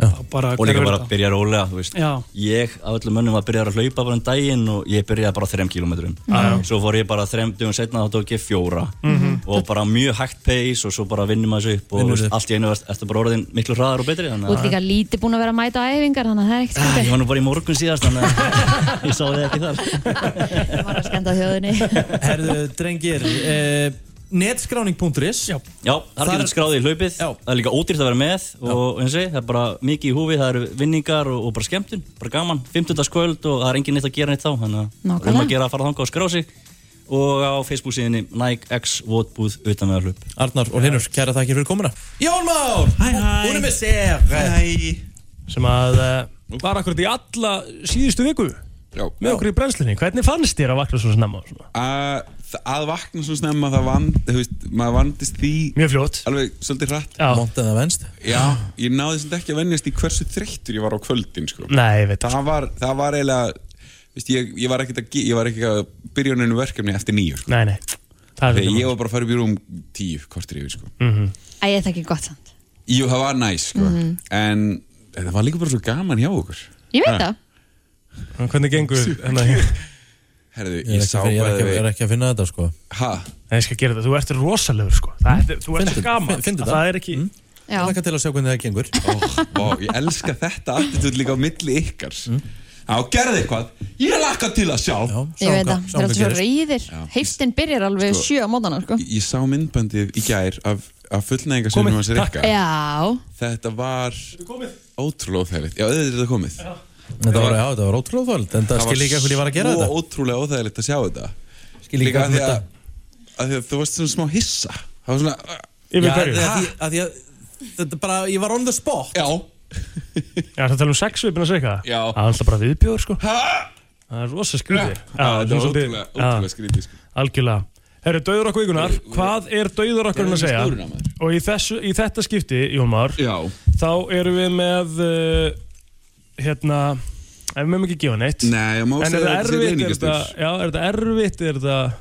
S11: Þá bara,
S8: Og líka
S11: hverfur
S8: bara
S11: þetta.
S8: að byrja rólega, þú veist
S11: Já.
S8: Ég af öllum mönnum var að byrja að hlaupa bara um daginn og ég byrjaði bara á þrem kilometrum
S11: Mhm.
S8: Svo fór ég bara þrem dugum setna þá tók ég fjóra
S11: Mhm.
S8: og bara mjög hægt pace og svo bara vinnum að þessu upp og
S1: Vinnur
S8: þú veist,
S1: þig.
S8: allt í einu varst- ertu bara orðin miklu hraðar og betri þannig
S2: Þú ert
S8: að-
S2: líka lítið búin að vera að mæta á æfingar, þannig að það er
S8: Ah,
S2: ekkert
S8: Ég
S2: skiptir.
S8: var nú bara í morgun síðast þannig
S2: [LAUGHS]
S8: að ég sá þið ekki þar
S2: Það var að
S11: Ah,
S2: skenda þjóðinni.
S1: Herðu, drengir eh, Netskráning.is Já,
S8: Já, þar getur skráðið í hlaupið, það er líka ódýrt að vera með og eins og ég, það er bara mikið í húfi, það eru vinningar og, og bara skemmtun, bara gaman, 50. skvöld og það er engin neitt að gera neitt þá, þannig að
S2: Nákvæmlega.
S8: um að gera að fara þangað og skrá sig og á Facebook síðinni Nike X Votbúð utan með hlaup.
S1: Arnar og Linur, kæra þakkir fyrir komuna Jón Már, hún er með sér Hæ
S3: sem að uh, var akkurat í alla síðustu viku
S13: Já.
S3: með okkur í brennslinni hvernig fannst þér að vakna svo snemma? Svona?
S13: að, að vakna svona snemma það vand, þú veist, maður vandist því
S3: mjög fljótt
S13: alveg svolítið hratt
S1: Montan það venst
S3: [GASPS]
S13: já, ég náði svona ekki að venjast í hversu þreyttur ég var á kvöldin sko.
S3: Nei, ég veit
S13: það var, það var eiginlega veist, ég, ég var ekkert að, ge- ég var ekkert að byrja á neinu verkefni eftir nýju sko.
S3: Nei, nei Það
S13: Þegar ég var bara að fara upp í rúm tíu kortir yfir sko.
S3: mm -hmm.
S2: Æ, þetta er ekki gott samt.
S13: jú, það var
S3: Mm.
S13: næs sko.
S2: Mhm.
S13: en, en það var líka bara svo gaman hjá okkur
S2: Ég veit
S13: Ha.
S2: það.
S3: hérna? Hvernig gengur hennar hér?
S13: herðu,
S1: Ég er
S13: ég
S1: ekki,
S13: sá
S1: ég er
S13: bara
S1: ekki, ég er ekki að finna þetta sko
S13: Hæ?
S3: Nei, ég skal gera þetta, þú ert rosalegur sko Það er, þú ert gaman,
S1: Fyndu
S3: það er ekki
S1: Ég lakka Mm. til að sjá hvernig það gengur
S13: Ó, ég elska þetta attitút líka á milli ykkar Á, gerði eitthvað, ég lakka til að sjá Já,
S2: Ég veit það, það er alltaf svo reyðir Heiftin byrjar alveg
S13: Sko.
S2: sjö á mótana sko.
S13: Ég sá myndbandið í gær af, af fullnæðingarsunum hans Rikka
S2: Já,
S13: Þetta var ótrúlega óþægilegt Já, auðvitað er þetta komið
S1: Þetta var, já, þetta var ótrúlega óþægilegt, en það skil ekki af hverju ég var að gera
S13: Það var
S1: þetta.
S13: svo ótrúlega óþægilegt að sjá þetta
S1: Skil ekki
S13: Líka
S1: af
S13: af því
S1: hverju
S13: að, að, því að þú varst svona smá hissa Það var svona "Ah,
S1: Yfir hverju? Já, af því- af því að- Þetta bara, ég var on the spot
S13: Já
S3: Já, það tala um sexvipin að segja
S13: Já
S3: Það er alltaf bara viðbjóður sko Það er rosa skrítið
S13: Já, þetta var ótrúlega- ótrúlega skrítið sko.
S3: Algjörlega Herru, döður okkur vikunar, hvað er döður okkur að
S13: Ég er
S3: segja?
S13: með snúruna, maður.
S3: Og í, þessu, í þetta skipti, Jón Már
S13: Já
S3: Þá erum við með uh, Hérna Ef við mögum ekki gefa neitt
S13: Nei, ég má
S3: En er
S13: segja
S3: þetta
S13: þetta sé
S3: erfitt, er
S13: reiningastur.
S3: þetta Já, er þetta erfitt, er þetta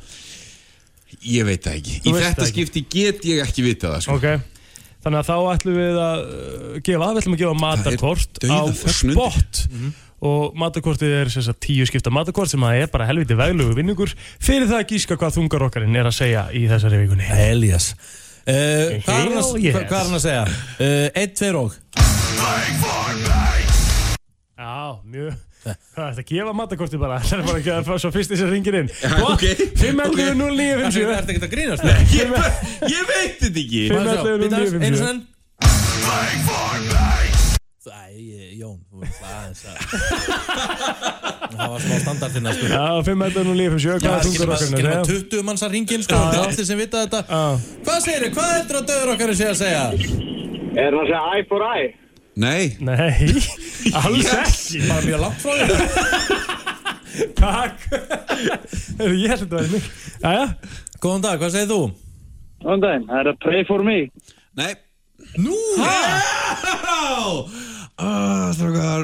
S13: Ég veit það ekki
S3: Þú veist
S13: Í
S3: það
S13: þetta
S3: ekki.
S13: skipti get ég ekki vitað það sko.
S3: Ok, þannig að þá ætlum við að uh, gefa, við ætlum að gefa matarkort á
S13: dauðaþögn undir.
S3: spott
S13: Mhm.
S3: og matarkortið er sem sagt tíu skipta matarkort sem að er bara helviti veglugu vinningur fyrir það að gíska hvað þungar okkarinn er að segja í þessari vikunni
S1: Elias uh, Hvað er hann að,
S3: Hell yes.
S1: hvað- hvað er hann að segja? Uh, Einn, tveir og
S3: Já, mjög Það er að gefa matarkortið bara [LAUGHS] Það er bara ekki að fá svo fyrst þess að ringir
S13: [LAUGHS]
S3: inn
S1: ok,
S3: 511 0957
S1: Ertu ekkert að grínast?
S3: Ég
S13: Ég veit þetta ekki
S1: Má sjá,
S3: 511
S1: býta aðeins,
S3: 0957
S1: einu sinni. Æ, ég- Jón, þú verður bara aðeins að [LAUGHS] Það var smá standard þinn að
S3: Já, 511 0957 Hvað
S1: Já,
S3: er þungar
S1: skilum að, skilum
S3: okkarinn að
S1: að 20
S3: segja?
S1: manns að ringin sko,
S3: Já,
S1: þetta
S3: já.
S1: er allir sem vita þetta Hvað segir þið, hvað heldur að döður okkar sé að segja?
S5: Er það að segja æ for æ?
S13: Nei
S3: Nei, alls ekki
S1: Bara mjög langt frá þér
S3: [LAUGHS] Takk Heyrðu, Ég held að þetta væri mig Jæja
S1: Góðan dag, hvað segir þú?
S5: Góðan daginn, það er að pray for me.
S13: Nei
S1: Nú,
S13: Strákar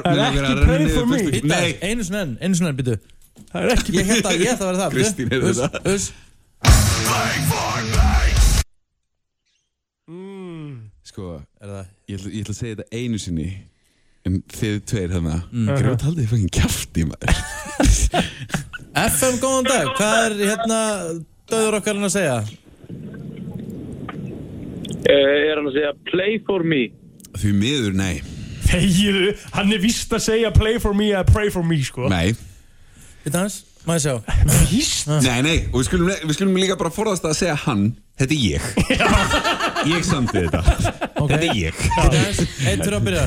S1: Það er
S13: mig
S1: ekki
S13: langar að renna
S1: pray
S13: niður
S1: for me.
S13: Facebook.
S1: Býta,
S13: Nei
S1: Einu sinni enn, einu sinni enn, býtu
S3: Það er ekki
S1: Ég held að ég ætla að vera það
S13: Kristín er
S1: þetta Us,
S13: Sko Ég ætla, ég ætla að segja þetta einu sinni En þið tveir þarna mm.
S3: Mhm.
S13: Grjót haldið þið fangin kjafti maður
S1: FM, góðan dag, hvað er hérna döður okkar að segja?
S5: Eh, Er hann að segja play for me?
S13: Því miður, nei
S3: Þegiðu, hann er víst að segja play for me eða pray for me sko
S13: Nei
S1: Býta hans, maður sjá
S3: Víst?
S13: Nei, nei Og við skulum, við skulum líka bara forðast að segja hann Þetta er
S1: [LAUGHS]
S13: ég Ég samti þetta Þetta er ég
S1: Býta hans, einn fyrir að byrja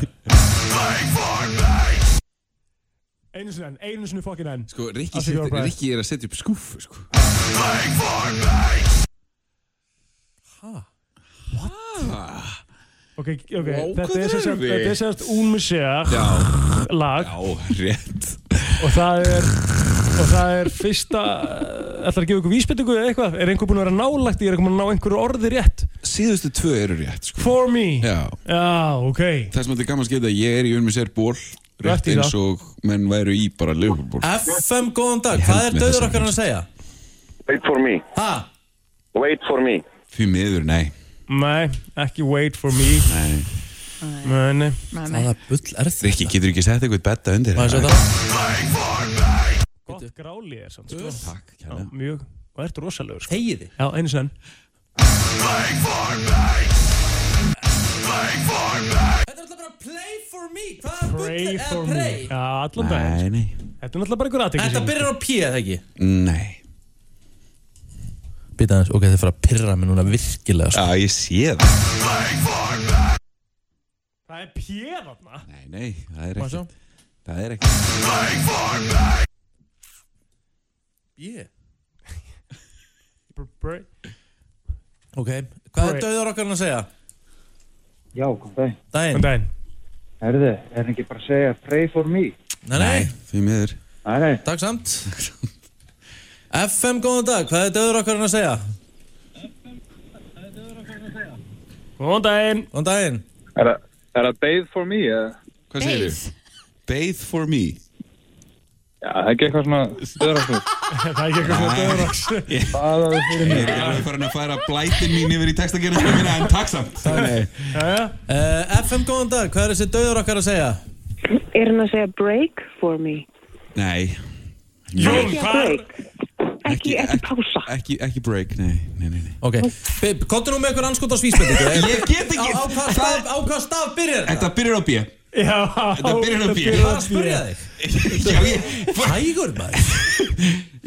S3: Einu sinni enn, einu sinni fokkin enn
S13: Sko, Rikki,
S3: Að því
S13: set,
S3: Jóra Bragi.
S13: Rikki er að setja upp skúfu sko.
S3: Ok, ok,
S13: Vá,
S3: þetta
S13: hvað
S3: er sem sagt,
S13: erum við?
S3: þetta er sem sagt unmuseag
S13: Já,
S3: lag
S13: já, rétt
S3: og það er, og það er fyrsta, ætlar að gefa ykkur vísbendingu eða eitthvað, er einhver búin að vera nálægt í, er einhver búin að ná einhverju orði rétt
S13: Síðustu tvö eru rétt sko.
S3: For me
S13: Já
S3: Já, ok
S13: Það sem þetta er gaman að skita Ég er í unmi sér ból
S3: Rétt
S13: Rétt
S3: í
S13: eins
S3: það.
S13: og menn væru í bara lögurból
S1: FM, góðan dag,
S13: Ég held
S1: hvað er
S13: með
S1: döður
S13: þessa
S1: okkar að segja?
S5: Wait for me.
S1: Ha?
S5: Wait for me.
S13: Því miður, nei
S3: Nei, ekki wait for me
S13: Nei
S3: Nei, nei
S2: með
S1: Það bull er því
S13: Rikki, getur ekki sett eitthvað betta undir hérna?
S1: Maður sjá það
S3: Gott gráli er samt sko
S13: Takk,
S3: Já,
S13: kærlega.
S3: mjög, og ert rosalegur sko
S1: Þegiði
S3: Já, einu sinni enn
S1: Þetta er alltaf bara play for me Hvað er bull
S3: Pray
S1: eða
S3: for
S1: pray?
S3: me Já, allan dag
S13: Nei, nei
S3: Þetta er náttúrulega bara einhver aðtekki
S1: Þetta byrjar á P eða ekki?
S13: Nei
S1: Býta hans, ok, þið fara að pyrra mig núna virkilega sko.
S13: Já, ég sé það
S3: Það er pjér þarna
S13: Nei, nei, það er
S1: Má sjá?
S13: ekki Það er ekki
S1: Yeah.
S3: Br- br-
S1: Ok, hvað er
S3: Pray.
S1: döður okkar að segja?
S12: Já, kom það.
S1: Dæin
S3: Góðan daginn
S12: Herðu, er hann ekki bara að segja pray for me?
S1: Nei, nei,
S13: Því miður
S12: Nei, nei.
S1: takk samt FM, góðan dag, hvað er döður okkar að segja?
S3: Góðan daginn
S1: Góðan daginn
S5: Er það bathe for me? eða?
S13: Hvað segir þið? Bathe for me
S5: Já, það er ekki eitthvað svona
S1: [LAUGHS]
S5: stöðrastur.
S3: Það er ekki eitthvað svona döður ás
S5: Baðaðu fyrir
S13: Ég er ekki farin að færa blætin mín yfir í textagerðinu minna en takk samt Nei
S1: uh, FM, góðan dag, hvað er þessi döður okkar að segja?
S14: Er hann að segja break for me?
S13: Nei Jón,
S1: hvað?
S13: Ekki, ekki pása Ekki, ekki break, nei, nei, nei, nei.
S1: Ok, Bib, komdu nú með einhver anskot á svísbendingu
S13: Ég get ekki-
S1: Á, á, hvað staf, á hvað staf byrjar þetta?
S13: Þetta byrjar á B
S3: Já
S13: Þetta byrjar á B
S1: Ég var að spyrja þig
S13: Já, ég
S1: Hægur maður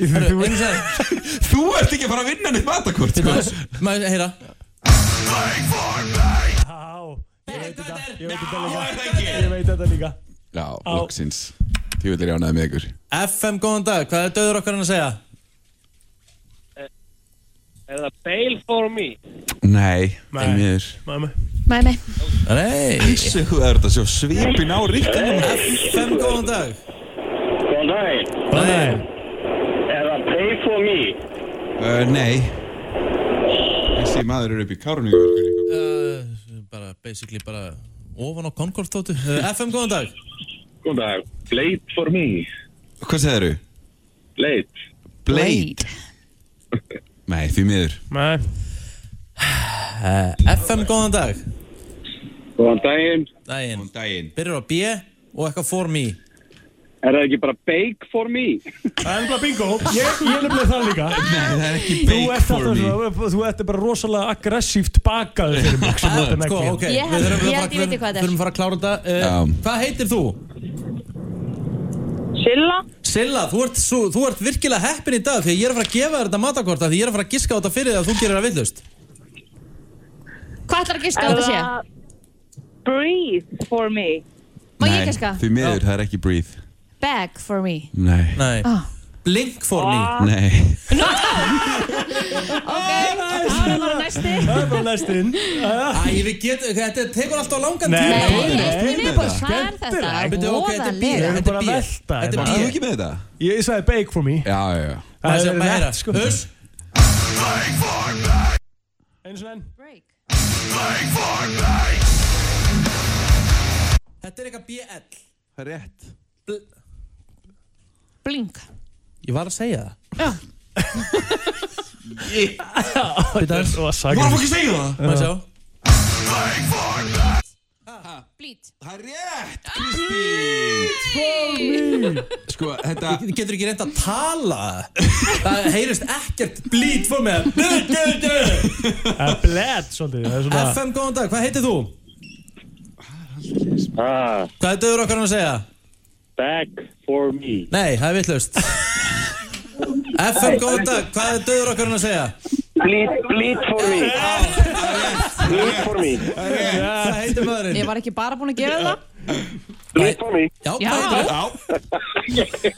S1: Herru, einu sagði
S13: Þú ert ekki að fara að vinna neitt matakort sko.
S1: Maður, heyra
S3: Ég veit þetta líka
S13: Já, loksins Því vil ég ránaði með ykkur
S1: FM, góðan dag, hvað er döður okkar hann að segja?
S6: Er það Eh, bail for me?
S13: Nei, það er mér
S2: Mæ, mæ.
S1: Nei
S13: Þessu þú er þetta svo svipin á ríkkanum
S6: Eh.
S1: FM, góðan dag
S5: Góðan daginn.
S1: Góðan daginn
S5: Er það pay for me?
S13: uh, Nei Þessi maður eru upp í kárningu
S1: Eh, Bara, basically, bara ofan á Concord þóttu Eh, FM, góðan dag
S5: Góðan dag. Blade for me.
S13: Hvað segir þú?
S5: Blade.
S13: Blade Nei, því miður
S3: Nei
S1: FM, Eh, góðan dag
S5: Góðan daginn.
S1: Daginn
S13: Daginn
S1: Byrjar á B og eitthvað for me
S5: Er það ekki bara bake for me?
S3: Það er bara bingo Ég, ég er nefnilega það líka
S13: Nei, það er ekki
S3: Þú ert alltaf svona, þú ert bara rosalega aggressíft bakaður fyrir mig sem þú ert að
S1: Sko,
S3: negla
S1: ok,
S2: Ég
S1: við
S2: held- ég
S1: þurfum að
S2: held ég
S1: fara-
S2: viti hvað þetta er.
S1: þurfum að fara að klára þetta uh, Hvað heitir þú?
S14: Silla
S1: Silla, þú ert, svo, þú ert virkilega heppin í dag því að ég er að fara að gefa þér þetta matakorta því ég er að fara að giska á þetta fyrir því að þú gerir það villust
S2: Hvað ætlar að giska á þetta sé?
S14: Breathe for me
S2: Má ég giska?
S13: Því miður, það er ekki breathe
S2: Bag for me. [LAUGHS]
S13: Nei,
S1: Nei.
S2: Ah.
S1: Blink for
S13: me Nei,
S11: [LAUGHS]
S2: No! ok, það er bara næsti.
S3: Það er bara næst inn
S1: Æ, við getum, þetta tekur alltaf langan
S3: Nei,
S1: tíma
S3: nei,
S2: Næsti
S3: nei,
S2: viðbúr, hvað er þetta?
S1: Nei, byrju, ok, þetta er B,
S2: Voðalega.
S1: þetta er B
S3: Velta
S1: Þetta
S3: hérna.
S1: er
S13: þú
S1: B
S13: ekki með þetta?
S3: Ég sagði bake for me
S13: Já, já, já
S1: Það er
S3: rétt,
S1: bara
S3: sko.
S1: heyra, hus
S3: Eins og enn
S5: Ah.
S1: Þetta er eitthvað BL
S13: Það er rétt
S2: Blink.
S1: Ég var að segja það
S3: Þetta er svo að sagja
S13: Hvað fór ekki að segja það?
S1: Má ég sjá?
S2: Blít.
S13: Það er rétt, Kristín [LAUGHS] Sko, þetta
S1: Ég getur ekki reynd að tala Það heyrist ekkert blít for me
S3: Það er bled svolítið Það er svona
S1: FM, góðan dag, hvað heitir þú? Hvað er döður okkar hann að segja?
S5: Back for me.
S1: Nei, það er vittlust FM, góðan dag, hvað er döður okkar hann að segja?
S5: Bleed, bleed for me. Ah, Bleed for me.
S1: Hvað heitir
S9: Ég
S1: maðurinn?
S9: var ekki bara búin að gefa það
S5: Bleed for me.
S1: Já,
S9: Já.
S1: hvað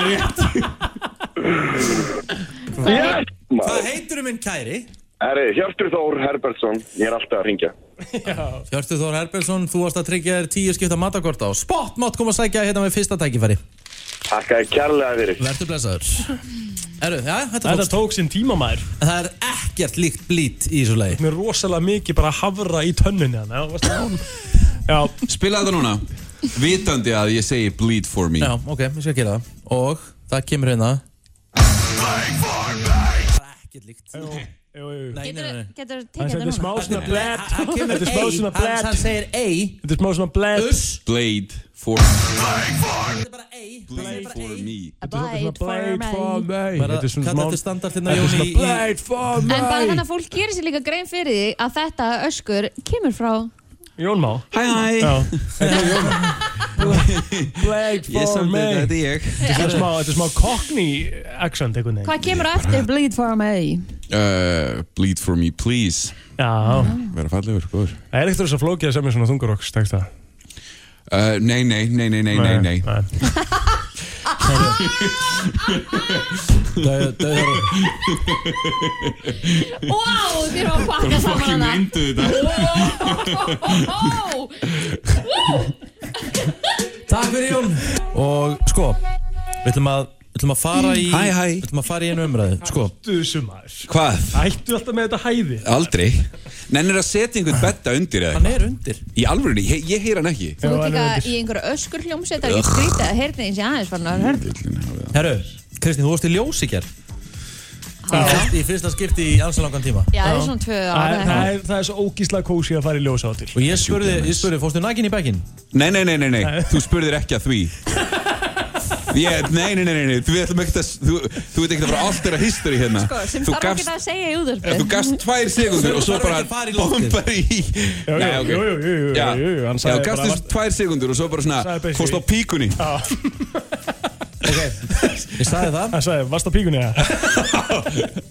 S1: heitir þú?
S13: Það er rétt
S1: Hvað heitir þú minn kæri?
S5: Herri, Hjörtur Þór Herbertsson, ég er alltaf að ringja.
S1: Hjörtu Þór Herbertsson, þú varst að tryggja þér tíu skipta matakorta og spott mátt koma að sækja hérna með fyrsta tækifæri
S5: Takkaði kærlega fyrir.
S1: Vertu blessaður Herru, já, þetta
S3: Þetta
S1: tókst
S3: tók sinn tíma maður
S1: Það er ekkert líkt blít í þessu lagi
S3: Mér er rosalega mikið bara að hafra í tönnunni hann Já, varstu án? Já,
S13: Spila þetta núna Vitandi að ég segi bleed for me
S1: Já, ok, ég skal gera það Og það kemur hérna Það er ekkert líkt Nei,
S3: jú, jú
S1: nei, nei, nei.
S2: Getur þú
S3: Það
S2: tekið
S3: er
S2: þetta
S3: þetta smá
S2: núna?
S3: svona bled
S1: Það kemur
S3: Þetta er smá
S1: ei,
S3: svona
S1: hann,
S3: bled
S1: hann segir ei
S3: Þetta er smá svona bled
S1: Us
S13: Blade for
S1: Þetta er bara ei
S13: Blade for me
S2: Blade for me.
S3: me
S1: Bara
S3: Þetta er svona
S1: kalla
S3: smá
S1: þetta standartinn að
S3: Þetta er
S1: Jóni
S3: svona
S1: í- í-
S3: bled for
S2: En bara þannig
S3: me
S2: að fólk gerir sér líka grein fyrir því að þetta öskur kemur frá
S3: Jón Má
S13: Hæ, hæ
S3: Já Þetta er Jón Má Bled
S13: [LAUGHS] Ég
S3: for
S13: samt
S3: me
S13: þetta, þetta er ég
S3: Þetta er smá, þetta er smá cockney accent einhvern veginn
S2: Hvað kemur á eftir Bleed for me?
S13: uh, Bleed for me, please
S3: Já
S13: Verða fallegur, góður
S3: Það er ekkert þess að flókið að semja svona þungarokks, tekst
S1: [LAUGHS]
S3: það?
S13: uh, Nei, nei, nei, nei, nei, nei, nei
S3: nei.
S1: Dauð- dauður-
S2: Wow, þér var að pakka saman hana
S13: reyndu þetta
S2: Wow,
S1: Takk fyrir Jón Og sko, við ætlum að Við ætlum að fara í
S13: Hæ, hæ.
S1: Við ætlum að fara í einu umræðu Sko,
S3: Þú sumar.
S13: Hvað?
S3: Ættu alltaf með þetta hæði.
S13: Aldrei Nennir að setja einhvern betta undir eða
S1: hann
S13: eitthvað
S1: er undir
S13: Í alvörunni, ég, ég heyr hann ekki
S2: þú ert
S3: hann er
S2: líka
S3: undir.
S2: í einhverja öskur hljómsveit Það er ekki skrítið að heyrna eins og aðeins farin að hörn
S1: Herru, Kristín, þú varst í ljós í kjær Í fyrsta skipti í alls langan tíma
S2: Já, það er svona tvö
S3: Það er,
S2: ára
S3: það, er, það er svo ógíslega kósi að fara í ljósa á til.
S1: Og ég spurði, ég spurði, fórstu nakin í bekkin?
S13: Nei, nei, nei, nei, nei, þú spurðir ekki að því Ég, nei, nei, nei, nei, nei, þú ætlum ekkert að, þú, þú veit ekkert að fara að altera history hérna.
S2: Sko, sem
S13: þú
S2: þarf ekki
S13: gafst,
S2: að segja í
S13: eh,
S2: úðvörpu
S13: þú gafst tvær sekundur og svo bara bombar í.
S3: Jú,
S13: Nei, ok.
S3: jú, jú, jú, jú,
S13: Já,
S3: jú, jú, hann
S13: já,
S3: sagði
S13: þú gafst
S3: bara-
S13: þessu tvær sekundur og svo bara svona,
S3: Sagði basically-
S13: fórst á píkunni.
S1: Ég sagði það
S3: Hann sagði, varst Ah, á píkunni eða?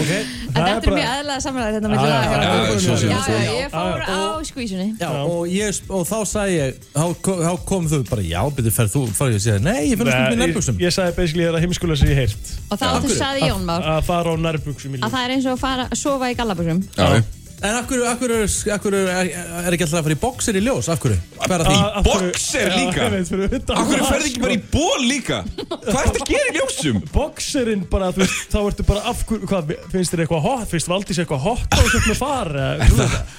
S3: ok
S2: En þetta er mjög aðlega samanlega þetta með
S1: Já, já, já, já, svo
S2: laga
S1: sem
S2: Já,
S1: þú segir.
S2: já, ég fór á skvísunni
S1: Já, og, ég, og þá sagði ég, þá, þá kom þau bara, já, byrju, ferð þú, farið ég að segja, nei, ég finnst
S3: Nei,
S1: út með nærbuksum.
S3: Ég, ég sagði basically það er að heimskulega sem ég heilt
S2: Og þá þú sagði Jón Már
S3: Að fara á nærbuksum í
S2: að það er eins og að fara að sofa í gallabuxum
S13: Já.
S1: En af hverju, af hverju, af hverju er, er ekki alltaf að fara í boxer í ljós, af hverju? Hvað er að því?
S3: Ah, Af hverju-
S13: Boxer
S3: Já,
S13: líka?
S3: ég veit, fyrir utan sko.
S13: Af hverju
S3: það,
S13: ferði ekki bara í ból líka? Hvað ertu að gera í ljósum?
S3: Boxerinn bara, þú veist, þá ertu bara af hverju, hvað, finnst þér eitthvað hot, finnst Valdís eitthvað hot á þessu með far? eða, þú veist það?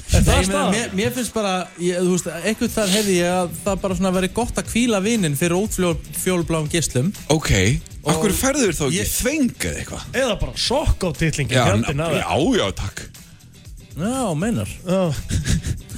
S1: Nei, ég
S3: það
S1: meina,
S3: staðan?
S1: mér, mér finnst bara, ég, þú veist, einhvern þar hefði ég að það bara svona verið gott að kvíla vinnin fyrir ótfjólbláum gíslum.
S13: Ok, af hverju ferðu þér þá ekki þvengað eitthvað?
S3: Eða bara sokk á titlingin
S13: Já,
S3: hjaldin
S13: já, já, takk.
S1: Já, meinar.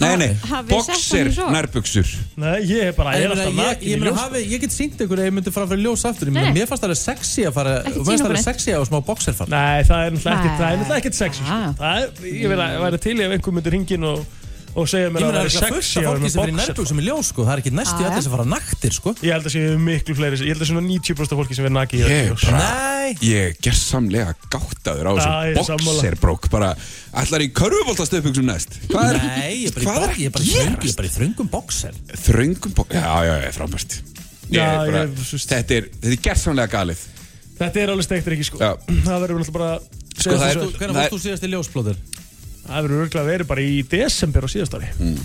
S13: Nei, nei,
S1: hafið þið sett
S13: boxer
S1: honum svo?
S13: nærbuksur.
S3: Nei, ég er bara,
S1: En
S3: ég
S1: ég
S3: er alltaf
S1: meina, ég,
S3: nakin
S1: ég,
S3: í
S1: meina,
S3: ljós
S1: hafi, ég get sínt ykkur að ég myndi fara fyrir ljós aftur. Ég meina,
S3: Nei.
S1: mér fannst það alveg sexy að fara, mér
S3: Ekki
S1: fannst það
S3: tímabrunni.
S1: alveg sexy að smá boxer fara.
S3: Nei, það er náttúrulega ekkert- það er
S1: Nei.
S3: náttúrulega ekkert sexy sko. Það er, ég verði að væri til ef einhver myndir hringin og, og segja
S1: Ég meina,
S3: mér að það
S1: það
S3: er
S1: er ekki fullt af
S3: sexy að vera
S1: fólki
S3: með
S1: sem er í
S3: boxer
S1: nærbuksum í ljós, sko. Það er ekki næstu í allir sem fara naktir, sko.
S3: Ég held að séu miklu fleiri, ég held að séu svona 90% af fólki sem er naki
S13: Ég er bara,
S1: Nei.
S13: ég er gerðsamlega gáttaður á
S3: Já, ég er
S13: þessum
S3: sammála.
S13: boxerbrók bara, ætlar í körfuboltastöpum sem næst hvað er,
S1: Nei, ég er bara í
S13: hvað
S1: bok- ég er bara í þröngu- ég er bara í þröngum boxer
S13: þröngum bók, já, já, já, frábært ég
S3: Já,
S13: er bara,
S3: ég-
S13: þetta er, þetta er gerðsamlega galið
S3: Þetta er alveg steiktir ekki sko
S13: Já.
S3: [CLEARS THROAT] Það verður náttúrulega bara
S13: Sko, það er-
S1: Hvernig
S13: það
S1: fórst
S13: er-
S1: þú síðast í ljósblóður?
S3: Það verður örgulega verið bara í desember á síðast ári
S13: Mm.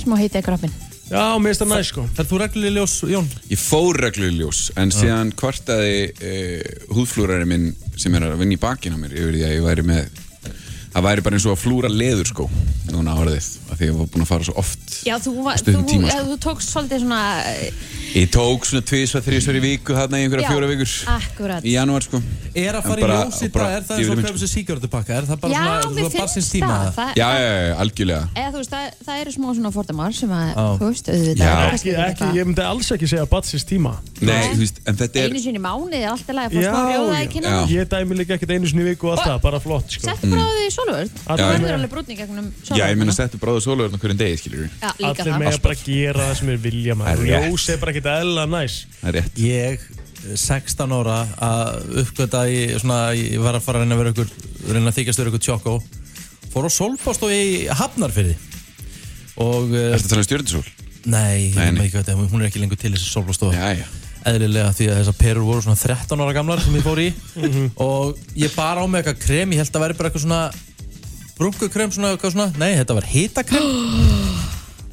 S2: Smá heitið kroppin
S3: Já, mér finnst það næ sko
S1: Þar þú reglulega í ljós, Jón?
S13: ég fór reglulega í ljós en síðan kvartaði uh, húðflúrari minn sem er að vinna í bakinn á mér yfir því að ég væri með það væri bara eins og að flúra leður sko núna orðið, af því að ég var búin að fara svo oft
S2: Já, þú, var- þú,
S13: Stuttum tíma,
S2: eh,
S13: sko.
S2: þú tókst svolítið svona eh,
S13: ég tók svona tvisvar, þrisvar í viku þarna í einhverja
S2: já,
S13: fjóra vikur
S2: Akkurat
S13: í janúar sko
S1: Er að
S13: En
S1: fara í
S13: bara-
S1: ljós í
S13: bara
S1: dag, er það eins og
S13: djöfulinn,
S1: að kaupa sér síkjörðupakka? Er það
S2: Já,
S1: bara
S2: mér
S1: svona, þú
S2: finnst
S1: bara sinns tíma?
S2: það.
S1: eða?
S2: Það-
S13: já, já, já, algjörlega
S2: Eða þú veist, það, það eru smá svona fordamar sem að,
S13: Já.
S2: þú veist, auðvitað
S13: Já.
S2: kannski
S3: Ekki, ekki,
S2: eitthvað.
S3: ég myndi alls ekki segja batsins tíma
S13: Nei, þú veist, en þetta er
S2: Einu sinni í mánuði, er alltaf læg að fá
S3: Já,
S2: smá rjóða í kynna
S3: ég dæmi líka ekkert einu sinni í viku og alltaf, bara flott sko
S2: Settu bara á því solvörð
S3: Allir
S2: Þú verður
S3: mega-
S2: alveg brútning gegnum
S13: Mm. Já, ég meina
S2: solvörðina
S13: settu bráðu sóluverðin hverjum degi, skilur við
S2: Já, líka
S3: Allir
S2: það
S3: með bara gera það sem er vilja maður
S13: Það er rétt.
S3: Ljós er bara ekkert eðla næs
S13: Það er rétt
S1: Ég, eh, 16 ára, að uppgöta að ég, svona, ég var að fara að reyna að vera ykkur, reyna að þykjast vera ykkur tjókó Fór á solpost og ég hafnar fyrir Og, eh,
S13: Ertu að tala um stjórninsól?
S1: nei,
S13: Nei,
S1: nei,
S13: nei.
S1: nei. Ekki, hún er ekki lengur til þessi solpostofa
S13: Já, já
S1: eðlilega því að þessar perur voru svona 13 ára gamlar sem ég fór í
S3: Mhm.
S1: og ég bar á mig eitthvað krem, ég held að það væri bara eitthvað svona brunkukrem svona, eitthvað svona, nei þetta var hitakrem
S3: [GASPS]
S1: plús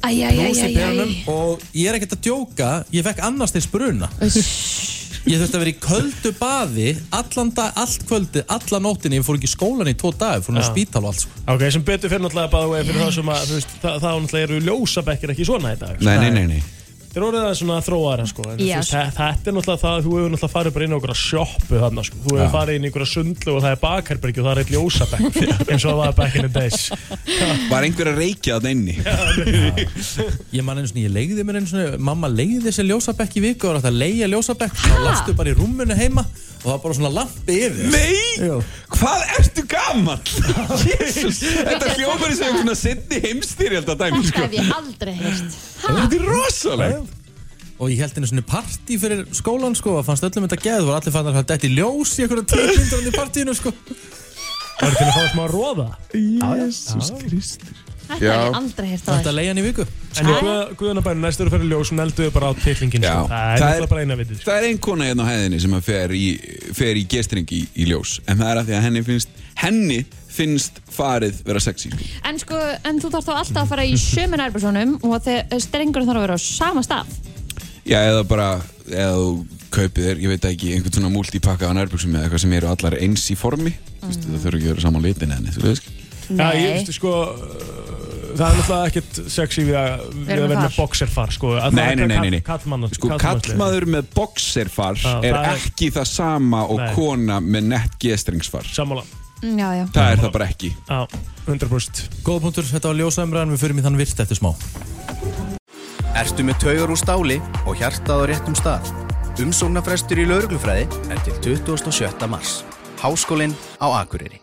S1: í perunum
S2: Æjæjæjæj
S1: og ég er ekkert að djóka, ég fekk annars til spruna ég þurfti að vera í köldu baði allan dag, allt kvöldi, alla nóttinni ég fór ekki í skólan í tvo dag, fór hún á
S3: Já.
S1: spítal og allt sko.
S3: Ok, sem betur fyrir náttúrulega bæða vegi fyrir það sem að, þú veist, það, það náttúrulega eru ljósabekkir ekki svona í dag. sko.
S13: Nei, nei, nei, nei
S3: Þeir voru það svona þróara, sko. En,
S2: Já,
S3: yes.
S2: sko.
S3: veist, þa- þetta er náttúrulega það, þú hefur náttúrulega farið bara inn á einhverja sjoppu þarna, sko. Þú hefur
S13: Já.
S3: farið inn í einhverja sundlu og það er bakherbergi og það er eitt
S13: [LAUGHS]
S3: ljósabekk, eins og það var back in the days.
S13: Var einhver að reykja þarna inni?
S1: ég man einu svona, ég leiði mér einu svona mamma leiði þessi ljósabekk í viku og var hægt að leiða ljósabekk og lastu bara í rúmunu heima og það var bara svona lampi yfir
S13: Nei!
S1: Jú.
S13: Hvað ertu [LAUGHS] gammal? Jésús, þetta hljómar sem einhvern svona sinni heimstýri held að dæmi,
S2: Þetta
S13: sko
S2: hef ég aldrei heyrt
S13: Þetta er rosalegt
S1: og ég held einu svona partí fyrir skólan sko og fannst öllum þetta geð og allir fann að þetta í ljós í einhverja tíu myndur hann í partíinu sko
S3: Það er til að fá smá róða.
S13: Jésús Kristur
S2: Þetta
S13: Já.
S2: hef ég aldrei heyrt á
S1: þetta leiði hann í viku
S3: En ég guð, guðunabænum, næstu eru fyrir ljós, nelduðu bara á titlingin,
S13: Já,
S3: sko. Það er náttúrulega bara eina vitið, sko.
S13: það er ein kona hérna á hæðinni sem að fer í, fer í gestring í, í ljós En það er að því að henni finnst, henni finnst farið vera sexy sko.
S2: En sko, en þú þarf þá alltaf að fara í sömu nærbursónum og þegar strengurinn þarf að vera á sama stað
S13: Já, eða bara, eða þú kaupið þér, ég veit ekki, einhvern svona múltipakka á nærbuksum eða eitthvað sem eru allar eins í formi þú veist,
S2: Mm.
S13: það þurfa ekki að vera saman litin en þú veist
S3: Já, ég veist, sko, uh, það er náttúrulega ekkert sexy við að, við
S2: Vera
S3: að
S2: með
S3: vera með
S2: far.
S3: boxerfar, sko. Að það
S13: Nei, nei,
S3: er
S13: nei, nei, nei.
S3: kallmann-
S13: Sko,
S3: kallmannslega.
S13: kallmaður með boxerfar
S3: Já,
S13: er
S3: það er-
S13: ekki það sama og
S3: Nei.
S13: kona með nett gestringsfar
S3: Sammála.
S2: Mm, Já, já
S13: Það er það bara ekki
S3: Já, 100%.
S1: góð punktur, þetta var ljósaumræðan, við förum í þann vilt eftir smá
S14: Ertu með taugar úr stáli og hjartað á réttum stað?
S1: Umsóknarfrestur í lauruglufræði er til 27. mars. Háskólinn á Akureyri.